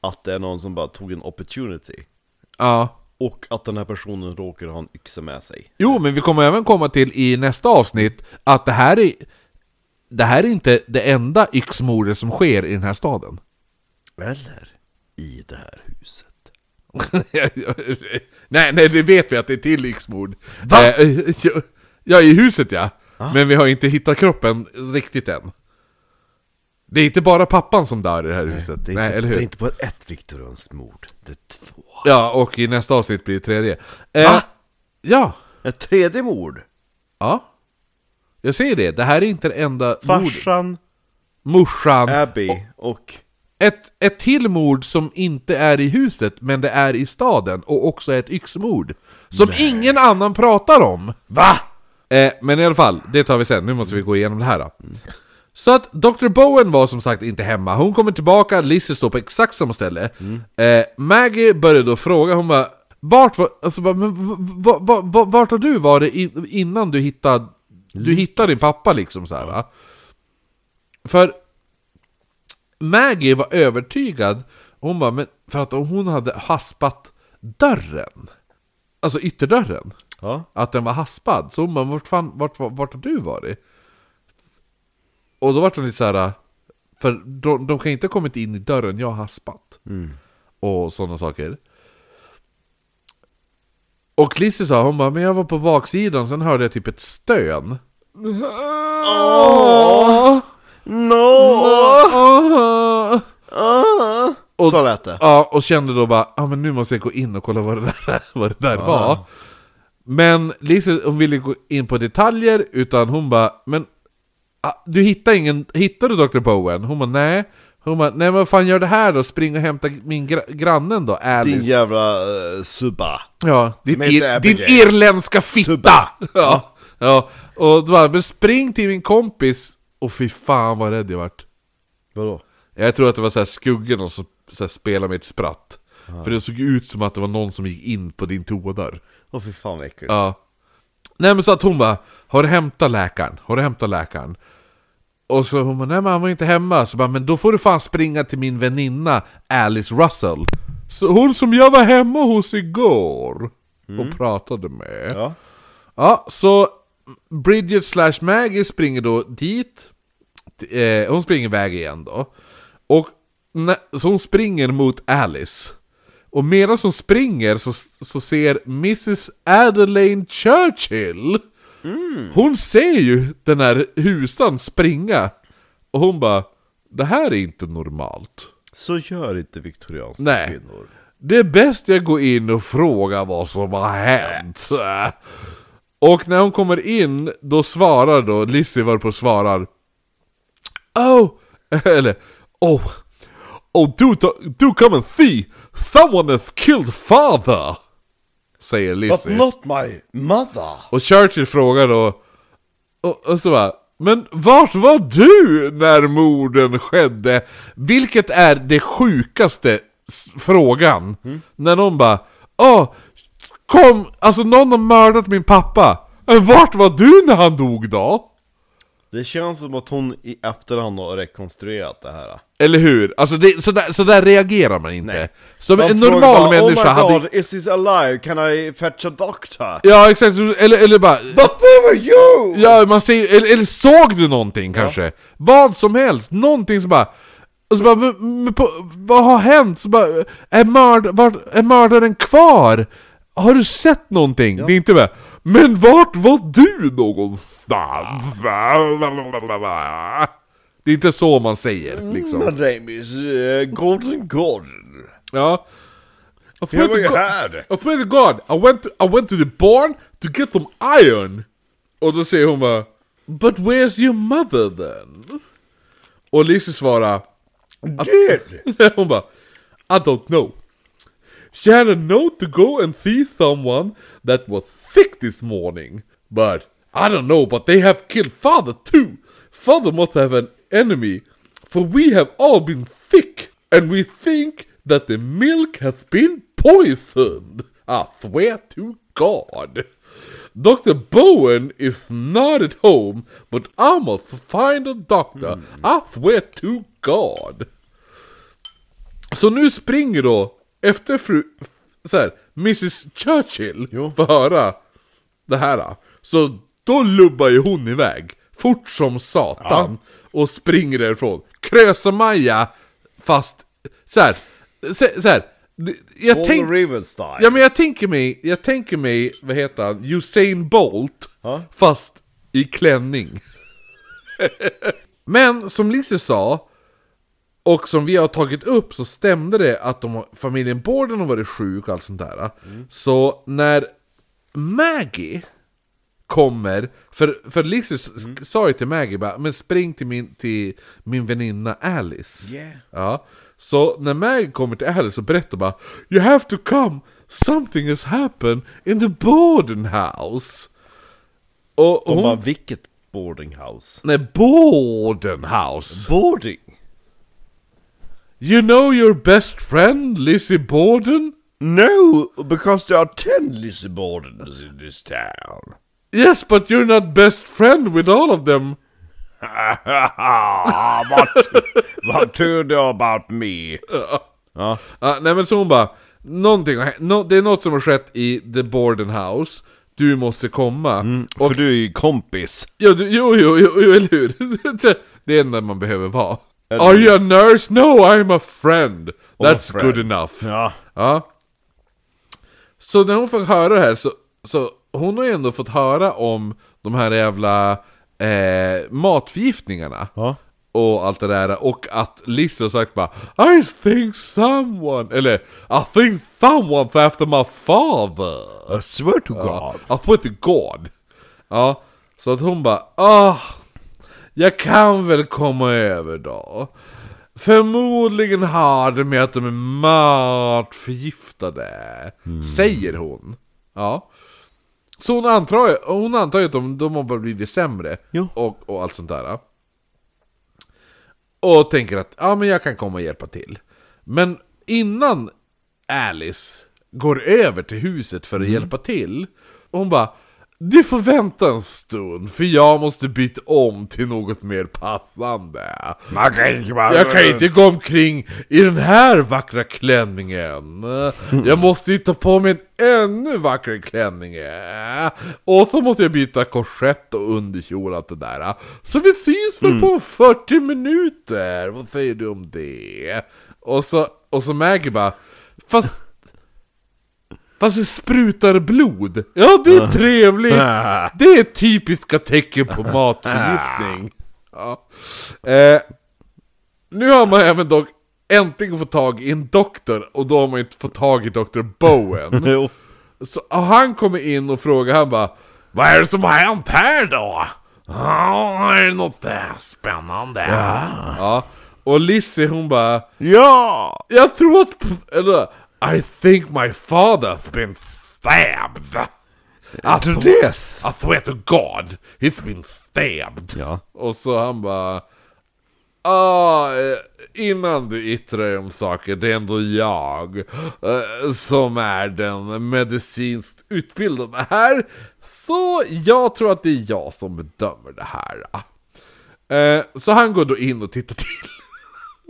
Att det är någon som bara tog en opportunity. Ja. Och att den här personen råkar ha en yxa med sig. Jo, men vi kommer även komma till i nästa avsnitt att det här är... Det här är inte det enda yxmordet som sker i den här staden. Eller? I det här huset. nej, nej, det vet vi att det är till yxmord. Va? Ah. ja, i huset ja. Men vi har inte hittat kroppen riktigt än. Det är inte bara pappan som dör i det här huset. Nej, eller hur? inte bara ett Viktorians mord, det är två. Ja, och i nästa avsnitt blir det tredje. Eh, Va? Ja. Ett tredje mord? Ja. Jag säger det, det här är inte det enda mordet. Farsan, Morsan. Abby och... Ett, ett till mord som inte är i huset, men det är i staden och också ett yxmord. Som ingen annan pratar om! Va? Eh, men i alla fall, det tar vi sen. Nu måste vi gå igenom det här. Då. Så att Dr. Bowen var som sagt inte hemma. Hon kommer tillbaka, Lizzie står på exakt samma ställe. Eh, Maggie börjar då fråga, hon bara Vart var, alltså, bara, men, v- v- v- v- vart har du varit i- innan du hittade, du hittade din pappa liksom så här, va? För Maggie var övertygad, hon bara, men för att hon hade haspat dörren. Alltså ytterdörren. Ja. Att den var haspad. Så hon bara, vart, fan, vart, vart, vart har du varit? Och då vart hon lite såhär, för de, de kan inte ha kommit in i dörren jag har haspat. Och sådana saker. Och Lizzie sa, hon bara, men jag var på baksidan, sen hörde jag typ ett stön. No! Ah. Och- Så lät det. Ja, och kände då bara, ja ah, men nu måste jag gå in och kolla vad det där, vad det där var. Men Lisa, hon ville gå in på detaljer, utan hon bara, men ah, du hittar ingen, hittar du Dr. Bowen? Hon bara, nej. Hon bara, nej men vad fan gör det här då? Spring och hämta min gra grannen då, Alice. Din jävla uh, subba. Ja, din, Som heter ir, din Abigail. irländska fitta! Subba. Ja, ja. Och då bara, men spring till min kompis! Och fy fan vad rädd jag vart. Vadå? Jag tror att det var så här skuggorna som så här spelade med ett spratt. För det såg ut som att det var någon som gick in på din toadörr. Åh fy fan vad äckligt. Ja. Nej men så att hon bara, har du hämtat läkaren? Har du hämtat läkaren? Och så hon bara, nej men han var inte hemma. Så bara, men då får du fan springa till min väninna Alice Russell. Så hon som jag var hemma hos igår. Och pratade med. Ja. Ja, så Bridget slash Maggie springer då dit. Eh, hon springer iväg igen då. Och nä- så hon springer mot Alice. Och medan hon springer så, så ser Mrs Adelaine Churchill Hon ser ju den här husan springa. Och hon bara Det här är inte normalt. Så gör inte viktorianska Nej. kvinnor. Det är bäst jag går in och frågar vad som har hänt. Och när hon kommer in, då svarar då Lizzie varpå svarar Oh! Eller Oh! Oh do, do, do come and see! Someone has killed father! Säger But Lizzie. not my mother! Och Churchill frågar då och, och så bara Men vart var du när morden skedde? Vilket är det sjukaste s- frågan? Mm. När någon bara Åh, kom, alltså någon har mördat min pappa Men vart var du när han dog då? Det känns som att hon i efterhand har rekonstruerat det här. Eller hur? Alltså det, så, där, så där reagerar man inte Nej. Som Man en frågar normal bara, människa Oh my hade god, is this alive? Can I fetch a doctor? Ja exakt, eller, eller bara But where were you? Ja, man ser, eller, eller såg du någonting kanske? Vad som helst, någonting som bara... Och så bara, men, men på, vad har hänt? Så bara, är, mörd, var, är mördaren kvar? Har du sett någonting? Det är inte bara, men vart var du någonstans? Det är inte så man säger liksom. Mm. My name is uh, Gordon Gordon. Ja. I Jag swear var ju to God- här! I swear to God, I went to, I went to the barn to get some iron. Och då säger hon bara But where's your mother then? Och Lizzie svarar Dude! Hon bara uh, I don't know. She had a note to go and see someone that was sick this morning. But I don't know, but they have killed father too. Father must have an enemy, for we have all been sick, and we think that the milk has been poisoned. I swear to God. Dr. Bowen is not at home, but I must find a doctor. I swear to God. Så nu springer då, efter fru... Så här, Mrs Churchill får höra det här. Så då lubbar ju hon iväg, fort som satan, och springer därifrån. Krösa-Maja, fast... Så här, så, så här, det- jag Paul tänk- Riven style. Ja men jag tänker mig, jag tänker mig, vad heter han, Usain Bolt, Ja. fast i klänning. men som Lise sa, och som vi har tagit upp så stämde det att de, familjen Borden har varit sjuk och allt sånt där. Så när Maggie kommer, för, för Lizzie s- Mm. sa ju till Maggie bara, men spring till min, till min väninna Alice. Yeah. Ja. Så när Maggie kommer till Alice så berättar hon bara, You have to come, something has happened in the Borden house. Och, och Hon hon, bara, vilket boarding house? nej Borden house. Boarding? You know your best friend Lizzie Borden? No, because there are ten Lissabonans in this town. Yes, but you're not best friend with all of them. what, what do you know about me? Ja, nej men så hon bara, någonting har hänt, nå- det är något som har skett i The Borden House, du måste komma. För du är ju kompis. Ja, du, jo, jo, jo, jo, eller hur? det är enda man behöver vara. Are you a nurse? No, I'm a friend. That's friend. good enough. Ja. Ja. Så när hon får höra det här så, så hon har ju ändå fått höra om de här jävla eh, matförgiftningarna. Ja. Och allt det där och att Liz har sagt bara I think someone, eller I think someone's after my father. I swear to Ja, God. I swear to God. Ja, så att hon bara ah, jag kan väl komma över då. Förmodligen har det med att de är matförgiftade, säger hon. Ja. Så hon antar, ju- hon antar ju att de, de har bara blivit sämre Jo. och, och allt sånt där. Och tänker att ja, men jag kan komma och hjälpa till. Men innan Alice går över till huset för att hjälpa till. Och hon bara Du får vänta en stund för jag måste byta om till något mer passande. Man kan inte bara... Jag kan inte gå omkring i den här vackra klänningen. Jag måste ju ta på mig en ännu vackrare klänning. Och så måste jag byta korsett och underkjol och allt det där. Så vi syns väl på 40 minuter. Vad säger du om det? Och så, och så Maggie bara, fast... Fast det sprutar blod. Ja, det är trevligt. Det är typiska tecken på matförgiftning. Ja. Eh, nu har man även dock äntligen fått tag i en doktor och då har man inte fått tag i Dr. Bowen. Jo. Så och han kommer in och frågar, han bara Vad är det som har hänt här då? Ja, är det något eh, spännande? Ja. Och Lizzie hon bara Ja! Jag tror att... Eller, I think my father has been stabbed. Alltså death. I swear to God, he's been stabbed. Ja. Och så han bara... Ah, eh, innan du yttrar dig om saker, det är ändå jag eh, som är den medicinskt utbildade här. Så jag tror att det är jag som bedömer det här. Eh, så han går då in och tittar till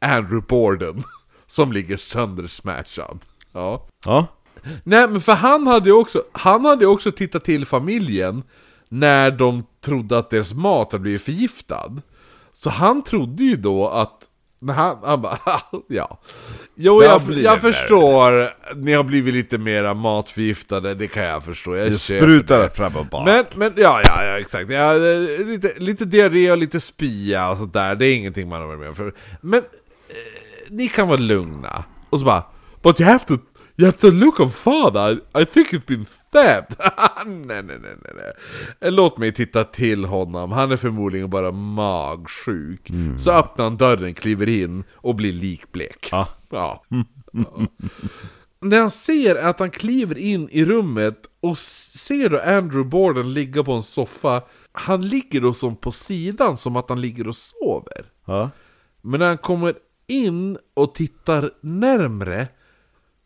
Andrew Borden, som ligger söndersmashad. Ja. Ja. Nej men för han hade ju också, han hade ju också tittat till familjen När de trodde att deras mat hade blivit förgiftad Så han trodde ju då att när han, han bara, ja. Jo, Där jag, blir jag det. förstår, ni har blivit lite mera matförgiftade, det kan jag förstå. Jag Det köper sprutar fram och bak. men, men ja, ja, ja exakt. Ja, eh, lite, lite diarré och lite spya och sånt där. Det är ingenting man har varit med om förut. Men eh, ni kan vara lugna. Och så bara But you have to, you have to look on father, I, I think he's been stabbed Nej nej nej nej nej Eh, Låt mig titta till honom, han är förmodligen bara magsjuk Så öppnar han dörren, kliver in och blir likblek Ja. ja. Ja. När han ser att han kliver in i rummet och s- ser då Andrew Borden ligga på en soffa Han ligger då som på sidan, som att han ligger och sover Ja. men när han kommer in och tittar närmre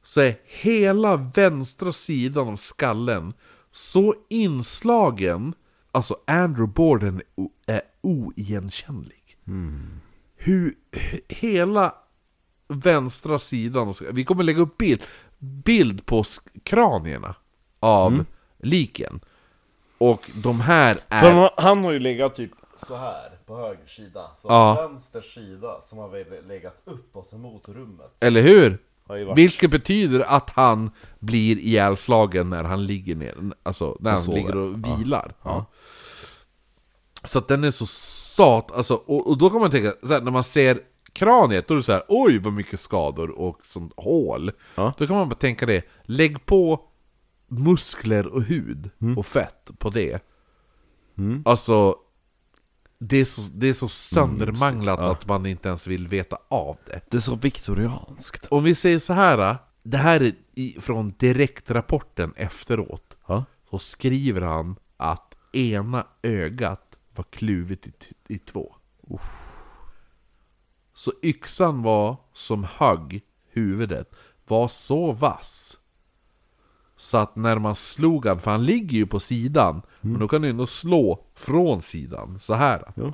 så är hela vänstra sidan av skallen så inslagen, alltså Andrew Borden är o- är oigenkännlig. Hur he- hela vänstra sidan, av skallen- vi kommer lägga upp bild, bild på sk- kranierna av liken. Och de här är... För han, han har ju legat typ så här på höger sida, så Ja. vänster sida som har väl legat uppåt emot rummet Eller hur? Har ju varit- Vilket betyder att han blir ihjälslagen när han ligger ner, alltså när han sover. ligger och vilar. Så att den är så sat, alltså, och, och då kan man tänka, så här, när man ser kraniet, då är det så här, oj vad mycket skador och sånt hål. Ja. Då kan man bara tänka det, lägg på muskler och hud Mm. och fett på det. Alltså, det är så, det är så söndermanglat att man inte ens vill veta av det. Det är så viktorianskt Om vi säger så här, det här är i- från direktrapporten efteråt. Ja. Så skriver han att ena ögat var kluvet i, t- i två. Så yxan var som högg huvudet, var så vass. Så att när man slog han, för han ligger ju på sidan, men då kan du ändå slå från sidan, så här. Ja.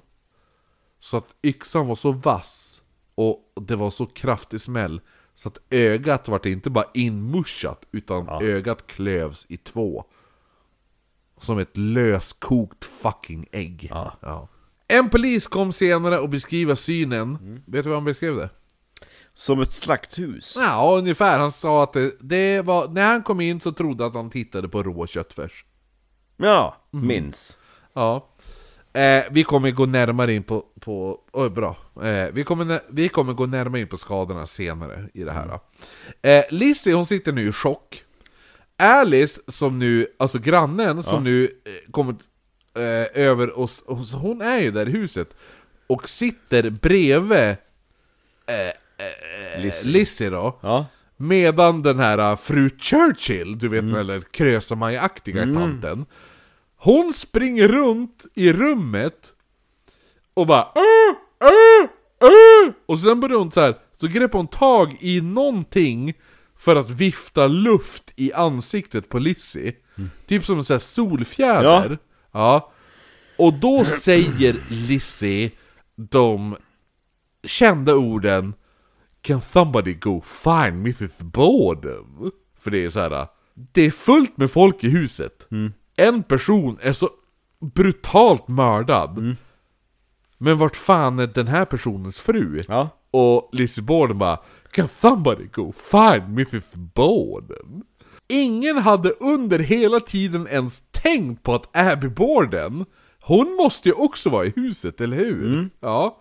Så att yxan var så vass och det var så kraftig smäll så att ögat vart inte bara inmuschat utan ögat klövs i två. Som ett löskokt fucking ägg. Ja. En polis kom senare och beskriver synen. Vet du vad han beskrev det? Som ett slakthus. Ja, ungefär. Han sa att det, det var... När han kom in så trodde han att han tittade på rå köttfärs. Ja, Mm. minns. Ja. Eh, vi kommer gå närmare in på... på oj, bra. Eh, vi, kommer, nä- vi kommer gå närmare in på skadorna senare i det här. då. Eh, Lizzie, hon sitter nu i chock. Alice, som nu, alltså grannen, som nu eh, kommit eh, över oss, och så hon är ju där i huset. Och sitter bredvid Lizzie, Lizzie då. Ja. Medan den här äh, fru Churchill, du vet mm. eller Krösamaja-aktiga tanten Hon springer runt i rummet och bara "Åh, åh, åh!" Och sen börjar hon så här. så greppar hon tag i någonting för att vifta luft i ansiktet på Lizzie Typ som en sån här solfjäder ja. Och då säger Lizzie de kända orden Can somebody go find Mrs Boredom? För det är så här. Det är fullt med folk i huset. En person är så brutalt mördad. Men vart fan är den här personens fru? Ja. Och Lizzie Borden bara Can somebody go find Mrs Borden? Ingen hade under hela tiden ens tänkt på att Abby Borden Hon måste ju också vara i huset, eller hur? Ja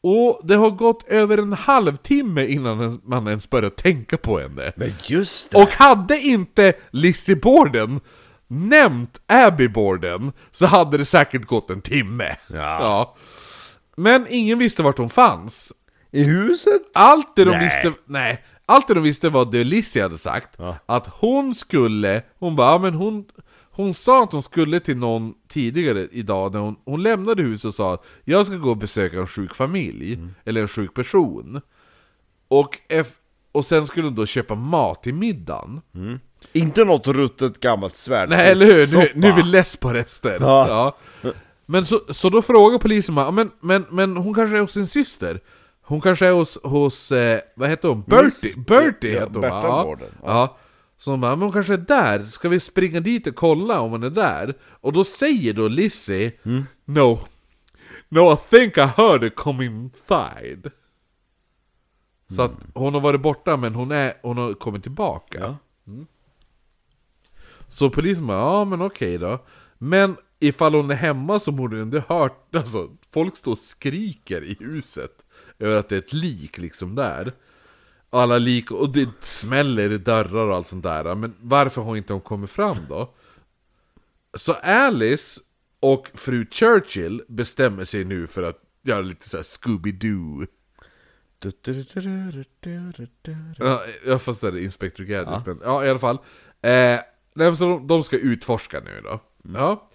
Och det har gått över en halvtimme innan man ens börjar tänka på henne Men just det. och hade inte Lizzie Borden nämnt Abby Borden så hade det säkert gått en timme. Ja. Men ingen visste vart hon fanns. I huset? Allt det de Nej. visste, nej, allt det de visste var det Lizzie hade sagt. Att hon skulle, hon bara, "Ja, men hon, hon sa att hon skulle till någon tidigare idag när hon, hon lämnade huset och sa att jag ska gå och besöka en sjuk familj, eller en sjuk person. Och, eff- och sen skulle hon då köpa mat till middagen. Inte något ruttet gammalt svärd. Nej eller hur, nu, Soppa. nu är vi less på rester. Ja. Ja. Men så, så då frågar polisen bara, men, men, men hon kanske är hos sin syster? Hon kanske är hos, hos eh, vad heter hon? Bertie? Miss- Bertie ja, heter hon Berta va? Ja. Mården. ja. Så hon bara, men hon kanske är där, ska vi springa dit och kolla om hon är där? Och då säger då Lizzie, Mm. No, no I think I heard her come inside. Så Mm. att hon har varit borta men hon, är, hon har kommit tillbaka. Så polisen bara, ja men okej då. Men ifall hon är hemma så borde hon inte hört, alltså folk står och skriker i huset. Över att det är ett lik liksom där. Och alla lik, och det smäller i dörrar och allt sånt där. Men varför har inte hon kommit fram då? Så Alice och fru Churchill bestämmer sig nu för att göra lite såhär Scooby-Doo. Ja, ja, fast det är Inspector Gadget. Ja. Men, ja, i alla fall. Eh, nej, men så de, de ska utforska nu då. Ja.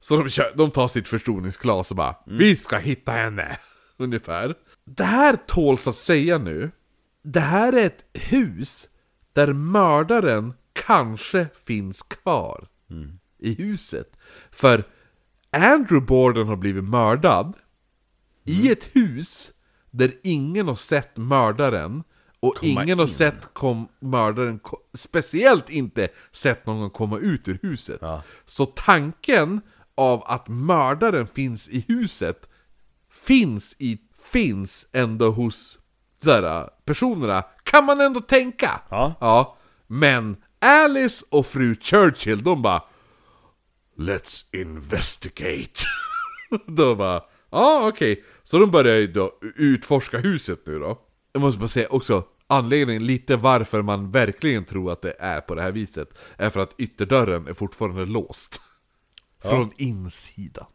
Så de, kör, de tar sitt förstoringsglas och bara Vi ska hitta henne! Ungefär. Det här tåls att säga nu. Det här är ett hus där mördaren kanske finns kvar i huset. För Andrew Borden har blivit mördad i ett hus där ingen har sett mördaren och ingen har sett kom, mördaren, ko- speciellt inte sett någon komma ut ur huset. Så tanken av att mördaren finns i huset finns, i, finns ändå hos såhär, personerna, kan man ändå tänka! Ja. Men Alice och fru Churchill, de bara Let's investigate! då bara, ja okej. Så de börjar ju då utforska huset nu då. Jag måste bara säga också, anledningen lite varför man verkligen tror att det är på det här viset, är för att ytterdörren är fortfarande låst. Från insidan.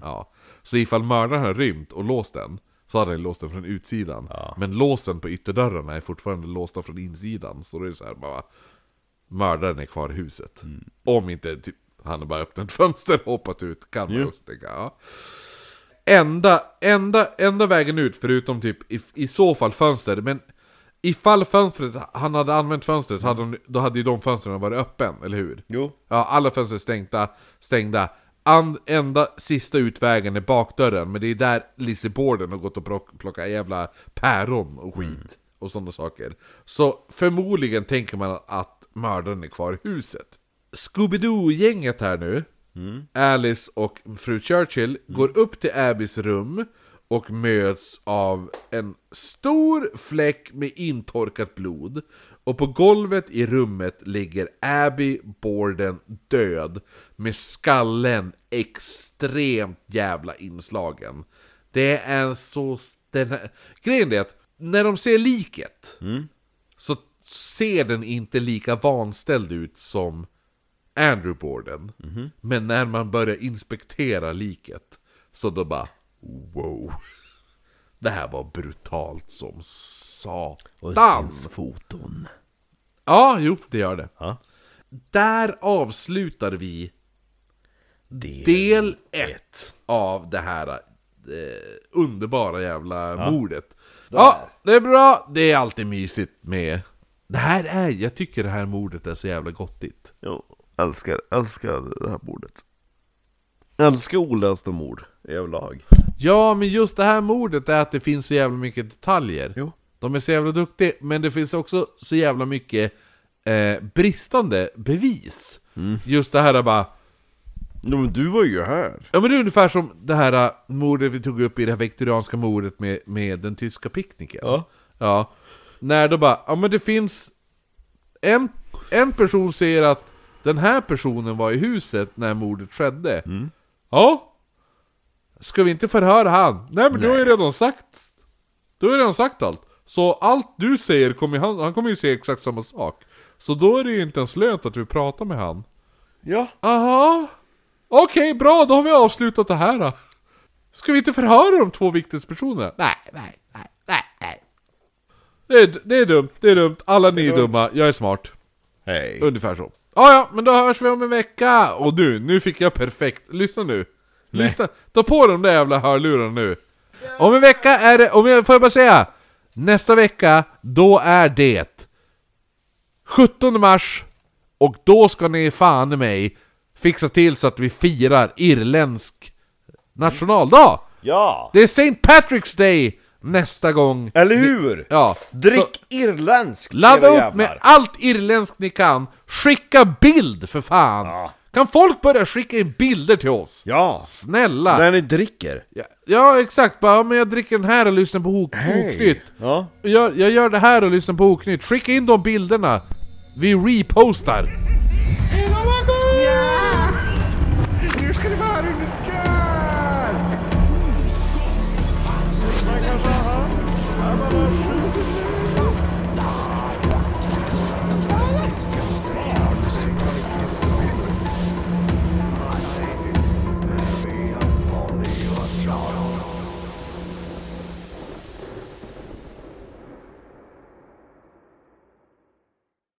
Ja. Så ifall mördaren har rymt och låst den, så hade den låst den från utsidan. Men låsen på ytterdörrarna är fortfarande låsta från insidan. Så då är det så här bara, mördaren är kvar i huset. Om inte typ, han har bara öppnat ett fönster och hoppat ut, kan man ju också tänka. Ja. Enda, enda, enda vägen ut, förutom typ i, i så fall fönster, men ifall fönstret, han hade använt fönstret, hade de, då hade ju de fönstren varit öppen, eller hur? Jo. Ja, alla fönster är stängda, stängda. And, enda sista utvägen är bakdörren, men det är där Lizzie Borden har gått och plock, plockat jävla päron och skit och sådana saker. Så förmodligen tänker man att mördaren är kvar i huset. Scooby-Doo-gänget här nu, Alice och fru Churchill, går upp till Abbys rum och möts av en stor fläck med intorkat blod. Och på golvet i rummet ligger Abby Borden död med skallen extremt jävla inslagen. Det är så... Den här... Grejen är att när de ser liket så ser den inte lika vanställd ut som Andrew Borden. Men när man börjar inspektera liket så då bara wow. Det här var brutalt som satan. foton. Ja, jo, det gör det. Ja. Där avslutar vi Del del ett av det här eh, underbara jävla mordet. Ja, det är bra. Det är alltid mysigt med... Det här är... Jag tycker det här mordet är så jävla gottigt. Jo, älskar, älskar det här bordet. Älskar olösta mord överlag. Ja, men just det här mordet är att det finns så jävla mycket detaljer. Jo. De är så jävla duktiga, men det finns också så jävla mycket eh, bristande bevis. Mm. Just det här är bara... Ja, men du var ju här. Ja men det är ungefär som det här äh, mordet vi tog upp i det här viktorianska mordet med, med den tyska picknicken. Ja. ja. När då bara, ja men det finns... En, en person säger att den här personen var i huset när mordet skedde. Ja. Ska vi inte förhöra han? Nej men du har ju redan sagt... Du har ju redan sagt allt. Så allt du säger kommer ju han, han kommer ju säga exakt samma sak. Så då är det ju inte ens lönt att vi pratar med han. Ja. Aha. Okej, bra, då har vi avslutat det här då. Ska vi inte förhöra de två viktighetspersonerna? Nej, nej, nej, nej, nej. Det är, det är dumt, det är dumt. Alla ni är dumma, jag är smart. Hej. Ungefär så. Ja, ja, men då hörs vi om en vecka! Och du, nu fick jag perfekt. Lyssna nu. Lyssna. Ta på de där jävla hörlurarna nu. Om en vecka är det, om jag, får jag bara säga? Nästa vecka, då är det 17 mars och då ska ni fan i mig fixa till så att vi firar irländsk nationaldag! Ja. Det är St. Patrick's Day nästa gång. Mm. Eller hur? Ja. så- Drick irländskt Ladda era upp med allt irländskt ni kan, skicka bild för fan! Ja. Kan folk börja skicka in bilder till oss? Ja. Snälla! När ni dricker. Ja, ja exakt, bara "Ja, men jag dricker den här och lyssnar på ok- Oknytt. Ja. Jag, jag gör det här och lyssnar på Oknytt. Skicka in de bilderna! Vi repostar!